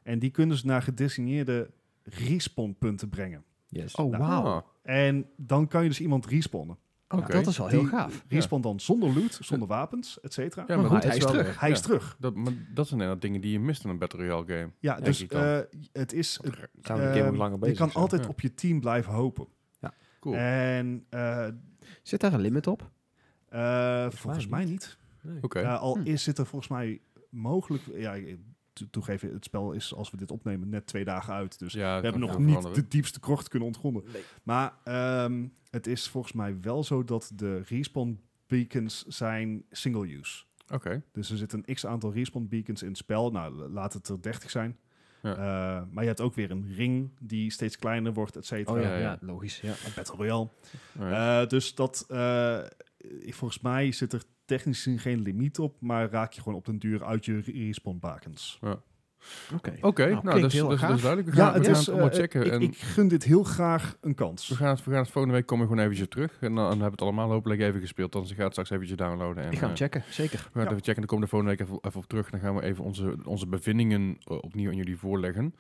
Speaker 2: En die kunnen ze naar gedesigneerde respawnpunten brengen.
Speaker 3: Yes.
Speaker 4: Oh, wauw.
Speaker 1: Ah.
Speaker 2: En dan kan je dus iemand respawnen.
Speaker 4: Oh,
Speaker 1: Oké.
Speaker 4: dat is wel
Speaker 2: Die-
Speaker 4: heel gaaf.
Speaker 1: Ja.
Speaker 2: Respawn dan zonder loot, zonder wapens, et cetera.
Speaker 1: Ja,
Speaker 4: Maar goed,
Speaker 1: dat
Speaker 4: hij is
Speaker 1: wel
Speaker 4: terug.
Speaker 1: weer-
Speaker 2: Hij is
Speaker 1: ja.
Speaker 2: terug.
Speaker 1: Dat, maar dat zijn inderdaad dingen die je mist in een Battle Royale game.
Speaker 2: Ja,
Speaker 1: Denk
Speaker 2: dus
Speaker 1: ik dan.
Speaker 2: eh, het is... het-
Speaker 3: Gaan we de game ook
Speaker 2: ehm,
Speaker 3: langer
Speaker 2: je
Speaker 3: bezig
Speaker 2: kan
Speaker 3: zijn?
Speaker 2: altijd
Speaker 1: Ja.
Speaker 2: op je team blijven hopen.
Speaker 1: Cool. Oké.
Speaker 2: En eh,
Speaker 4: Zit daar een limit op?
Speaker 2: eh, volgens
Speaker 3: mij
Speaker 2: mij niet.
Speaker 3: Nee.
Speaker 2: Eh, al
Speaker 4: Hm.
Speaker 2: is, zit er volgens mij mogelijk... Ja, ik- to- toegeven, het spel is als we dit opnemen net twee dagen uit. Dus
Speaker 1: ja,
Speaker 2: we hebben nog niet de diepste krocht kunnen ontgronden.
Speaker 3: Nee.
Speaker 2: Maar ehm, het is volgens mij wel zo dat de respawn beacons zijn single-use.
Speaker 1: Oké.
Speaker 2: Dus er zitten een x-aantal respawn beacons in het spel. Nou, l- laat het er 30 zijn.
Speaker 1: Ja.
Speaker 2: Eh, maar je hebt ook weer een ring die steeds kleiner wordt, et cetera.
Speaker 4: Oh ja,
Speaker 1: ja,
Speaker 4: ja,
Speaker 1: ja.
Speaker 4: logisch. Ja.
Speaker 2: Battle Royale.
Speaker 1: Alright.
Speaker 2: Eh, dus dat, eh, ik, volgens mij zit er technisch gezien geen limiet op, maar raak je gewoon op den duur uit je re- respawnbakens.
Speaker 4: Oké.
Speaker 1: Oké, nou,
Speaker 4: klinkt
Speaker 1: dat, is,
Speaker 4: heel
Speaker 1: dat, is- dat
Speaker 4: gaaf.
Speaker 1: is duidelijk. We gaan, we gaan het allemaal
Speaker 2: eh,
Speaker 1: checken.
Speaker 2: ik,
Speaker 1: en
Speaker 2: ik gun dit heel graag een
Speaker 1: We,
Speaker 2: kans.
Speaker 1: gaan het, we gaan het volgende week komen we gewoon eventjes terug. En dan, dan hebben we het allemaal hopelijk even gespeeld. Dan ga het straks eventjes downloaden. En,
Speaker 4: Ik ga hem
Speaker 1: eh,
Speaker 4: checken, zeker.
Speaker 1: We gaan het
Speaker 2: Ja.
Speaker 1: even checken en dan komen we de volgende week even, even op terug. Dan gaan we even onze, onze bevindingen eh, opnieuw aan jullie voorleggen.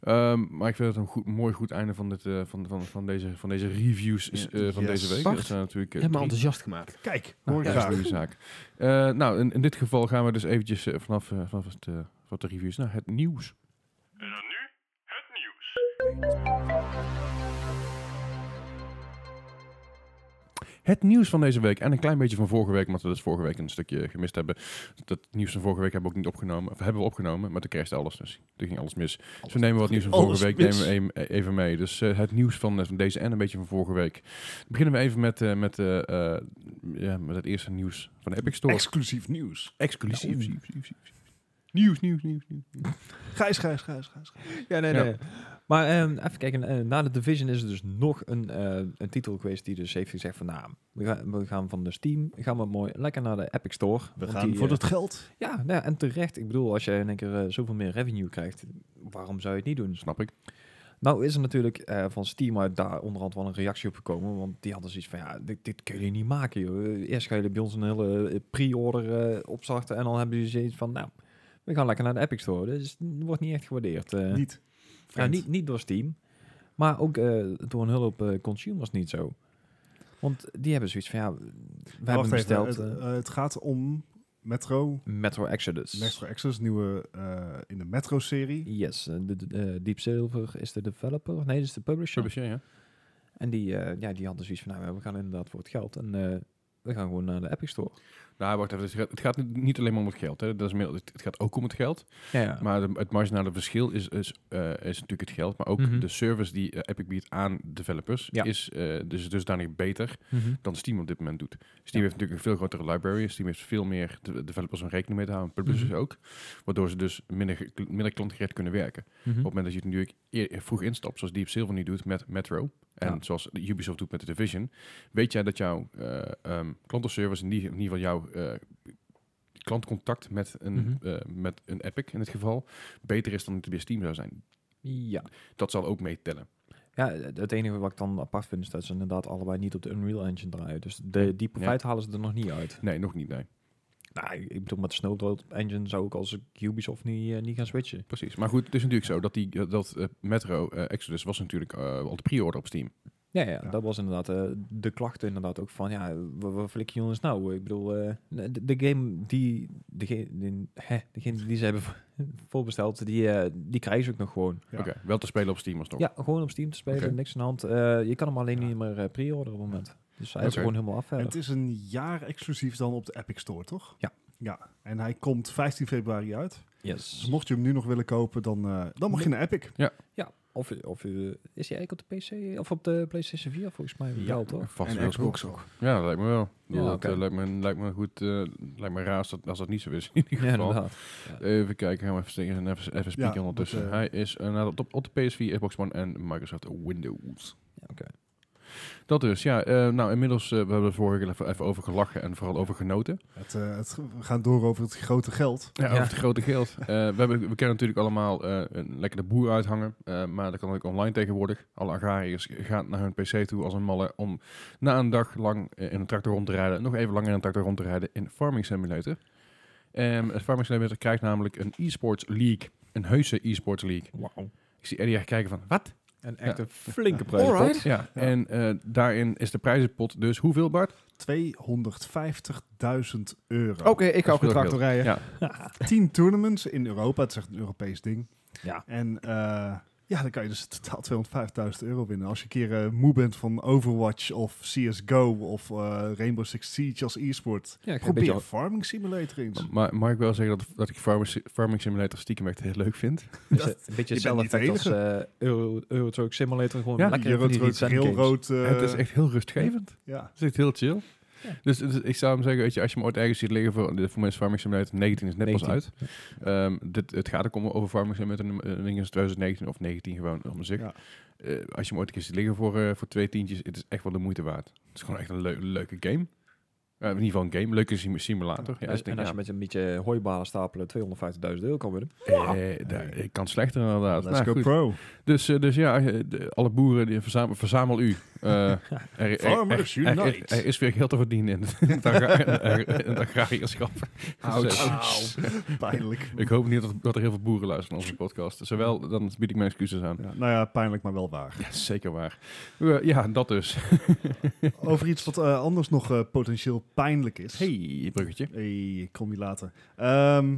Speaker 1: Ehm, maar ik vind het een goed, mooi goed einde van, dit, eh, van, van, van, deze, van deze reviews eh,
Speaker 2: Ja.
Speaker 1: van
Speaker 2: Yes.
Speaker 1: deze week.
Speaker 4: Bart,
Speaker 1: Dat zijn natuurlijk
Speaker 4: Je
Speaker 1: eh,
Speaker 4: hebt me
Speaker 1: drie-
Speaker 4: enthousiast gemaakt.
Speaker 2: Kijk,
Speaker 1: nou,
Speaker 2: hoor
Speaker 1: dat is een
Speaker 2: graag.
Speaker 1: goede zaak. Eh, nou, in, in dit geval gaan we dus eventjes eh, vanaf, eh, vanaf het, eh, vanaf de reviews naar het nieuws.
Speaker 5: En dan nu het nieuws.
Speaker 1: Het nieuws van deze week en een klein beetje van vorige week, omdat we dus vorige week een stukje gemist hebben. Dat nieuws van vorige week hebben we ook niet opgenomen, of hebben we opgenomen, maar toen kreeg alles dus. Toen ging alles mis. dus we nemen wat nieuws van
Speaker 2: Alles
Speaker 1: vorige week
Speaker 2: mis.
Speaker 1: nemen we even- even mee. Dus eh, het nieuws van, eh, van deze en een beetje van vorige week. Beginnen we even met, eh, met, eh, eh, ja, met het eerste nieuws van de Epic Store.
Speaker 2: Exclusief nieuws. Nou,
Speaker 1: Exclusief. Nieuws, nieuws, nieuws, nieuws.
Speaker 2: Gijs, Gijs, Gijs, Gijs. Gijs.
Speaker 3: Ja, nee,
Speaker 1: Ja.
Speaker 3: nee. Maar ehm, even kijken, eh, na de Division is er dus nog een, eh, een titel geweest die dus heeft gezegd van, nou, we gaan, we gaan van de Steam, gaan we mooi lekker naar de Epic Store.
Speaker 2: We
Speaker 3: Want
Speaker 2: gaan
Speaker 3: die,
Speaker 2: voor
Speaker 3: eh,
Speaker 2: het geld.
Speaker 3: Ja, nou ja, en terecht. Ik bedoel, als je in één keer eh, zoveel meer revenue krijgt, waarom zou je het niet doen?
Speaker 1: Snap ik.
Speaker 3: Nou is er natuurlijk eh, van Steam uit daar onderhand wel een reactie op gekomen. Want die hadden zoiets van, ja, dit, dit kun je niet maken. Joh. Eerst gaan jullie bij ons een hele eh, pre-order eh, opstarten. En dan hebben jullie zoiets van, nou, we gaan lekker naar de Epic Store. Dus het wordt niet echt gewaardeerd. eh.
Speaker 2: Niet.
Speaker 3: Ja,
Speaker 2: Vreemd.
Speaker 3: niet, niet door Steam, maar ook eh, door een hulp eh, consumers niet zo. Want die hebben zoiets van, ja, we hebben
Speaker 2: Wacht even,
Speaker 3: besteld
Speaker 2: het,
Speaker 3: eh,
Speaker 2: eh, het gaat om Metro.
Speaker 3: Metro Exodus.
Speaker 2: Metro Access, nieuwe eh, in de Metro-serie.
Speaker 3: Yes, eh, de, de- eh, Deep Silver is de developer. Nee, dat is de publisher.
Speaker 1: Publisher, ja.
Speaker 3: En die, eh, ja, die hadden zoiets van, nou, we gaan inderdaad voor het geld. En eh, we gaan gewoon naar de Epic Store.
Speaker 1: Nou, wacht even. dus het gaat- Het gaat niet- niet alleen maar om het geld. Hè. Dat is meer, het het gaat ook om het geld.
Speaker 3: Ja, ja.
Speaker 1: Maar de- het marginale verschil is, is, eh, is natuurlijk het geld. Maar ook
Speaker 3: Mhm.
Speaker 1: de service die eh, Epic biedt aan developers
Speaker 3: Ja.
Speaker 1: is eh, dus dusdanig beter
Speaker 3: Mhm.
Speaker 1: dan Steam op dit moment doet. Steam heeft natuurlijk een veel grotere library. Steam heeft veel meer de- developers om rekening mee te houden. Publishers
Speaker 3: Mhm.
Speaker 1: ook. Waardoor ze dus minder, ge- minder klantgericht kunnen werken.
Speaker 3: Mhm.
Speaker 1: Op het moment dat je het natuurlijk eer- vroeg instapt, zoals Deep Silver nu doet met Metro. En
Speaker 3: Ja.
Speaker 1: zoals Ubisoft doet met de Division. Weet jij dat jouw eh ehm, klantenservice, in die- in ieder geval jouw eh, klantcontact met een,
Speaker 3: Mhm.
Speaker 1: eh, met een Epic in dit geval, beter is dan het bij Steam zou zijn.
Speaker 3: Ja.
Speaker 1: Dat zal ook meetellen.
Speaker 3: Ja, het enige wat ik dan apart vind is dat ze inderdaad allebei niet op de Unreal Engine draaien. Dus de, die profijt halen ze er nog niet uit.
Speaker 1: Nee, nog niet, nee.
Speaker 3: Nou, ik ik bedoel, met de Snowdrop Engine zou ik als Ubisoft niet, eh, niet gaan switchen.
Speaker 1: Precies. Maar goed, het is natuurlijk zo dat, die, dat eh, Metro eh, Exodus was natuurlijk eh, al de pre-order op Steam.
Speaker 3: Ja, ja,
Speaker 2: Ja.
Speaker 3: dat was inderdaad eh, de klacht inderdaad ook van, ja, wat, wat flikken jullie ons nou? Ik bedoel, eh, de, de game die, degene, die, hè, degene die ze hebben voorbesteld, die, eh, die krijgen ze ook nog gewoon.
Speaker 2: Ja.
Speaker 1: Oké, wel te spelen op Steam alsnog.
Speaker 3: Ja, gewoon op Steam te spelen,
Speaker 1: Oké.
Speaker 3: niks aan de hand. Eh, je kan hem alleen
Speaker 2: Ja.
Speaker 3: niet meer eh, pre-orderen op het moment. Dus hij is
Speaker 1: Oké.
Speaker 3: gewoon helemaal af
Speaker 2: En
Speaker 3: verder.
Speaker 2: het is een jaar exclusief dan op de Epic Store, toch?
Speaker 3: Ja.
Speaker 2: Ja, en hij komt 15 februari uit. Dus
Speaker 3: Yes.
Speaker 2: mocht je hem nu nog willen kopen, dan, eh, dan mag je naar Epic.
Speaker 3: Ja, of, of eh, is hij eigenlijk op de PC of op de PlayStation 4 volgens mij?
Speaker 2: Ja.
Speaker 3: wel, toch?
Speaker 1: Vast
Speaker 2: en
Speaker 1: wel
Speaker 2: Xbox ook.
Speaker 1: Ja, dat lijkt me wel.
Speaker 3: Ja,
Speaker 1: dat
Speaker 3: oké.
Speaker 1: eh, lijkt, me, lijkt me goed. eh, lijkt me raar als dat, als dat niet zo is. In ieder
Speaker 3: Ja,
Speaker 1: geval.
Speaker 3: inderdaad.
Speaker 1: even kijken, gaan we even, steken- even, even spieken
Speaker 2: Ja,
Speaker 1: ondertussen.
Speaker 2: dat, eh,
Speaker 1: Hij is eh, nou, op, op de PS4, Xbox One en Microsoft Windows.
Speaker 3: Ja, oké.
Speaker 1: Dat dus, ja. eh, nou, inmiddels eh, we hebben we vorige keer even, even over gelachen en vooral over genoten.
Speaker 2: Het, eh, het, we gaan door over het grote geld.
Speaker 1: Ja,
Speaker 3: Ja.
Speaker 1: Over het grote geld. Eh, we, hebben, we kennen natuurlijk allemaal eh, een lekkere boer uithangen. eh, maar dat kan ook online tegenwoordig. Alle agrariërs gaan naar hun pc toe als een malle om na een dag lang eh, in een tractor rond te rijden. Nog even langer in een tractor rond te rijden in Farming Simulator. En het Farming Simulator krijgt namelijk een e-sports league. Een heuse e-sports league.
Speaker 3: Wauw.
Speaker 1: Ik zie Eddie echt kijken van, wat?
Speaker 3: En echt
Speaker 1: echt
Speaker 3: een flinke prijs.
Speaker 4: Alright.
Speaker 1: Ja, en eh, daarin is de prijzenpot dus hoeveel, Bart?
Speaker 2: 250.000 euro.
Speaker 3: Oh.
Speaker 4: Oké, ik ga
Speaker 1: Dat is
Speaker 4: ook een
Speaker 1: veel
Speaker 4: tractor rijden.
Speaker 1: Ja.
Speaker 2: 10 tournaments in Europa. Het is echt een Europees ding.
Speaker 3: Ja.
Speaker 2: En eh, ja, dan kan je dus totaal 250.000 euro winnen. Als je een keer eh, moe bent van Overwatch of CSGO of eh, Rainbow Six Siege als e-sport.
Speaker 3: Ja, ik heb een
Speaker 2: Probeer
Speaker 3: beetje...
Speaker 2: Farming Simulator eens.
Speaker 1: Maar mag ik wel zeggen dat, dat ik Farming, Si- Farming Simulator stiekem echt heel leuk vind?
Speaker 3: Dus,
Speaker 2: Dat-
Speaker 3: eh, een beetje
Speaker 2: je bent
Speaker 3: hetzelfde
Speaker 2: niet de
Speaker 3: effect als eh, Euro, Euro Truck Simulator. Gewoon
Speaker 1: Ja,
Speaker 3: lekker
Speaker 2: Euro
Speaker 3: van die
Speaker 2: Truck,
Speaker 3: design
Speaker 2: heel
Speaker 3: games.
Speaker 2: rood. eh,
Speaker 1: het is echt heel rustgevend.
Speaker 2: Ja.
Speaker 1: Het is echt heel chill.
Speaker 3: Ja.
Speaker 1: Dus, dus ik zou hem zeggen, weet je, als je hem ooit ergens ziet liggen voor, voor mensen Farming Simulator 19 is net pas
Speaker 3: 19.
Speaker 1: uit. Ehm, dit, het gaat ook om over Farming Simulator nummer- eh, dingen is 2019 of 19 gewoon om zich.
Speaker 2: Ja.
Speaker 1: Eh, als je hem ooit een keer ziet liggen voor, eh, voor twee tientjes, het is echt wel de moeite waard. Het is gewoon echt een leu- leuke game. Eh, in ieder geval een game, leuke sim- simulator. Ja,
Speaker 3: En
Speaker 1: dus
Speaker 3: als-
Speaker 1: ik
Speaker 3: en
Speaker 1: denk,
Speaker 3: als
Speaker 1: ja,
Speaker 3: je met een beetje hooibalen stapelen 250.000 euro kan winnen.
Speaker 1: Eh, daar- ik kan slechter inderdaad.
Speaker 2: Let's
Speaker 1: Nou,
Speaker 2: go
Speaker 1: goed.
Speaker 2: pro.
Speaker 1: Dus, eh, dus ja, eh, de- alle boeren, die verzamel, verzamel u. Eh, er- er, er-
Speaker 2: Farmers
Speaker 1: er- er-
Speaker 2: unite.
Speaker 1: er is weer geld te verdienen in het, in het agra- in het agrarierschap. Dus, eh,
Speaker 2: Auw. Pijnlijk.
Speaker 1: ik hoop niet dat, dat er heel veel boeren luisteren naar onze podcast. Zowel, dan bied ik mijn excuses aan.
Speaker 2: Ja, nou ja, pijnlijk, maar wel waar.
Speaker 1: Ja, zeker waar. Eh, ja, dat dus.
Speaker 2: Over iets wat eh, anders nog eh, potentieel pijnlijk is.
Speaker 1: Hey, bruggetje.
Speaker 2: Hey, ik kom je later. Ehm,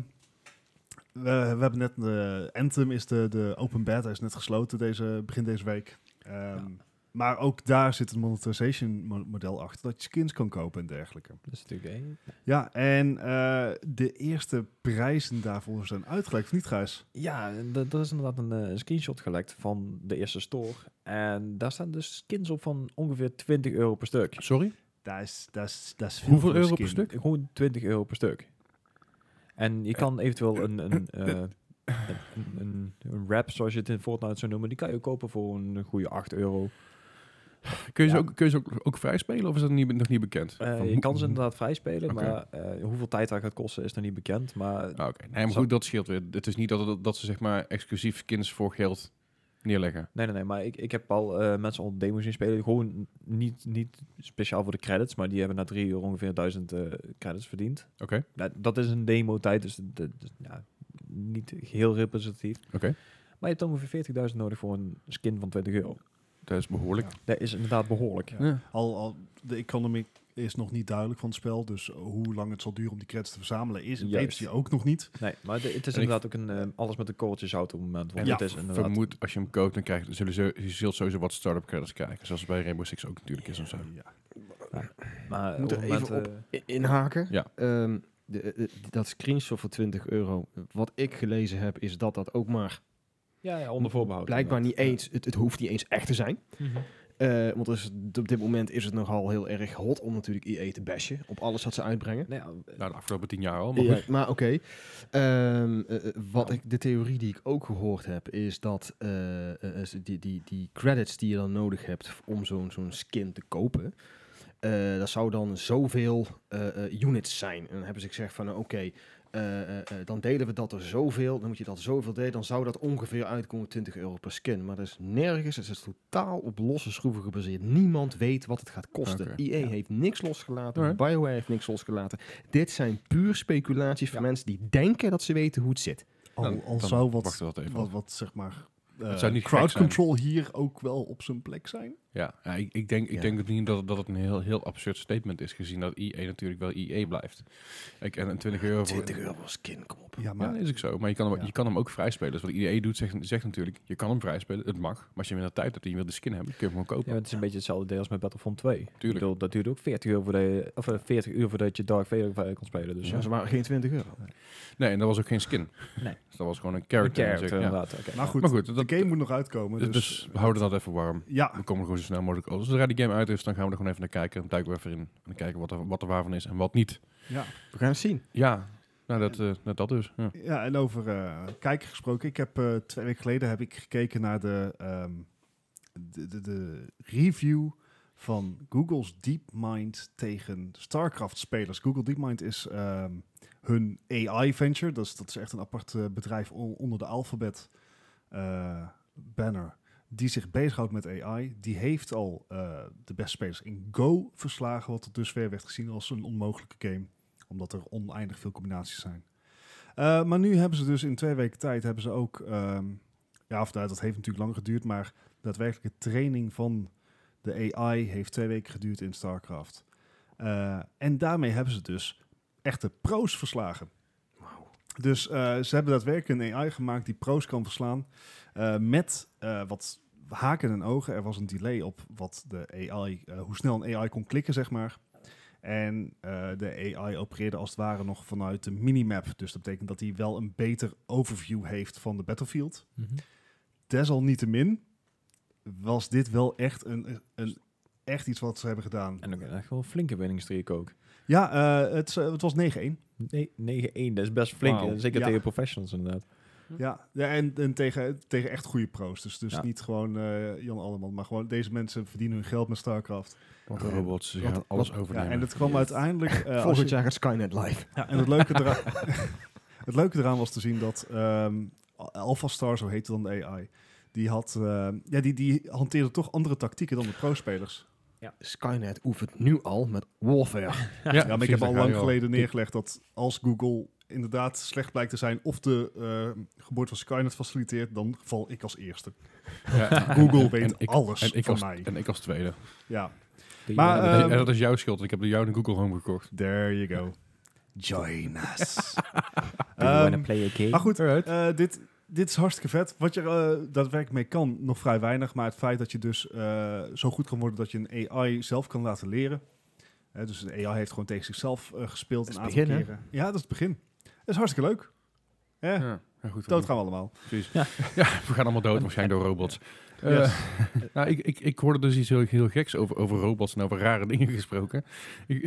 Speaker 2: we, we hebben net de Anthem is de, de open beta is net gesloten deze, begin deze week. Ehm, Maar ook daar zit een monetization mo- model achter dat je skins kan kopen en dergelijke.
Speaker 3: Dat is natuurlijk één.
Speaker 2: Ja, en eh, de eerste prijzen daarvoor zijn uitgelekt, of niet Gijs?
Speaker 3: Ja, en d- er is inderdaad een eh, screenshot gelekt van de eerste store. En daar staan dus skins op van ongeveer 20 euro per stuk.
Speaker 1: Sorry?
Speaker 2: Dat is, dat is, dat is veel
Speaker 1: Hoeveel
Speaker 2: voor een
Speaker 1: euro per
Speaker 2: skin.
Speaker 1: stuk?
Speaker 3: Gewoon 20 euro per stuk. En je kan eventueel een, een, eh, een, een, een wrap, zoals je het in Fortnite zou noemen, die kan je kopen voor een goede 8 euro.
Speaker 1: Kun je ze,
Speaker 3: Ja.
Speaker 1: ook, kun je ze ook, ook vrij spelen of is dat niet, nog niet bekend?
Speaker 3: Eh,
Speaker 1: Van
Speaker 3: je
Speaker 1: hoe-
Speaker 3: kan ze inderdaad vrij spelen,
Speaker 1: Oké.
Speaker 3: maar eh, hoeveel tijd dat gaat kosten is nog niet bekend. Maar
Speaker 1: Ah, Oké, nee, maar
Speaker 3: Zo.
Speaker 1: goed, dat scheelt weer. Het is niet dat, dat, dat ze zeg maar exclusief skins voor geld neerleggen.
Speaker 3: nee, nee, nee. Maar ik, ik heb al eh, mensen al demo's zien spelen. Gewoon niet, niet speciaal voor de credits, maar die hebben na drie uur ongeveer 1000 eh, credits verdiend.
Speaker 1: Oké,
Speaker 3: Nou, dat is een demo-tijd, dus dat- dat- dat- ja, niet heel representatief.
Speaker 1: Oké.
Speaker 3: Maar je hebt ongeveer 40.000 nodig voor een skin van 20 euro.
Speaker 1: dat is behoorlijk.
Speaker 3: Dat is inderdaad behoorlijk.
Speaker 2: Ja.
Speaker 1: Ja.
Speaker 2: Al, al de economy is nog niet duidelijk van het spel, dus hoe lang het zal duren om die credits te verzamelen is, weet
Speaker 3: Juist.
Speaker 2: je ook nog niet.
Speaker 3: Nee, maar de- het is
Speaker 1: En ik-
Speaker 3: inderdaad ook een, eh, alles met een korreltje zout op het moment. Want
Speaker 1: En
Speaker 3: het is inderdaad...
Speaker 1: Vermoed, als je hem koopt, dan krijg je, zullen ze, je zult sowieso wat start-up credits krijgen. Zoals bij Rainbow Six ook natuurlijk is en zo.
Speaker 2: Ja.
Speaker 3: Maar
Speaker 4: Moet
Speaker 3: op
Speaker 4: er
Speaker 3: het
Speaker 4: even
Speaker 3: moment, eh,
Speaker 4: i- inhaken.
Speaker 1: Ja.
Speaker 4: Ehm, de, de- de- dat screenshot voor 20 euro. Wat ik gelezen heb, is dat dat ook maar
Speaker 3: ja, ja, onder voorbehoud.
Speaker 4: blijkbaar niet
Speaker 3: inderdaad.
Speaker 4: eens. Het, het hoeft niet eens echt te zijn.
Speaker 3: Ja. Mhm.
Speaker 4: Eh, want dus op dit moment is het nogal heel erg hot om natuurlijk EA te bashen op alles wat ze uitbrengen.
Speaker 3: Nee, ja,
Speaker 1: Nou, de afgelopen tien jaar al. Maar
Speaker 4: Ja,
Speaker 1: goed.
Speaker 4: maar oké. Ehm, eh, eh, wat ik, de theorie die ik ook gehoord heb, is dat eh, eh, eh, die, die, die credits die je dan nodig hebt om zo'n zo'n skin te kopen, eh, dat zou dan zoveel eh, eh, units zijn. En dan hebben ze gezegd van, nou, oké, eh, eh, eh, dan delen we dat er zoveel, dan moet je dat zoveel delen, dan zou dat ongeveer uitkomen op 20 euro per skin. Maar dat is nergens, het is totaal op losse schroeven gebaseerd. Niemand weet wat het gaat kosten.
Speaker 1: Oké,
Speaker 4: EA
Speaker 3: ja.
Speaker 4: E heeft niks losgelaten,
Speaker 1: Alright.
Speaker 4: BioWare heeft niks losgelaten. Dit zijn puur speculaties van
Speaker 3: Ja.
Speaker 4: mensen die denken dat ze weten hoe het zit.
Speaker 2: Al,
Speaker 1: Nou,
Speaker 2: al
Speaker 1: dan
Speaker 2: zou
Speaker 1: wachten
Speaker 2: wat,
Speaker 1: we dat even
Speaker 2: wat,
Speaker 1: af.
Speaker 2: wat, zeg maar, eh,
Speaker 1: Het zou niet gek
Speaker 2: crowd
Speaker 1: zijn.
Speaker 2: control hier ook wel op zijn plek zijn.
Speaker 1: Ja, ja, ik, ik denk, ik
Speaker 4: Ja.
Speaker 1: denk dat, niet dat, dat het een heel, heel absurd statement is, gezien dat IE natuurlijk wel IE blijft. Ik, en een 20 euro voor...
Speaker 4: 20 euro voor skin, kom op.
Speaker 2: Ja,
Speaker 1: Ja,
Speaker 2: maar
Speaker 1: dat is ook zo. Maar je kan hem,
Speaker 2: Ja.
Speaker 1: je kan hem ook vrijspelen. Dus wat IE doet, zegt, zegt natuurlijk, je kan hem vrijspelen, het mag. Maar als je minder tijd hebt en je wil de skin hebben, kun je hem gewoon kopen.
Speaker 3: maar het is een beetje hetzelfde deel als met Battlefront 2. Ik
Speaker 1: Tuurlijk.
Speaker 3: bedoel, dat duurde ook 40 uur, voordat je, of, eh, 40 uur voordat je Dark Vader eh, kon spelen. Dus
Speaker 4: Ja, ze waren geen 20 euro.
Speaker 1: Nee, en dat was ook geen skin.
Speaker 3: Nee.
Speaker 1: Dus dat was gewoon een
Speaker 3: een
Speaker 1: character.
Speaker 3: character
Speaker 1: Ja.
Speaker 3: inderdaad. oké.
Speaker 2: Maar Nou goed,
Speaker 1: Maar goed, dat,
Speaker 2: de game moet nog uitkomen.
Speaker 1: dus,
Speaker 2: Dus, eh,
Speaker 1: we houden dat even warm.
Speaker 2: ja,
Speaker 1: We komen er gewoon zo snel mogelijk over. Zodra die game uit is, dan gaan we er gewoon even naar kijken. Dan duiken we even in en kijken wat er, wat er waarvan is en wat niet.
Speaker 2: ja.
Speaker 4: We gaan het zien.
Speaker 1: Ja, nou, dat, eh, net dat dus. Ja.
Speaker 2: ja, en over eh kijken gesproken. Ik heb eh, twee weken geleden heb ik gekeken naar de, ehm, de, de, de review van Google's DeepMind tegen StarCraft-spelers. Google DeepMind is ehm, hun AI-venture. Dat is, dat is echt een apart eh, bedrijf on- onder de Alphabet-banner. die zich bezighoudt met AI. Die heeft al eh, de beste spelers in Go verslagen. Wat er dusver werd gezien als een onmogelijke game. Omdat er oneindig veel combinaties zijn. Eh, maar nu hebben ze dus in twee weken tijd hebben ze ook. ehm, ja, of nou, dat heeft natuurlijk lang geduurd. Maar daadwerkelijke training van de AI heeft twee weken geduurd in StarCraft. Eh, en daarmee hebben ze dus echte pro's verslagen. Dus eh, ze hebben daadwerkelijk een AI gemaakt die pro's kan verslaan. eh, met eh, wat haken en ogen. Er was een delay op wat de AI, eh, hoe snel een AI kon klikken, zeg maar. En eh, de AI opereerde als het ware nog vanuit de minimap. Dus dat betekent dat hij wel een beter overview heeft van de battlefield.
Speaker 3: Mhm.
Speaker 2: Desalniettemin was dit wel echt, een, een, echt iets wat ze hebben gedaan.
Speaker 3: En ook echt wel een flinke winningstreek ook.
Speaker 2: Ja, eh, het, is, eh, het was 9-1.
Speaker 3: Nee, 9-1, dat is best flink.
Speaker 1: Wauw.
Speaker 3: en Zeker
Speaker 2: Ja.
Speaker 3: tegen professionals inderdaad.
Speaker 2: Ja, ja en, en tegen, tegen echt goede pro's. Dus, dus
Speaker 3: Ja.
Speaker 2: niet gewoon eh, Jan Alleman, maar gewoon deze mensen verdienen hun geld met StarCraft.
Speaker 1: Want
Speaker 4: Ja.
Speaker 1: robots ze
Speaker 4: Wat-
Speaker 1: gaan alles
Speaker 2: eh, Ja,
Speaker 1: overnemen.
Speaker 2: en dat kwam uiteindelijk... eh, als je-
Speaker 4: Volgend jaar gaat Skynet live.
Speaker 2: Ja, en het leuke, eraan, het leuke eraan was te zien dat ehm Alpha Star, zo heette dan de AI, die, had, ehm, ja, die, die hanteerde toch andere tactieken dan de pro-spelers.
Speaker 4: Skynet oefent nu al met warfare. Dus
Speaker 1: ja,
Speaker 2: Ja, maar ik
Speaker 1: precies,
Speaker 2: heb
Speaker 1: daar
Speaker 2: al
Speaker 1: ga je
Speaker 2: lang geleden neergelegd dat als Google inderdaad slecht blijkt te zijn of de ehm, geboorte van Skynet faciliteert, dan val ik als eerste.
Speaker 1: Ja, en-
Speaker 2: Google
Speaker 1: en-
Speaker 2: weet
Speaker 1: en ik-
Speaker 2: alles
Speaker 1: en ik
Speaker 2: van
Speaker 1: als-
Speaker 2: mij.
Speaker 1: En ik als tweede.
Speaker 2: Ja,
Speaker 3: Die-
Speaker 2: Maar,
Speaker 3: eh,
Speaker 2: eh,
Speaker 1: en dat is jouw schuld. want Ik heb door jou een Google Home gekocht.
Speaker 2: there you go. Join us.
Speaker 3: do you wanna
Speaker 2: Ehm,
Speaker 3: play a game?
Speaker 2: Maar goed,
Speaker 1: Alright.
Speaker 2: eh, dit, dit is hartstikke vet. Wat je eh, daadwerkelijk mee kan, nog vrij weinig. Maar het feit dat je dus eh, zo goed kan worden dat je een AI zelf kan laten leren. Hè, dus een AI heeft gewoon tegen zichzelf eh, gespeeld
Speaker 4: Dat
Speaker 2: een
Speaker 4: is
Speaker 2: aantal
Speaker 4: het begin, hè?
Speaker 2: keren. Ja, dat is het begin. Dat is hartstikke leuk. Hè?
Speaker 1: Ja, ja, goed.
Speaker 2: Dood gaan we allemaal.
Speaker 1: Precies. Ja.
Speaker 3: Ja.
Speaker 1: we gaan allemaal dood, waarschijnlijk door robots. Eh,
Speaker 2: Yes.
Speaker 1: nou, ik, ik, ik hoorde dus iets heel, heel geks over, over robots en over rare dingen gesproken. Ik-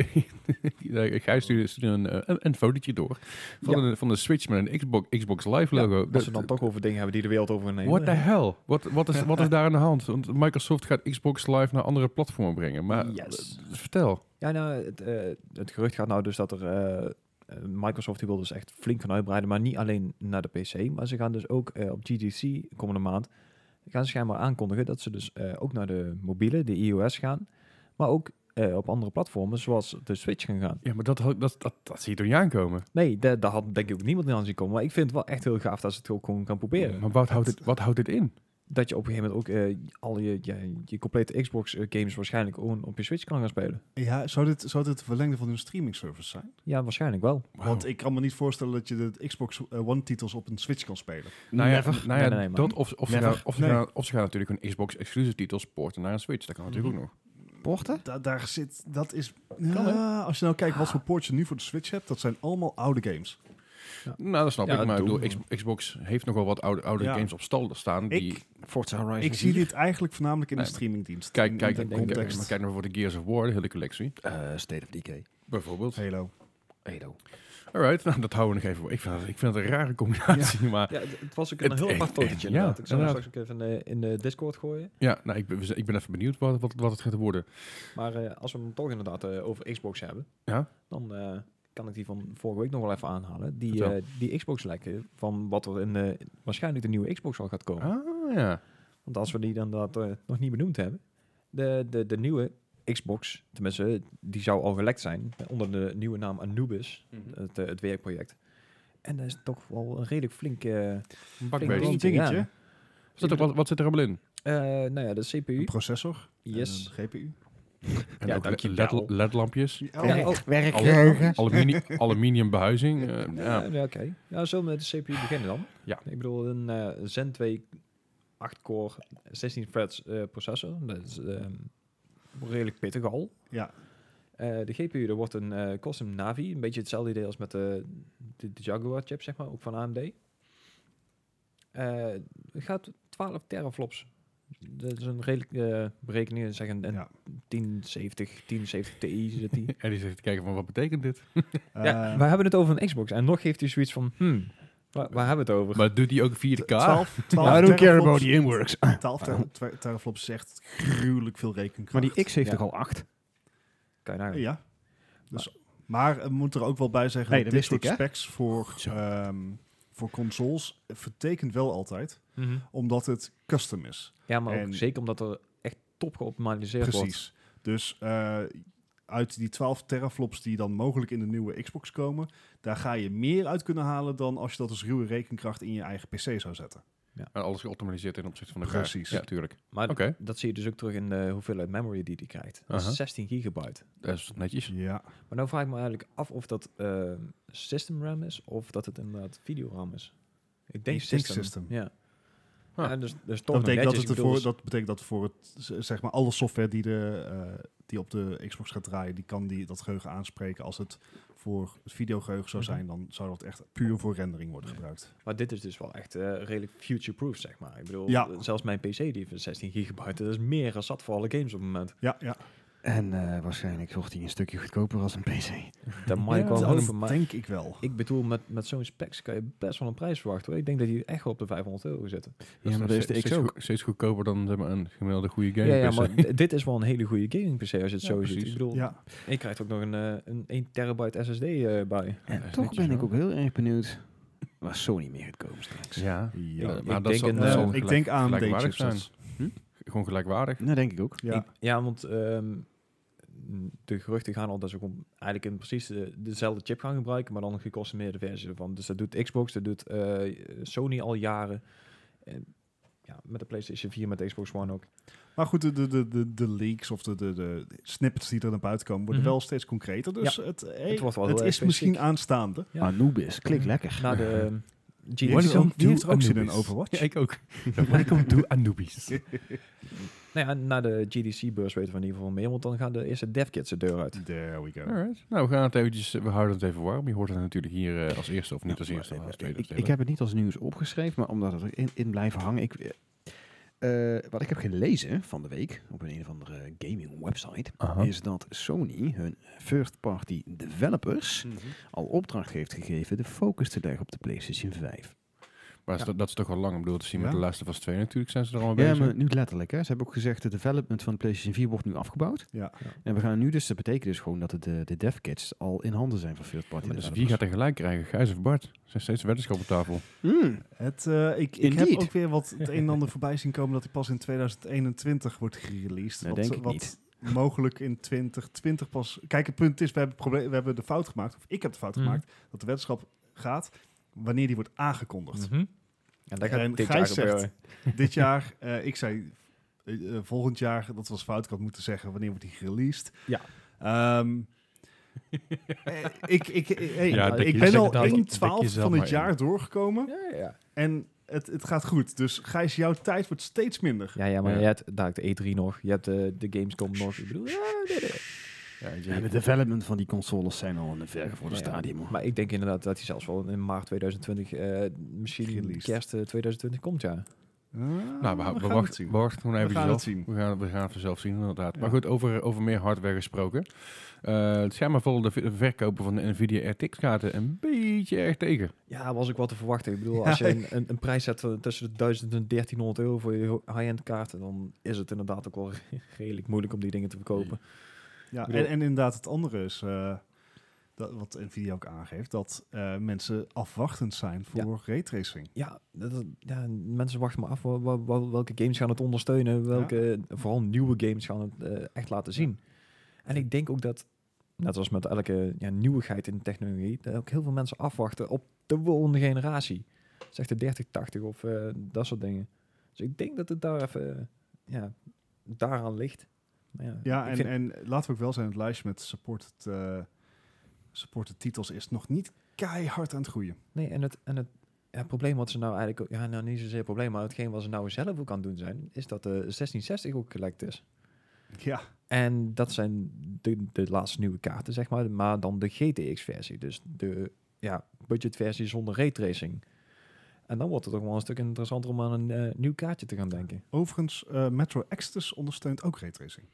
Speaker 1: eh, Gijs stuurde stuurde een, eh, een, een fotootje door van,
Speaker 3: Ja.
Speaker 1: een, van een Switch met een Xbox, Xbox Live logo.
Speaker 3: Ja, dat ze dan toch over dingen hebben die de wereld overnemen.
Speaker 1: What the hell? Wat, wat, is, wat is daar aan de hand? Want Microsoft gaat Xbox Live naar andere platformen brengen. Maar
Speaker 3: Yes.
Speaker 1: eh, vertel.
Speaker 3: Ja, nou, het, eh, het gerucht gaat nou dus dat er... eh, eh, Microsoft die wil dus echt flink gaan uitbreiden, maar niet alleen naar de PC. Maar ze gaan dus ook eh, op GDC komende maand... gaan ze schijnbaar aankondigen dat ze dus eh, ook naar de mobiele, de iOS gaan. Maar ook eh, op andere platformen, zoals de Switch gaan gaan.
Speaker 1: Ja, maar dat, had- dat, dat, dat zie je toch niet aankomen?
Speaker 3: Nee, daar daar had denk ik ook niemand aan zien komen. Maar ik vind het wel echt heel gaaf dat ze het ook gewoon kan proberen.
Speaker 1: Maar wat houdt, dit, wat houdt dit in?
Speaker 3: dat je op een gegeven moment ook eh, al je, je, je complete Xbox eh, games waarschijnlijk gewoon op je Switch kan gaan spelen.
Speaker 2: Ja, zou dit, zou dit het verlengde van hun streaming service zijn?
Speaker 3: Ja, waarschijnlijk wel.
Speaker 1: Wauw.
Speaker 2: Want ik kan me niet voorstellen dat je de Xbox eh, One titels op een Switch kan spelen.
Speaker 1: Nou ja,
Speaker 4: Never.
Speaker 1: nou ja
Speaker 3: Nee, nee, nee,
Speaker 1: dat of, of, ze
Speaker 4: Never.
Speaker 1: gaan, of, ze
Speaker 2: Nee. Mhm.
Speaker 1: gaan, of ze gaan natuurlijk een Xbox exclusive titels porten naar een Switch. Dat kan natuurlijk ook nog.
Speaker 4: porten?
Speaker 2: Da- daar zit, dat is, Ja, als je nou kijkt wat voor ports je nu voor de Switch hebt, dat zijn allemaal oude games.
Speaker 1: Nou, dat snap
Speaker 3: Ja,
Speaker 1: ik. Maar ik
Speaker 3: doe.
Speaker 1: bedoel, X- Xbox heeft nogal wat oude, oude
Speaker 2: Ja.
Speaker 1: games op stal staan. Die,
Speaker 2: Ik,
Speaker 4: Forza Horizon
Speaker 2: ik zie
Speaker 4: 4,
Speaker 2: dit eigenlijk voornamelijk in de
Speaker 1: Nee, maar-
Speaker 2: streamingdienst.
Speaker 1: kijk,
Speaker 2: In-
Speaker 1: kijk,
Speaker 2: in de
Speaker 1: kijk, kijk, maar
Speaker 2: context.
Speaker 1: kijk nou voor de Gears of War, de hele collectie.
Speaker 4: eh, State of Decay.
Speaker 1: Bijvoorbeeld.
Speaker 2: Halo.
Speaker 4: Edo.
Speaker 1: Alright, nou, dat houden we nog even. voor. Ik vind, dat- ik vind dat een rare combinatie, maar...
Speaker 3: Ja, d- het was ook
Speaker 1: Het
Speaker 3: een heel
Speaker 1: echt-
Speaker 3: apart fotootje
Speaker 1: ja,
Speaker 3: inderdaad. ik zal hem
Speaker 1: inderdaad.
Speaker 3: straks ook even eh, in de, in de Discord gooien.
Speaker 1: Ja, nou, ik, ben, we zijn- ik ben even benieuwd wat, wat, wat het gaat worden.
Speaker 3: Maar eh, als we hem toch inderdaad eh, over Xbox hebben,
Speaker 1: Ja.
Speaker 3: dan eh, kan ik die van vorige week nog wel even aanhalen. Die,
Speaker 1: Vertel.
Speaker 3: eh die Xbox lekken van wat er in de, waarschijnlijk de nieuwe Xbox al gaat
Speaker 2: Oh.
Speaker 3: komen.
Speaker 1: Ah, ja.
Speaker 3: Want als we die dan dat eh, nog niet benoemd hebben, de, de, de nieuwe Xbox, tenminste, die zou al gelekt zijn eh, onder de nieuwe naam Anubis,
Speaker 4: Mhm.
Speaker 3: het, eh, het werkproject. En dat is toch wel een redelijk flink... eh,
Speaker 1: Een
Speaker 3: Flink
Speaker 1: bakbeest.
Speaker 2: Een
Speaker 3: Weet-
Speaker 2: dingetje.
Speaker 3: Ja.
Speaker 1: Zit er- wat, wat zit er allemaal in?
Speaker 3: eh, nou ja, de CPU.
Speaker 2: Een processor.
Speaker 3: Yes.
Speaker 2: En eh, een GPU.
Speaker 1: En
Speaker 3: Ja,
Speaker 1: ook le-
Speaker 3: dankjewel.
Speaker 1: LED, LED-lampjes.
Speaker 3: Ja, oh,
Speaker 4: Werkgeheugen.
Speaker 1: Aluminium, aluminium behuizing. eh,
Speaker 3: Ja,
Speaker 1: ja.
Speaker 3: ja, oké. Ja, zullen we met de CPU beginnen dan?
Speaker 1: Ja.
Speaker 3: Ik bedoel, een eh Zen 2 8-core 16 threads eh, processor. Dat is ehm, redelijk pittig al.
Speaker 2: Ja.
Speaker 3: Eh, de GPU, er wordt een eh, custom Navi. Een beetje hetzelfde idee als met de, de, de Jaguar chip, zeg maar, ook van AMD. Eh, het gaat 12 teraflops. Dat is een redelijk eh, berekening, zeg een, een
Speaker 2: Ja.
Speaker 3: 1070, 1070 Ti zit die.
Speaker 1: En die zegt te kijken van, wat betekent dit?
Speaker 3: Ja,
Speaker 2: Eh,
Speaker 3: we hebben het over een Xbox. En nog geeft hij zoiets van, hmm, waar, waar hebben we het over?
Speaker 1: Maar doet die ook 4K?
Speaker 2: 12, 12
Speaker 4: I don't care about
Speaker 2: teraflops-
Speaker 4: the inworks.
Speaker 2: 12 ter- ter- teraflops zegt gruwelijk veel rekenkracht.
Speaker 4: Maar die X heeft
Speaker 3: Ja.
Speaker 4: toch al 8?
Speaker 3: Kan je nagaan.
Speaker 2: Ja. Dus, maar eh, moet er ook wel bij zeggen,
Speaker 4: Nee,
Speaker 2: dat
Speaker 4: dat
Speaker 2: dit
Speaker 4: wist
Speaker 2: soort
Speaker 4: ik, hè?
Speaker 2: specs voor, ehm, voor consoles vertekent wel altijd,
Speaker 1: Mhm.
Speaker 2: omdat het custom is.
Speaker 3: Ja, maar ook
Speaker 2: En-
Speaker 3: zeker omdat er echt top geoptimaliseerd wordt.
Speaker 2: Precies. Dus eh, uit die 12 teraflops die dan mogelijk in de nieuwe Xbox komen, daar ga je meer uit kunnen halen dan als je dat als ruwe rekenkracht in je eigen PC zou zetten.
Speaker 1: En alles geoptimaliseerd in opzicht van de
Speaker 2: Precies.
Speaker 1: Ja, tuurlijk.
Speaker 3: Maar
Speaker 1: Oké,
Speaker 3: dat zie je dus ook terug in de hoeveelheid memory die die krijgt. Dat is
Speaker 1: Aha.
Speaker 3: 16 gigabyte.
Speaker 1: dat is netjes.
Speaker 2: Ja.
Speaker 3: Maar nou vraag ik me eigenlijk af of dat eh, system RAM is of dat het inderdaad videoram is. Ik denk
Speaker 2: Ik denk
Speaker 3: system.
Speaker 2: system.
Speaker 3: Ja.
Speaker 1: Ah.
Speaker 3: Ja, dus, dus toch
Speaker 2: Dat
Speaker 3: nog
Speaker 2: betekent dat, het
Speaker 3: netjes. Ik
Speaker 2: ervoor-
Speaker 3: bedoel, dus-
Speaker 2: dat betekent dat voor het, z- zeg maar, alle software die, de, eh, die op de Xbox gaat draaien, die kan die, dat geheugen aanspreken. Als het voor het videogeheugen zou
Speaker 3: Mhm.
Speaker 2: zijn, dan zou dat echt puur voor rendering worden gebruikt.
Speaker 3: Maar dit is dus wel echt eh, redelijk future-proof, zeg maar. Ik bedoel,
Speaker 2: Ja.
Speaker 3: zelfs mijn PC die heeft 16 gigabyte. Dat is meer dan zat voor alle games op het moment.
Speaker 2: Ja, ja.
Speaker 4: En eh, waarschijnlijk wordt hij een stukje goedkoper als een PC.
Speaker 3: Dat mag ik
Speaker 2: dat
Speaker 3: wel hopen, maar
Speaker 2: denk ik wel.
Speaker 3: ik bedoel, met, met zo'n specs kan je best wel een prijs verwachten. hoor. Ik denk dat die echt wel op de 500 euro zitten.
Speaker 4: Ja, maar Dus dat is de
Speaker 1: steeds,
Speaker 4: X ook.
Speaker 1: goe- steeds goedkoper dan zeg maar, een gemiddelde goede
Speaker 3: Ja,
Speaker 1: game.
Speaker 3: ja,
Speaker 1: PC.
Speaker 3: maar d- dit is wel een hele goede gaming PC als je het
Speaker 1: Ja,
Speaker 3: zo ziet.
Speaker 1: precies.
Speaker 3: Ik bedoel,
Speaker 2: Ja,
Speaker 3: je krijgt ook nog een, eh, een 1 terabyte SSD eh, bij.
Speaker 1: dat
Speaker 4: En
Speaker 1: is
Speaker 4: toch
Speaker 1: netjes,
Speaker 4: ben ik
Speaker 1: hoor.
Speaker 4: ook heel erg benieuwd waar Sony meer gaat komen straks.
Speaker 1: Ja.
Speaker 2: ja.
Speaker 1: Eh,
Speaker 3: ik
Speaker 1: maar dat
Speaker 3: denk
Speaker 1: zal-
Speaker 3: een,
Speaker 1: dat
Speaker 3: eh,
Speaker 1: zal
Speaker 3: ik
Speaker 2: ik
Speaker 1: gelijk-
Speaker 2: denk aan
Speaker 1: gelijkwaardig zijn. Hm?
Speaker 2: chips.
Speaker 1: Gewoon gelijkwaardig.
Speaker 4: Dat denk ik ook.
Speaker 2: Ja.
Speaker 3: Ik- ja, want ehm, de geruchten gaan al dat ze ook om- eigenlijk in precies de- dezelfde chip gaan gebruiken, maar dan een gecustomiseerde versie ervan. Dus dat doet Xbox, dat doet eh, Sony al jaren. En, ja, met de PlayStation 4, met de Xbox One ook.
Speaker 2: Maar goed, de, de, de, de, de leaks of de, de, de snippets die er naar buiten komen, worden
Speaker 3: Mhm.
Speaker 2: wel steeds concreter. Dus het, eh,
Speaker 3: Het wordt wel
Speaker 2: het
Speaker 3: heel erg
Speaker 2: is misschien
Speaker 3: specifiek.
Speaker 2: aanstaande.
Speaker 3: Ja.
Speaker 4: Anubis, klinkt lekker.
Speaker 1: Nou,
Speaker 3: Na de ehm,
Speaker 2: Die
Speaker 3: GDC.
Speaker 2: heeft er ook, die
Speaker 1: do
Speaker 2: heeft er ook zin in
Speaker 1: Anubis.
Speaker 2: Overwatch.
Speaker 1: ik ook. Welcome to Anubis.
Speaker 3: Nou ja, na de GDC-beurs weten we in ieder geval meer, want dan gaan de eerste devkits de deur uit.
Speaker 2: There we go.
Speaker 1: Alright. Nou, we gaan het eventjes, we houden het even warm. Je hoort het natuurlijk hier eh, als eerste, of niet als eerste, maar als tweede.
Speaker 4: ik,
Speaker 1: tweede.
Speaker 4: ik heb het niet als nieuws opgeschreven, maar omdat het erin in blijft hangen. Ik, eh, eh, wat ik heb gelezen van de week op een, een of andere gaming website,
Speaker 1: Aha.
Speaker 4: is dat Sony hun first-party
Speaker 3: Hm.
Speaker 4: developers
Speaker 3: Mhm.
Speaker 4: al opdracht heeft gegeven de focus te leggen op de PlayStation 5.
Speaker 1: Maar is dat, dat is toch al lang. Ik bedoel, te zien met
Speaker 2: Ja.
Speaker 1: de laatste van twee natuurlijk zijn ze er allemaal
Speaker 4: Ja,
Speaker 1: bezig.
Speaker 4: maar nu letterlijk. Hè. Ze hebben ook gezegd, de development van de PlayStation 4 wordt nu afgebouwd.
Speaker 2: Ja.
Speaker 3: Ja.
Speaker 4: En we gaan nu dus, dat betekent dus gewoon dat de, de, de dev kits al in handen zijn van first-party
Speaker 1: dus
Speaker 4: developers.
Speaker 1: wie gaat er gelijk krijgen? Gijs of Bart? Er zijn steeds weddenschappen op tafel.
Speaker 4: Hmm.
Speaker 2: Het, eh, ik ik heb
Speaker 4: Indeed.
Speaker 2: ook weer wat het een en ander voorbij zien komen dat hij pas in 2021 wordt gereleased.
Speaker 4: Nou,
Speaker 2: wat
Speaker 4: denk ik
Speaker 2: wat
Speaker 4: niet.
Speaker 2: mogelijk in 2020 pas... Kijk, het punt is, we hebben, het probleem- we hebben de fout gemaakt, of ik heb de fout
Speaker 3: Mhm.
Speaker 2: gemaakt, dat de wetenschap gaat wanneer die wordt aangekondigd.
Speaker 3: Mhm.
Speaker 1: Mhm.
Speaker 3: En daar gaat
Speaker 2: En
Speaker 3: dit jaar
Speaker 2: Gijs zegt-
Speaker 3: gebeuren.
Speaker 2: Dit jaar, eh, ik zei eh, eh, volgend jaar, dat was fout, ik had moeten zeggen wanneer wordt die gereleased.
Speaker 3: Ja.
Speaker 2: Ehm, eh, ik ik, eh, hey,
Speaker 1: Ja,
Speaker 2: ik
Speaker 1: dik je-
Speaker 2: ben
Speaker 1: zeg
Speaker 2: al
Speaker 1: het al, dik
Speaker 2: 1 twaalf
Speaker 1: jezelf
Speaker 2: van het
Speaker 1: maar in.
Speaker 2: jaar doorgekomen.
Speaker 3: Ja, ja.
Speaker 2: En eh, het, het gaat goed. Dus Gijs, jouw tijd wordt steeds minder.
Speaker 3: Ja, ja, maar
Speaker 1: Ja.
Speaker 3: je hebt daar de E3 nog, je hebt eh, de Gamescom nog. Ik bedoel, ja, nee, nee.
Speaker 1: Ja, je-
Speaker 4: de development van die consoles zijn al in een vergevorderd
Speaker 3: Ja,
Speaker 4: stadium. hoor.
Speaker 3: Maar ik denk inderdaad dat hij zelfs wel in maart 2020, eh, misschien
Speaker 2: Released.
Speaker 3: kerst eh, 2020 komt, ja.
Speaker 1: Nou, we,
Speaker 2: gaan
Speaker 1: we,
Speaker 2: het
Speaker 1: wachten,
Speaker 2: zien.
Speaker 1: we wachten gewoon
Speaker 2: We
Speaker 1: even
Speaker 2: gaan
Speaker 1: zelf.
Speaker 2: het zien.
Speaker 1: We gaan, we gaan het vanzelf zien, inderdaad.
Speaker 2: Ja.
Speaker 1: Maar goed, over, over meer hardware gesproken. Eh schijnbaar vallen de v- verkopen van de NVIDIA RTX-kaarten een beetje erg tegen.
Speaker 3: Ja, was ook wat te verwachten. Ik bedoel, als je een, een, een prijs zet van tussen de 1000 en 1300 euro voor je ho- high-end kaarten, dan is het inderdaad ook wel re- redelijk moeilijk om die dingen te verkopen.
Speaker 2: Ja,
Speaker 3: bedoel-
Speaker 2: en, en inderdaad, het andere is, eh, dat, wat Nvidia ook aangeeft, dat eh, mensen afwachtend zijn voor raytracing.
Speaker 3: Ja, dat, is- ja mensen wachten maar af wel- wel- wel- welke games gaan het ondersteunen, welke, vooral nieuwe games gaan het eh, echt laten zien. En ik denk ook dat, net als met elke ja, nieuwigheid in de technologie, dat ook heel veel mensen afwachten op de volgende generatie. Zeg de 3080 of eh, dat soort dingen. Dus ik denk dat het daar even, eh, ja, daaraan ligt. Maar ja,
Speaker 2: Ja,
Speaker 3: ik
Speaker 2: en,
Speaker 3: vind-
Speaker 2: en laten we ook wel zijn, het lijstje met supported, eh, supported titels is nog niet keihard aan het groeien.
Speaker 3: Nee, en het, en het ja, probleem wat ze nou eigenlijk... ook- Ja, nou niet zozeer het probleem, maar hetgeen wat ze nou zelf ook aan het doen zijn... is dat de 1660 ook gelekt is.
Speaker 2: Ja,
Speaker 3: En dat zijn de, de laatste nieuwe kaarten, zeg maar. Maar dan de GTX-versie. Dus de ja, budgetversie zonder raytracing. En dan wordt het ook wel een stuk interessanter om aan een eh, nieuw kaartje te gaan denken.
Speaker 2: overigens, eh, Metro Exodus ondersteunt ook raytracing.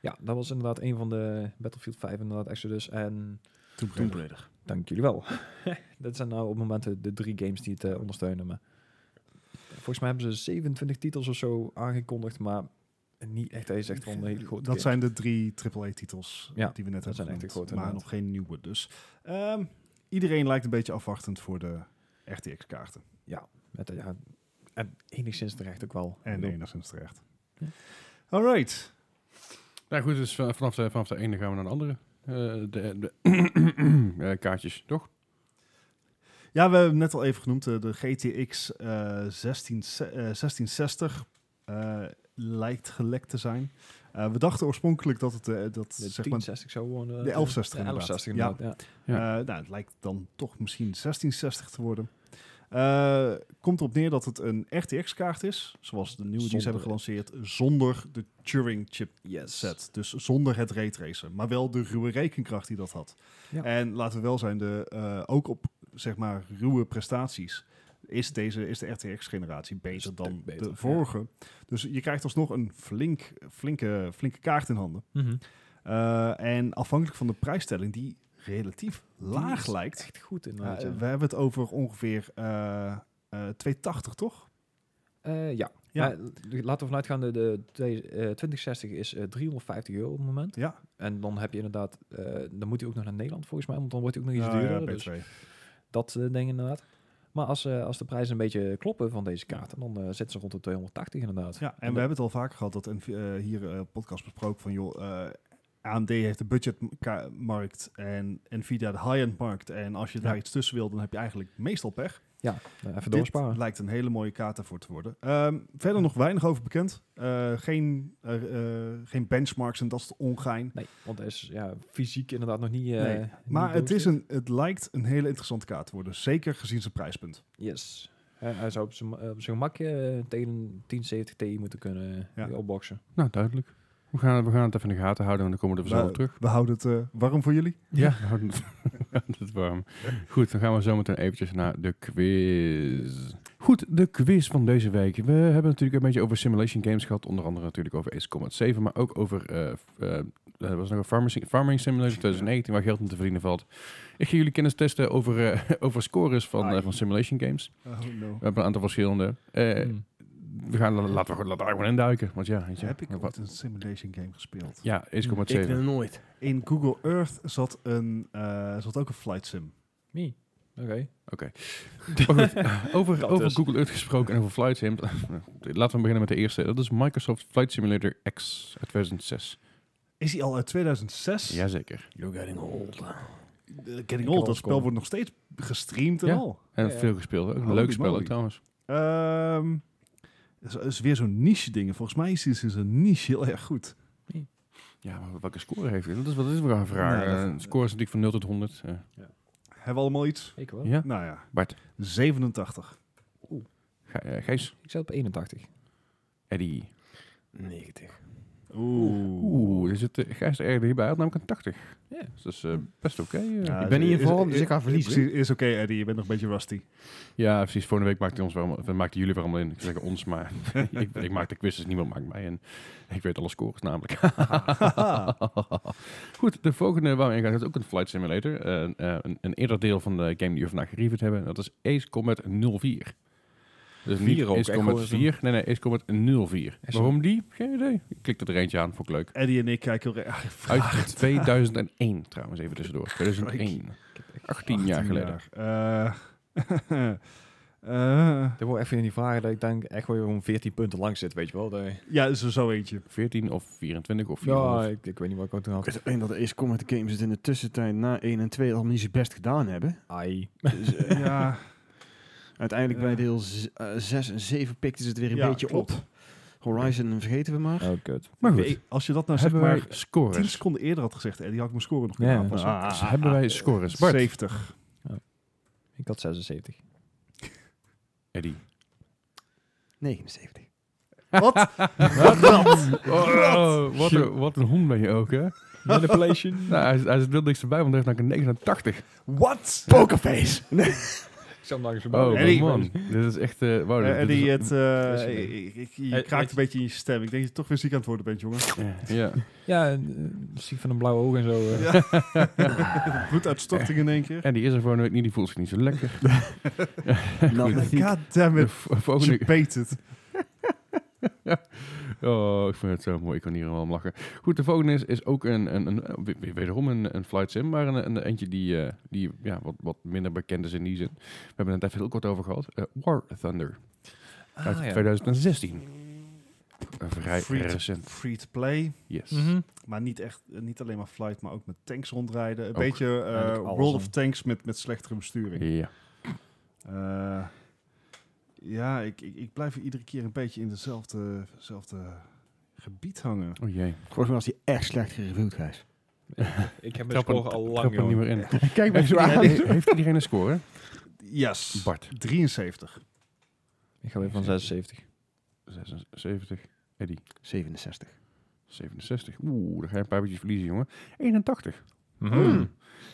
Speaker 3: Ja, dat was inderdaad een van de Battlefield 5, inderdaad, Exodus. En
Speaker 2: Tomb
Speaker 4: Tomb
Speaker 2: Raider.
Speaker 4: Raider.
Speaker 3: dank jullie wel. dat zijn nou op het moment de, de drie games die het eh, ondersteunen. Maar volgens mij hebben ze 27 titels of zo aangekondigd, maar niet echt. Hij is echt wel een hele grote
Speaker 2: Dat
Speaker 3: game.
Speaker 2: zijn de drie AAA-titels
Speaker 3: Ja,
Speaker 2: die we net
Speaker 3: dat
Speaker 2: hebben
Speaker 3: zijn echt de
Speaker 2: genoemd,
Speaker 3: grote,
Speaker 2: maar nog
Speaker 3: inderdaad.
Speaker 2: geen nieuwe dus. Ehm, iedereen lijkt een beetje afwachtend voor de RTX-kaarten.
Speaker 3: Met, eh, ja, en enigszins terecht ook wel. Ik
Speaker 2: En
Speaker 3: bedoel,
Speaker 2: enigszins terecht.
Speaker 3: Ja.
Speaker 2: All right.
Speaker 1: Nou goed, dus van- vanaf de, vanaf de ene gaan we naar de andere. Eh, de de eh, kaartjes, toch?
Speaker 2: Ja, we hebben hem net al even genoemd. eh, De GTX eh 16, eh, 1660 eh, lijkt gelekt te zijn. Eh, we dachten oorspronkelijk dat het... eh, dat,
Speaker 3: De
Speaker 2: zeg maar,
Speaker 3: 1060 zo gewoon. eh,
Speaker 2: de 1160
Speaker 3: de 1160
Speaker 2: inderdaad.
Speaker 3: inderdaad, ja.
Speaker 1: Ja.
Speaker 2: Eh, nou, het lijkt dan toch misschien 1660 te worden. Eh, komt erop neer dat het een RTX-kaart is, zoals de nieuwe die ze
Speaker 3: Zonder-
Speaker 2: hebben gelanceerd, zonder de Turing-chip
Speaker 3: Yes.
Speaker 2: set. Dus zonder het raytracen, maar wel de ruwe rekenkracht die dat had.
Speaker 3: Ja.
Speaker 2: En laten we wel zijn, de, eh, ook op zeg maar ruwe prestaties is, deze, is de RTX-generatie beter
Speaker 3: Stuk
Speaker 2: dan
Speaker 3: beter, ja.
Speaker 2: de vorige. Dus je krijgt alsnog een flink, flinke, flinke kaart in handen.
Speaker 3: Mhm.
Speaker 2: Eh, en afhankelijk van de prijsstelling, die relatief laag
Speaker 3: Die is
Speaker 2: lijkt.
Speaker 3: Echt goed
Speaker 2: Ja,
Speaker 3: inderdaad.
Speaker 2: Eh, we
Speaker 3: ja.
Speaker 2: hebben het over ongeveer eh, eh, 280, toch?
Speaker 3: Eh, ja.
Speaker 2: Ja.
Speaker 3: Maar, eh, laten we vanuit gaan, de, de, twee- eh, 2060 is eh, 350 euro op het moment.
Speaker 2: Ja.
Speaker 3: En dan heb je inderdaad, eh, dan moet hij ook nog naar Nederland volgens mij, want dan wordt hij ook nog iets
Speaker 2: Ah,
Speaker 3: duurder.
Speaker 2: ja,
Speaker 3: dus
Speaker 2: B2.
Speaker 3: dat eh, denk ik inderdaad. Maar als, eh, als de prijzen een beetje kloppen van deze kaarten, dan eh zitten ze rond de 280 inderdaad.
Speaker 2: Ja, en we hebben het al vaker gehad dat NV- eh, hier eh, podcast besproken van joh, eh, AMD heeft de budgetmarkt en Nvidia de high-end markt. En als je daar
Speaker 3: Ja.
Speaker 2: iets tussen wil, dan heb je eigenlijk meestal pech.
Speaker 3: Ja, eh, even
Speaker 2: Dit
Speaker 3: doorsparen.
Speaker 2: lijkt een hele mooie kaart daarvoor te worden. Ehm, verder nog weinig over bekend. Eh, geen, eh, eh, geen benchmarks en dat is de ongein.
Speaker 3: Nee, want hij is ja, fysiek inderdaad nog niet... eh,
Speaker 2: Nee,
Speaker 3: niet
Speaker 2: Maar het, is
Speaker 3: doorgezet.
Speaker 2: een, het lijkt een hele interessante kaart te worden. Zeker gezien zijn prijspunt.
Speaker 3: Yes. Hij- hij zou op zijn op zijn gemak eh, tegen een 1070 Ti moeten kunnen
Speaker 2: Ja.
Speaker 3: eh, opboksen.
Speaker 1: Nou, duidelijk. We gaan, we gaan het even in de gaten houden en dan komen we er vanzelf op
Speaker 2: we,
Speaker 1: terug.
Speaker 2: we houden het eh, warm voor jullie.
Speaker 1: Ja, we houden het- we houden het warm. Goed, dan gaan we zo meteen eventjes naar de quiz. Goed, de quiz van deze week. We hebben natuurlijk een beetje over simulation games gehad. Onder andere natuurlijk over Ace Combat 7, maar ook over eh, f- eh, er was nog een farming, farming Simulator 2019 waar geld om te verdienen valt. Ik ga jullie kennis testen over, eh, over scores van, eh, van simulation games.
Speaker 2: Oh no.
Speaker 1: We hebben een aantal verschillende. Eh,
Speaker 3: Hmm.
Speaker 1: we gaan, laten, we, laten we daar gewoon in duiken. Want ja, weet je,
Speaker 2: Heb ik
Speaker 1: wat-
Speaker 2: ooit een simulation game gespeeld?
Speaker 1: Ja, Ace Combat
Speaker 4: Ik
Speaker 1: 7.
Speaker 4: ben nooit.
Speaker 2: In Google Earth zat, een, eh, zat ook een flight sim.
Speaker 3: Me. Oké.
Speaker 1: Maar goed, over,
Speaker 3: Dat
Speaker 1: over
Speaker 3: dus.
Speaker 1: Google Earth gesproken en over Flight Sim. Laten we beginnen met de eerste. Dat is Microsoft Flight Simulator X uit 2006.
Speaker 2: Is die al uit 2006?
Speaker 1: Jazeker.
Speaker 4: You're getting old.
Speaker 2: Eh,
Speaker 3: heb
Speaker 2: Getting
Speaker 3: al
Speaker 2: old, dat spel
Speaker 3: gescoord.
Speaker 2: wordt nog steeds gestreamd en
Speaker 1: Ja.
Speaker 2: al.
Speaker 1: En
Speaker 3: Ja, ja.
Speaker 1: veel gespeeld. Ook een
Speaker 2: Holy
Speaker 1: leuk spel
Speaker 2: moly.
Speaker 1: ook trouwens.
Speaker 2: Ehm, is, is weer zo'n niche ding. Volgens mij is, is een niche heel erg goed.
Speaker 1: Ja, maar welke score heeft hij? Dat is wat is we gaan vragen.
Speaker 2: Nou, dat-
Speaker 1: Eh, score is natuurlijk van 0 tot 100. Eh,
Speaker 2: Hebben we allemaal iets?
Speaker 3: Ik wel.
Speaker 1: ja?
Speaker 2: Nou ja.
Speaker 1: Bart.
Speaker 2: 87.
Speaker 1: Gij- eh, Gijs,
Speaker 3: Ik zat op 81.
Speaker 1: Eddie.
Speaker 4: 90.
Speaker 2: Oeh.
Speaker 1: Oeh, er zit eh, Gijs er erg bij. Hij had namelijk een 80.
Speaker 3: Ja.
Speaker 1: Dus dat is eh, best oké. eh.
Speaker 2: Ja,
Speaker 1: ja.
Speaker 4: ik ben niet in
Speaker 2: is-
Speaker 4: vorm,
Speaker 2: is-
Speaker 4: dus ik ga
Speaker 2: is-
Speaker 4: verliezen.
Speaker 2: Precies, is oké, Eddie. Je bent nog een beetje rusty.
Speaker 1: precies. Vorige week maakten, ons weer allemaal, of, maakten jullie weer allemaal in. Ik zeg ons, maar ik, ik maak de quiz, dus niemand maakt mij. En ik weet alle scores namelijk. Goed, de volgende waar we in gaan, dat is ook een flight simulator. Eh, eh, een, een eerder deel van de game die we vandaag gereviewd hebben. En dat is Ace Combat 04. Dus niet
Speaker 3: Vier ook,
Speaker 1: Ace
Speaker 3: echt
Speaker 1: Combat
Speaker 3: gewoon zo'n-
Speaker 1: 4. Nee, nee, Ace Combat 04.
Speaker 3: Is-
Speaker 1: Waarom die? Geen idee. Ik klik er eentje aan, vond ik leuk.
Speaker 2: Eddie en ik kijken heel erg.
Speaker 1: Uit 2001 trouwens, even tussendoor. 2001. 18 jaar
Speaker 2: 18
Speaker 1: geleden.
Speaker 2: jaar. Eh, eh,
Speaker 3: Er wordt even in die vragen dat ik denk echt wel om 14 punten lang zit, weet je wel. Dat,
Speaker 2: ja, is er zo eentje.
Speaker 1: 14 of 24 of 4.
Speaker 3: ja, ik, ik weet niet wat ik ook toen
Speaker 4: Ik
Speaker 3: had.
Speaker 4: weet alleen dat de Ace Combat Games het in de tussentijd na 1 en 2 allemaal niet zo best gedaan hebben.
Speaker 3: Ai.
Speaker 4: Dus, eh,
Speaker 2: ja,
Speaker 4: uiteindelijk bij
Speaker 2: Ja.
Speaker 4: deel 6 en 7 pikten ze het weer een
Speaker 2: Ja,
Speaker 4: beetje
Speaker 2: klopt.
Speaker 4: op. Horizon vergeten we maar.
Speaker 3: Oh, kut.
Speaker 2: maar
Speaker 1: goed.
Speaker 2: goed. Als je dat nou zeg
Speaker 1: hebben
Speaker 2: maar
Speaker 1: wij scores?
Speaker 2: 10 seconden eerder had gezegd, Eddie, had ik mijn score nog Ah, kunnen
Speaker 3: Ja,
Speaker 2: aanpassen.
Speaker 3: nou,
Speaker 4: Ah,
Speaker 1: Dus hebben wij scores? Bart,
Speaker 2: 70.
Speaker 3: Ik had 76.
Speaker 1: Eddie.
Speaker 4: ah. 79.
Speaker 2: Wat?
Speaker 1: Oh, wat, een, wat een hond ben je ook, hè?
Speaker 3: Manipulation.
Speaker 1: Nou, hij, hij wilde niks erbij, want hij heeft namelijk een 89.
Speaker 2: Wat?
Speaker 4: Pokerface! Nee.
Speaker 3: Ik zal hem langs
Speaker 1: Oh,
Speaker 3: voorbij.
Speaker 1: wat
Speaker 2: Eddie.
Speaker 1: man. Dit is echt... eh wow, dit-
Speaker 2: Eh,
Speaker 1: dit
Speaker 2: Eddie,
Speaker 1: is-
Speaker 2: het, eh,
Speaker 3: is mee.
Speaker 2: ik- ik- je
Speaker 3: Eh,
Speaker 2: kraakt
Speaker 3: weet-
Speaker 2: een beetje in je stem. Ik denk dat je toch weer ziek aan het worden bent, jongen.
Speaker 1: Ja.
Speaker 3: Ja, en, eh, ziek van een blauwe oog en zo. eh.
Speaker 2: Bloeduitstorting in één keer.
Speaker 1: En die is er volgende week niet, die voelt zich niet zo lekker.
Speaker 4: Nou,
Speaker 1: Goed.
Speaker 4: die-
Speaker 2: God damn
Speaker 1: De
Speaker 2: it.
Speaker 1: vo- volgende,
Speaker 2: Je beet het.
Speaker 1: Oh, ik vind het zo mooi. Ik kan hier al om lachen. Goed, de volgende is, is ook een, een, een- eh, we- wederom een, een flight sim, maar een, een eentje die, eh, die ja, wat, wat minder bekend is in die zin. We hebben het net even heel kort over gehad. Eh, War Thunder uit
Speaker 3: Ah, ja.
Speaker 1: 2016. Een vrij
Speaker 2: Free to-
Speaker 1: recent.
Speaker 2: Free to play.
Speaker 1: Yes.
Speaker 3: Mhm.
Speaker 2: Maar niet, echt, niet alleen maar flight, maar ook met tanks rondrijden. Een
Speaker 1: Ook
Speaker 2: beetje eh,
Speaker 3: eigenlijk alles
Speaker 2: World of
Speaker 3: om.
Speaker 2: Tanks met, met slechtere besturing.
Speaker 1: Ja.
Speaker 2: Eh, ja, ik, ik, ik blijf iedere keer een beetje in hetzelfde zelfde gebied hangen.
Speaker 1: Oh jee.
Speaker 4: Volgens mij was die echt slecht gereviewd, Gijs.
Speaker 3: Ik heb mijn
Speaker 1: Trap er-
Speaker 3: score al
Speaker 1: trap
Speaker 3: lang,
Speaker 1: er niet
Speaker 3: jongen.
Speaker 1: meer in.
Speaker 4: Kijk maar zo aan.
Speaker 1: Heeft, heeft iedereen een score?
Speaker 2: Yes.
Speaker 1: Bart.
Speaker 2: 73.
Speaker 3: Ik ga weer van 76.
Speaker 1: 76. Eddie.
Speaker 4: 67.
Speaker 1: 67. Oeh, daar ga je een paar beetje verliezen, jongen. 81.
Speaker 2: Hmm.
Speaker 3: Mhm.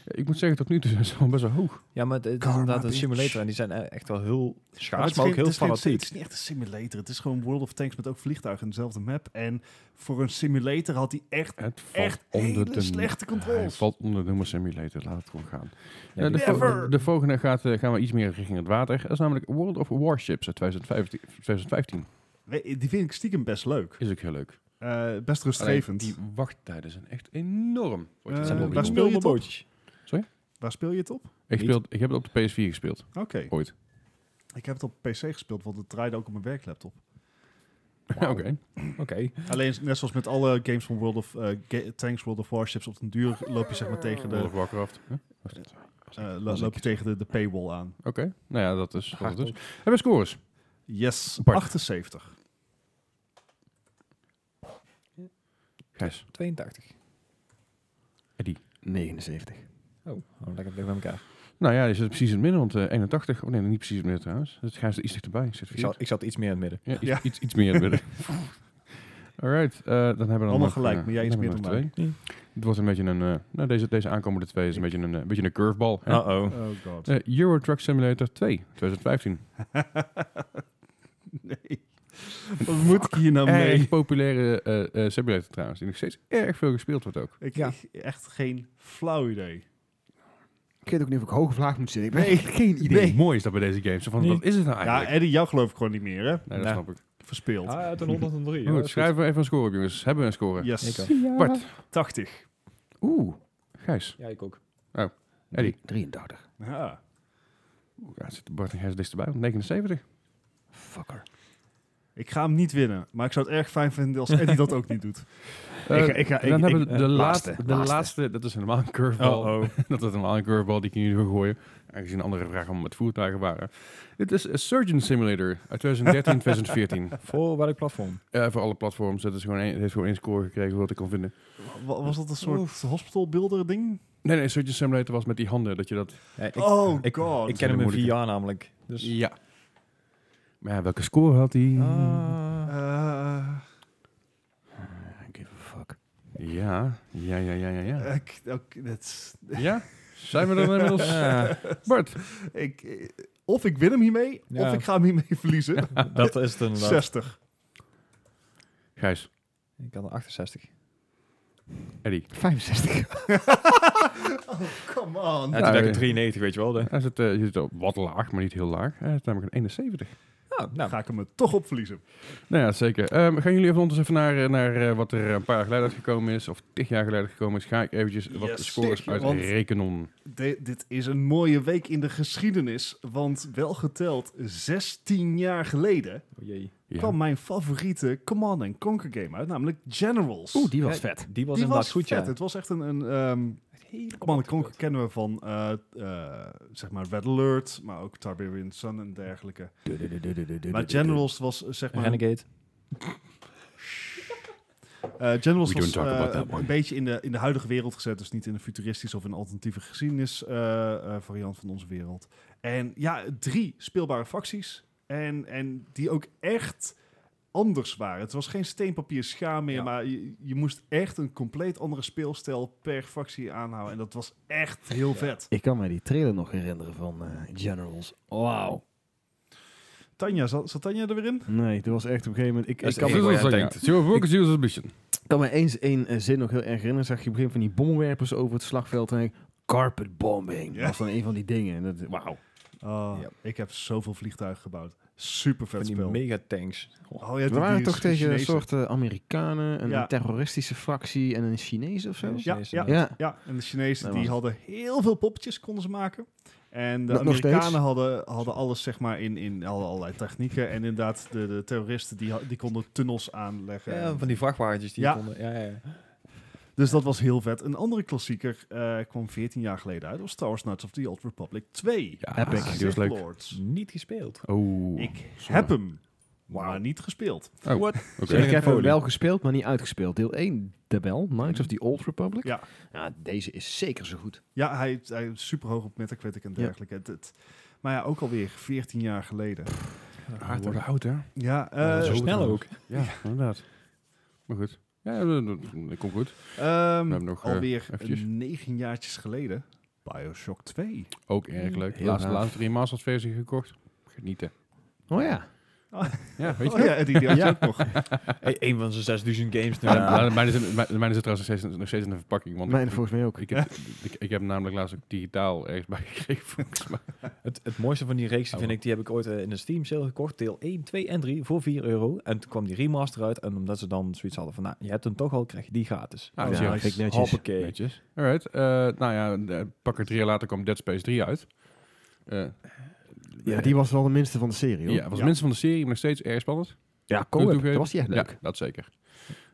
Speaker 1: Ik moet zeggen, tot nu toe zijn ze al best wel hoog.
Speaker 3: Ja, maar het, het is
Speaker 2: Karma,
Speaker 3: inderdaad een
Speaker 2: bitch.
Speaker 3: simulator en die zijn eh, echt wel heel
Speaker 2: Maar Nou, het
Speaker 3: schaars,
Speaker 2: is
Speaker 3: maar ook
Speaker 2: geen-
Speaker 3: heel
Speaker 2: het is geen- Het
Speaker 3: fanatiek.
Speaker 2: is niet echt een simulator. Het is gewoon World of Tanks met ook vliegtuigen in dezelfde map. En voor een simulator had hij echt,
Speaker 1: Het valt
Speaker 2: echt
Speaker 1: onder
Speaker 2: hele
Speaker 1: de
Speaker 2: slechte
Speaker 1: Hij
Speaker 2: controls.
Speaker 1: valt onder de noemer simulator, laat het gewoon gaan. Eh,
Speaker 3: Ja,
Speaker 1: de,
Speaker 3: die-
Speaker 1: vo-
Speaker 2: Never!
Speaker 1: de, de volgende gaat, eh, gaan we iets meer richting het water. Dat is namelijk World of Warships uit 2015. 2015.
Speaker 2: Nee, Die vind ik stiekem best leuk.
Speaker 1: Is ook heel leuk.
Speaker 2: Eh, best
Speaker 1: Alleen,
Speaker 2: rustgevend.
Speaker 1: Die wachttijden zijn echt enorm. Wat je
Speaker 2: Eh,
Speaker 1: zelf
Speaker 2: waar
Speaker 1: niet
Speaker 2: speel
Speaker 1: doet.
Speaker 2: je het op?
Speaker 3: bootjes.
Speaker 2: Waar speel je het op?
Speaker 1: ik, speel, ik heb het op de PS4 gespeeld.
Speaker 2: Oké.
Speaker 1: Ooit.
Speaker 2: Ik heb het op PC gespeeld, want het draaide ook op mijn werklaptop.
Speaker 1: Oké.
Speaker 3: Oké.
Speaker 2: Alleen net zoals met alle games van World of eh, Ga- Tanks, World of Warships, op den duur loop je zeg maar tegen de,
Speaker 1: World of Warcraft. Huh?
Speaker 2: eh, lo- loop je tegen de, de paywall aan.
Speaker 1: Oké. Nou ja, dat is wat het is. Hebben we scores?
Speaker 2: Yes,
Speaker 1: Bart.
Speaker 2: 78.
Speaker 1: Gijs.
Speaker 3: 82.
Speaker 4: 79.
Speaker 3: Oh, oh, lekker dicht bij elkaar.
Speaker 1: Nou ja, je zit precies in het midden, want eh, 81. Oh nee, niet precies in het midden trouwens. Het Gijs er iets dichterbij. Ik zit
Speaker 3: Ik zat,
Speaker 1: verkeerd.
Speaker 3: ik zat iets meer in het midden.
Speaker 1: Ja, iets,
Speaker 2: Ja.
Speaker 1: Iets, iets meer in het midden. Alright, eh, dan hebben we dan
Speaker 2: Allemaal
Speaker 1: nog,
Speaker 2: gelijk,
Speaker 1: eh,
Speaker 2: maar jij iets
Speaker 1: hebben we
Speaker 2: meer
Speaker 1: nog
Speaker 2: dan
Speaker 1: twee. Het wordt een beetje een... eh, nou, deze, deze aankomende twee is een beetje een, eh, beetje een curveball. hè.
Speaker 3: oh.
Speaker 2: Oh god.
Speaker 1: Eh, Euro Truck Simulator 2, 2015.
Speaker 2: nee. Wat moet ik hier nou mee?
Speaker 1: Erg populaire eh, eh, simulator trouwens, die nog steeds erg veel gespeeld wordt ook.
Speaker 2: Ik,
Speaker 3: Ja.
Speaker 2: ik- echt geen flauw idee.
Speaker 4: Ik weet ook niet of ik hoge vlaag moet zitten. Ik heb echt geen idee.
Speaker 1: Nee. Mooi is dat bij deze games. Zo Van,
Speaker 3: Nee.
Speaker 1: Wat is het nou
Speaker 2: Ja,
Speaker 1: eigenlijk?
Speaker 2: Eddie, jou geloof ik gewoon niet meer, hè?
Speaker 1: nee, dat
Speaker 3: Nou.
Speaker 1: snap ik.
Speaker 2: Verspeeld.
Speaker 3: Ah, uit een 103.
Speaker 1: Maar
Speaker 3: ja,
Speaker 1: goed,
Speaker 3: dat is goed.
Speaker 1: Oh, schrijven we even een score op jongens. Hebben we een score?
Speaker 2: Yes.
Speaker 3: Ik ook.
Speaker 1: Bart.
Speaker 2: 80.
Speaker 1: Oeh. Gijs.
Speaker 3: Ja, ik ook.
Speaker 1: Eddie.
Speaker 4: 83.
Speaker 2: Ja.
Speaker 1: Oeh, ja, zit Bart en Gijs het dichtstbij, want 79.
Speaker 4: Fucker.
Speaker 2: Ik ga hem niet winnen, maar ik zou het erg fijn vinden als Eddie dat ook niet doet.
Speaker 1: Eh,
Speaker 2: ik ga-
Speaker 1: en dan
Speaker 2: ik-
Speaker 1: hebben
Speaker 2: ik-
Speaker 1: we
Speaker 2: eh,
Speaker 1: de laatste,
Speaker 2: laatste,
Speaker 1: de laatste. Dat is helemaal een curveball.
Speaker 2: oh.
Speaker 1: dat is helemaal een curveball die ik nu wil gooien. Aangezien andere vragen om met voertuigen waren. Dit is een Surgeon Simulator uit 2013, 2014.
Speaker 3: Voor welk platform?
Speaker 1: Eh, voor alle platforms. Het, is gewoon één, het heeft gewoon één score gekregen wat ik kon vinden.
Speaker 2: Wa- Was dat een soort hospital builder ding?
Speaker 1: Nee, nee, Surgeon Simulator was met die handen. Dat je dat...
Speaker 3: Ja, ik,
Speaker 2: oh
Speaker 3: ik,
Speaker 2: god.
Speaker 3: ik ken hem in
Speaker 2: Dus-
Speaker 1: moeilijke.
Speaker 3: VR namelijk. Dus
Speaker 1: Ja. Maar ja, welke score had hij?
Speaker 2: Ah. Eh,
Speaker 4: Ah, give a fuck.
Speaker 1: Ja, ja, ja, ja, ja. Ja?
Speaker 2: ik, ook, dat is-
Speaker 1: ja? Zijn we dan inmiddels... Bart,
Speaker 2: ik, eh, of ik win hem hiermee,
Speaker 3: Ja.
Speaker 2: of ik ga hem hiermee verliezen.
Speaker 3: Ah. dat is het inderdaad.
Speaker 2: 60.
Speaker 1: Gijs,
Speaker 3: Ik had een 68.
Speaker 1: Eddie.
Speaker 4: 65.
Speaker 2: Come on.
Speaker 3: En
Speaker 1: Ja,
Speaker 3: toen ben
Speaker 1: ja.
Speaker 3: ik een 93, weet je wel. De...
Speaker 1: Hij zit, eh, je zit op wat laag, maar niet heel laag. Hij is namelijk een 71.
Speaker 3: Nou,
Speaker 2: Dan
Speaker 3: nou.
Speaker 2: ga ik hem er toch op verliezen.
Speaker 1: Nou ja, zeker. Ehm, gaan jullie even ondertussen even naar, eh, naar eh, wat er een paar jaar geleden uitgekomen is, of tig jaar geleden gekomen is. Ga ik eventjes wat
Speaker 2: Yes,
Speaker 1: scores
Speaker 2: tig,
Speaker 1: uit
Speaker 2: want-
Speaker 1: rekenon.
Speaker 2: De- dit is een mooie week in de geschiedenis, want wel geteld 16 jaar geleden
Speaker 3: Oh, jee.
Speaker 1: Ja.
Speaker 2: kwam mijn favoriete Command and Conquer game uit, namelijk Generals.
Speaker 4: Oeh, die was
Speaker 3: Ja,
Speaker 4: vet.
Speaker 3: Die was
Speaker 2: Die
Speaker 3: inderdaad
Speaker 2: was
Speaker 3: goed,
Speaker 2: vet.
Speaker 3: ja.
Speaker 2: Het was echt een... een ehm,
Speaker 3: Hele
Speaker 2: Command and Conquer kennen we van eh, eh, zeg maar Red Alert, maar ook Tiberian Sun en dergelijke. Maar Generals was eh, zeg maar...
Speaker 3: Renegade.
Speaker 2: eh, Generals
Speaker 1: We don't
Speaker 2: was
Speaker 1: talk about
Speaker 2: eh,
Speaker 1: that one.
Speaker 2: een beetje in de, in de huidige wereld gezet, dus niet in een futuristische of een alternatieve geschiedenis eh, eh, variant van onze wereld. En ja, drie speelbare facties en, en die ook echt anders waren. Het was geen steen, papier, schaam meer,
Speaker 3: Ja.
Speaker 2: maar je, je moest echt een compleet andere speelstijl per factie aanhouden. En dat was echt heel vet.
Speaker 4: Ik kan mij die trailer nog herinneren van eh, Generals. Wauw.
Speaker 2: Tanja, zat, zat Tanja er weer in?
Speaker 4: Nee, dat was echt op een gegeven moment... Ik, ik
Speaker 3: Dat is
Speaker 4: kan,
Speaker 3: echt
Speaker 4: me,
Speaker 3: waar
Speaker 1: Zoals
Speaker 3: jij
Speaker 1: ik
Speaker 3: denkt.
Speaker 1: denk. Zo focus is een beetje.
Speaker 4: kan me eens één eh, zin nog heel erg herinneren. Zag je op een gegeven moment van die bommenwerpers over het slagveld. En ik, carpet bombing.
Speaker 2: Ja.
Speaker 4: Dat was dan een van die dingen. En dat, wauw.
Speaker 2: Oh,
Speaker 3: Ja.
Speaker 2: Ik heb zoveel vliegtuigen gebouwd. Super
Speaker 3: Van
Speaker 2: vet
Speaker 3: die
Speaker 2: spel.
Speaker 3: megatanks. Oh,
Speaker 2: Oh, ja, die-
Speaker 4: We waren
Speaker 2: die
Speaker 4: toch tegen een
Speaker 2: Chinezen.
Speaker 4: soort eh, Amerikanen, een
Speaker 2: Ja.
Speaker 4: terroristische fractie en een Chinees of zo?
Speaker 3: Chinees,
Speaker 2: Ja,
Speaker 3: Chinees,
Speaker 2: ja.
Speaker 3: inderdaad.
Speaker 4: Ja.
Speaker 2: Ja, en de Chinezen
Speaker 4: Dat
Speaker 2: die
Speaker 4: was
Speaker 2: hadden heel veel poppetjes konden ze maken. En de
Speaker 4: Nog- nog steeds?
Speaker 2: Amerikanen hadden, hadden alles zeg maar in, in hadden allerlei technieken. En inderdaad, de, de terroristen die, ha- die konden tunnels aanleggen.
Speaker 3: Ja, van die vrachtwagentjes die
Speaker 2: Ja.
Speaker 3: konden... Ja, ja, ja.
Speaker 2: Dus dat was heel vet. Een andere klassieker eh, kwam 14 jaar geleden uit. was Star Wars Knights of the Old Republic 2.
Speaker 1: Ja,
Speaker 4: Epic.
Speaker 1: Ah, die was leuk.
Speaker 2: Lords.
Speaker 3: Niet gespeeld.
Speaker 1: Oh,
Speaker 2: Ik heb hem, maar
Speaker 3: Wauw.
Speaker 2: niet gespeeld.
Speaker 1: Oh,
Speaker 3: What?
Speaker 1: oké.
Speaker 4: Dus Ik heb hem
Speaker 3: Folie.
Speaker 4: wel gespeeld, maar niet uitgespeeld. Deel 1, de bel, Knights of the Old Republic.
Speaker 2: Ja.
Speaker 4: Ja, deze is zeker zo goed.
Speaker 2: Ja, hij, hij is super hoog op Metacritic en
Speaker 4: Ja.
Speaker 2: dergelijke. Het, het- maar ja, ook alweer 14 jaar geleden.
Speaker 1: Aard wordt oud, hè?
Speaker 2: Ja, eh,
Speaker 3: Zo
Speaker 1: Zo
Speaker 3: snel
Speaker 1: goed.
Speaker 3: ook.
Speaker 1: Ja, inderdaad. Maar goed. Ja, dat, dat- dat komt goed.
Speaker 2: ehm,
Speaker 1: We hebben nog, eh,
Speaker 2: alweer
Speaker 1: eventjes.
Speaker 2: negen jaartjes geleden. Bioshock 2.
Speaker 1: Ook erg leuk.
Speaker 4: Heel
Speaker 1: Laatste,
Speaker 4: gaaf.
Speaker 1: laatste remastered versie gekocht. Genieten.
Speaker 4: Oh ja.
Speaker 1: Ja, weet je
Speaker 2: oh ja, die, die had je
Speaker 4: Ja.
Speaker 2: ook nog.
Speaker 3: Hey, Eén van zijn 6000 games.
Speaker 1: Ja.
Speaker 3: Nou,
Speaker 1: maar Mijn, is, mijn, mijn is trouwens nog steeds, nog steeds in de verpakking. Want
Speaker 4: Mijn
Speaker 1: ik-
Speaker 4: volgens mij ook.
Speaker 1: Ik heb, ik, ik heb namelijk laatst ook digitaal ergens bij gekregen. volgens mij.
Speaker 3: Het, het mooiste van die reeks
Speaker 1: Oh.
Speaker 3: vind ik, die heb ik ooit eh, in een Steam sale gekocht. Deel 1, 2 en 3 voor 4 euro. En toen kwam die remaster uit. En omdat ze dan zoiets hadden van, nou, je hebt hem toch al, krijg je die gratis.
Speaker 1: Nou, ja,
Speaker 2: Oh, nice.
Speaker 4: vind ik netjes.
Speaker 3: Hoppakee.
Speaker 1: Netjes. Alright. eh, nou ja, de- pak er drie jaar later kwam Dead Space 3 uit. Eh,
Speaker 4: Ja, die was wel de minste van de serie, hoor.
Speaker 1: ja, was
Speaker 2: Ja.
Speaker 1: minstens van de serie, maar nog steeds erg spannend.
Speaker 4: ja
Speaker 1: Moet ik
Speaker 4: co-op. Dat
Speaker 1: toegeven.
Speaker 4: was die echt leuk.
Speaker 1: Ja, dat zeker.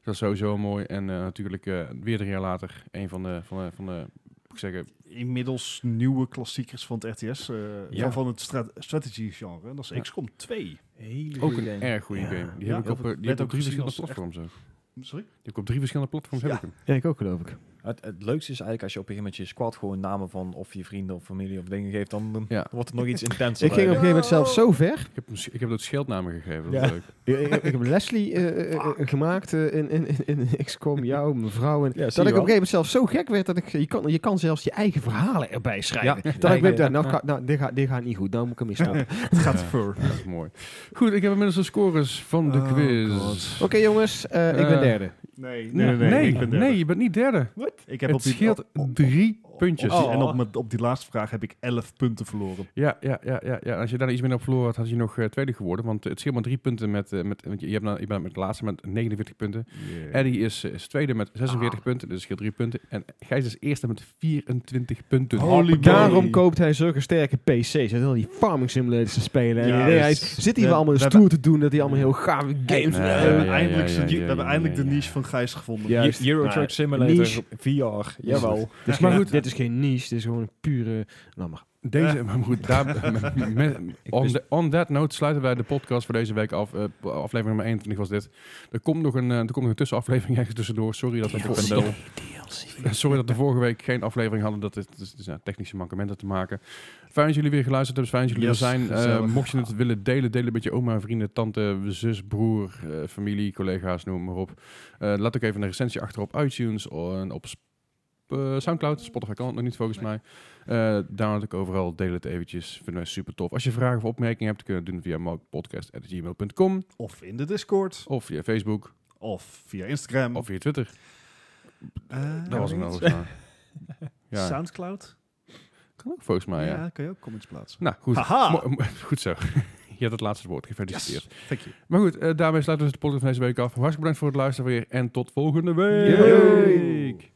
Speaker 1: Dat is sowieso mooi. En eh, natuurlijk eh, weer drie jaar later, een van de, van de, van de moet ik zeggen,
Speaker 2: Inmiddels nieuwe klassiekers van het RTS. eh,
Speaker 1: Ja.
Speaker 2: van, van het stra- strategy genre. Dat is
Speaker 1: Ja.
Speaker 2: XCOM 2.
Speaker 3: Hele
Speaker 1: ook
Speaker 3: goede
Speaker 1: een
Speaker 3: game.
Speaker 1: erg goede
Speaker 4: Ja.
Speaker 1: game. Die
Speaker 2: Ja,
Speaker 1: heb ik
Speaker 2: heel
Speaker 1: op, eh,
Speaker 2: veel-
Speaker 1: die
Speaker 2: werd
Speaker 1: heb ik op
Speaker 2: ook
Speaker 1: drie
Speaker 2: gezien
Speaker 1: verschillende
Speaker 2: als echt-
Speaker 1: platforms. ook. Die
Speaker 2: Eh, Sorry?
Speaker 1: heb ik op drie verschillende platforms heb
Speaker 2: Ja.
Speaker 1: ik hem.
Speaker 4: Ja, ik ook geloof ik.
Speaker 3: Het, het leukste is eigenlijk als je op een gegeven moment je squad gewoon namen van of je vrienden of familie of dingen geeft, dan, dan
Speaker 1: Ja.
Speaker 3: wordt het nog iets intenser.
Speaker 4: Ik ging op een gegeven moment zelfs zo ver.
Speaker 1: Ik heb, hem s- ik heb dat scheldnamen gegeven. Dat
Speaker 3: Ja.
Speaker 1: is leuk.
Speaker 4: Ik, ik- ik heb Leslie eh, eh, eh, gemaakt eh, in, in, in, in XCOM, jou, mevrouw. En
Speaker 3: Ja,
Speaker 4: dat
Speaker 3: zie
Speaker 4: ik op
Speaker 3: je wel.
Speaker 4: een gegeven moment zelfs zo gek werd dat ik... Je kan, je kan zelfs je eigen verhalen erbij schrijven.
Speaker 3: Ja.
Speaker 4: Dat
Speaker 3: Ja,
Speaker 4: ik ben
Speaker 3: ja,
Speaker 4: daar,
Speaker 3: ja.
Speaker 4: nou, ga- nou dit, gaat, dit gaat niet goed, nou moet ik hem eens stoppen.
Speaker 2: Het gaat voor.
Speaker 1: Dat is mooi. Goed, ik heb inmiddels de scores van de
Speaker 2: Oh,
Speaker 1: quiz.
Speaker 2: God.
Speaker 4: Oké jongens, eh, ik
Speaker 1: Eh,
Speaker 4: ben derde.
Speaker 2: Nee, nee,
Speaker 1: Nee,
Speaker 2: nee. nee, ik ben derde.
Speaker 1: nee, je bent niet derde.
Speaker 2: Ik heb
Speaker 1: het
Speaker 2: op die, Oh,
Speaker 1: scheelt
Speaker 2: op- op-
Speaker 1: drie
Speaker 2: op- op-
Speaker 1: puntjes.
Speaker 2: op die-
Speaker 3: Oh.
Speaker 2: en op, mijn- op die laatste vraag heb ik 11 punten verloren.
Speaker 1: Ja, ja, ja, ja, ja. Als je daar iets meer op verloren had, had je nog eh, tweede geworden. Want het scheelt maar drie punten met... eh, met want je, je, hebt nou, je bent met de laatste met 49 punten. Eddie is, eh, is tweede met 46
Speaker 2: Ah.
Speaker 1: punten, dus scheelt drie punten. En Gijs is eerste met 24 punten.
Speaker 2: Holy moly.
Speaker 4: Daarom koopt hij zulke sterke PC's. Hij zit al die farming simulators te spelen. En
Speaker 2: Ja,
Speaker 4: hij- hij
Speaker 2: dus
Speaker 4: zit hier
Speaker 2: we-
Speaker 4: wel allemaal
Speaker 2: we
Speaker 4: stoer te doen dat hij allemaal heel gave games...
Speaker 2: We
Speaker 1: Ja,
Speaker 4: Eh,
Speaker 2: hebben
Speaker 1: ja,
Speaker 2: eindelijk
Speaker 1: ja,
Speaker 2: zijn-
Speaker 1: ja,
Speaker 2: we
Speaker 1: ja,
Speaker 2: hebben
Speaker 1: ja, Nou,
Speaker 2: eindelijk
Speaker 1: ja,
Speaker 2: de
Speaker 1: ja.
Speaker 2: niche van Gijs gevonden.
Speaker 4: Juist.
Speaker 3: Euro
Speaker 2: Maar-
Speaker 3: Truck Simulator
Speaker 4: Niche.
Speaker 3: VR, jawel.
Speaker 1: Dus maar goed,
Speaker 4: Dit is is geen niche, het is gewoon een pure... Nou, maar
Speaker 1: Deze, maar goed, daar, met- on,
Speaker 3: wist-
Speaker 1: the- on that note sluiten wij de podcast voor deze week af. Eh, p- aflevering nummer 21 was dit. Er komt nog een, eh, er komt nog een tussenaflevering ergens tussendoor. Sorry dat, we vorige, sorry dat we vorige week geen aflevering hadden. Dat is, dat is, nou, technische mankementen te maken. Fijn dat jullie weer geluisterd hebben. Fijn dat jullie
Speaker 2: Yes,
Speaker 1: er zijn. Eh,
Speaker 2: gezellig.
Speaker 1: mocht je het willen delen, delen met je oma, vrienden, tante, zus, broer, eh, familie, collega's, noem maar op. Eh, laat ook even een recensie achter op iTunes en op Sp- eh, Soundcloud. Spotify kan het nog niet volgens mij. Eh, download ik overal, deel het eventjes. Vinden wij super tof. Als je vragen of opmerkingen hebt, kun je dat doen via markpodcast.gmail.com
Speaker 2: Of in de Discord.
Speaker 1: of via Facebook
Speaker 2: Of via Instagram.
Speaker 1: of via Twitter.
Speaker 2: Eh,
Speaker 1: Dat was hem
Speaker 2: weet
Speaker 1: wel.
Speaker 2: je.
Speaker 1: volgens mij. Ja,
Speaker 2: Soundcloud.
Speaker 1: kan ook volgens mij, Ah, ja.
Speaker 2: ja, kun je ook comments plaatsen.
Speaker 1: Nou, goed.
Speaker 2: Haha!
Speaker 1: Mo- mo- goed zo. Je hebt het laatste woord. Gefeliciteerd.
Speaker 2: Thank you.
Speaker 1: Maar goed, eh, daarmee sluiten we dus de podcast van deze week af. Hartstikke bedankt voor het luisteren weer en tot volgende week.
Speaker 3: Yay.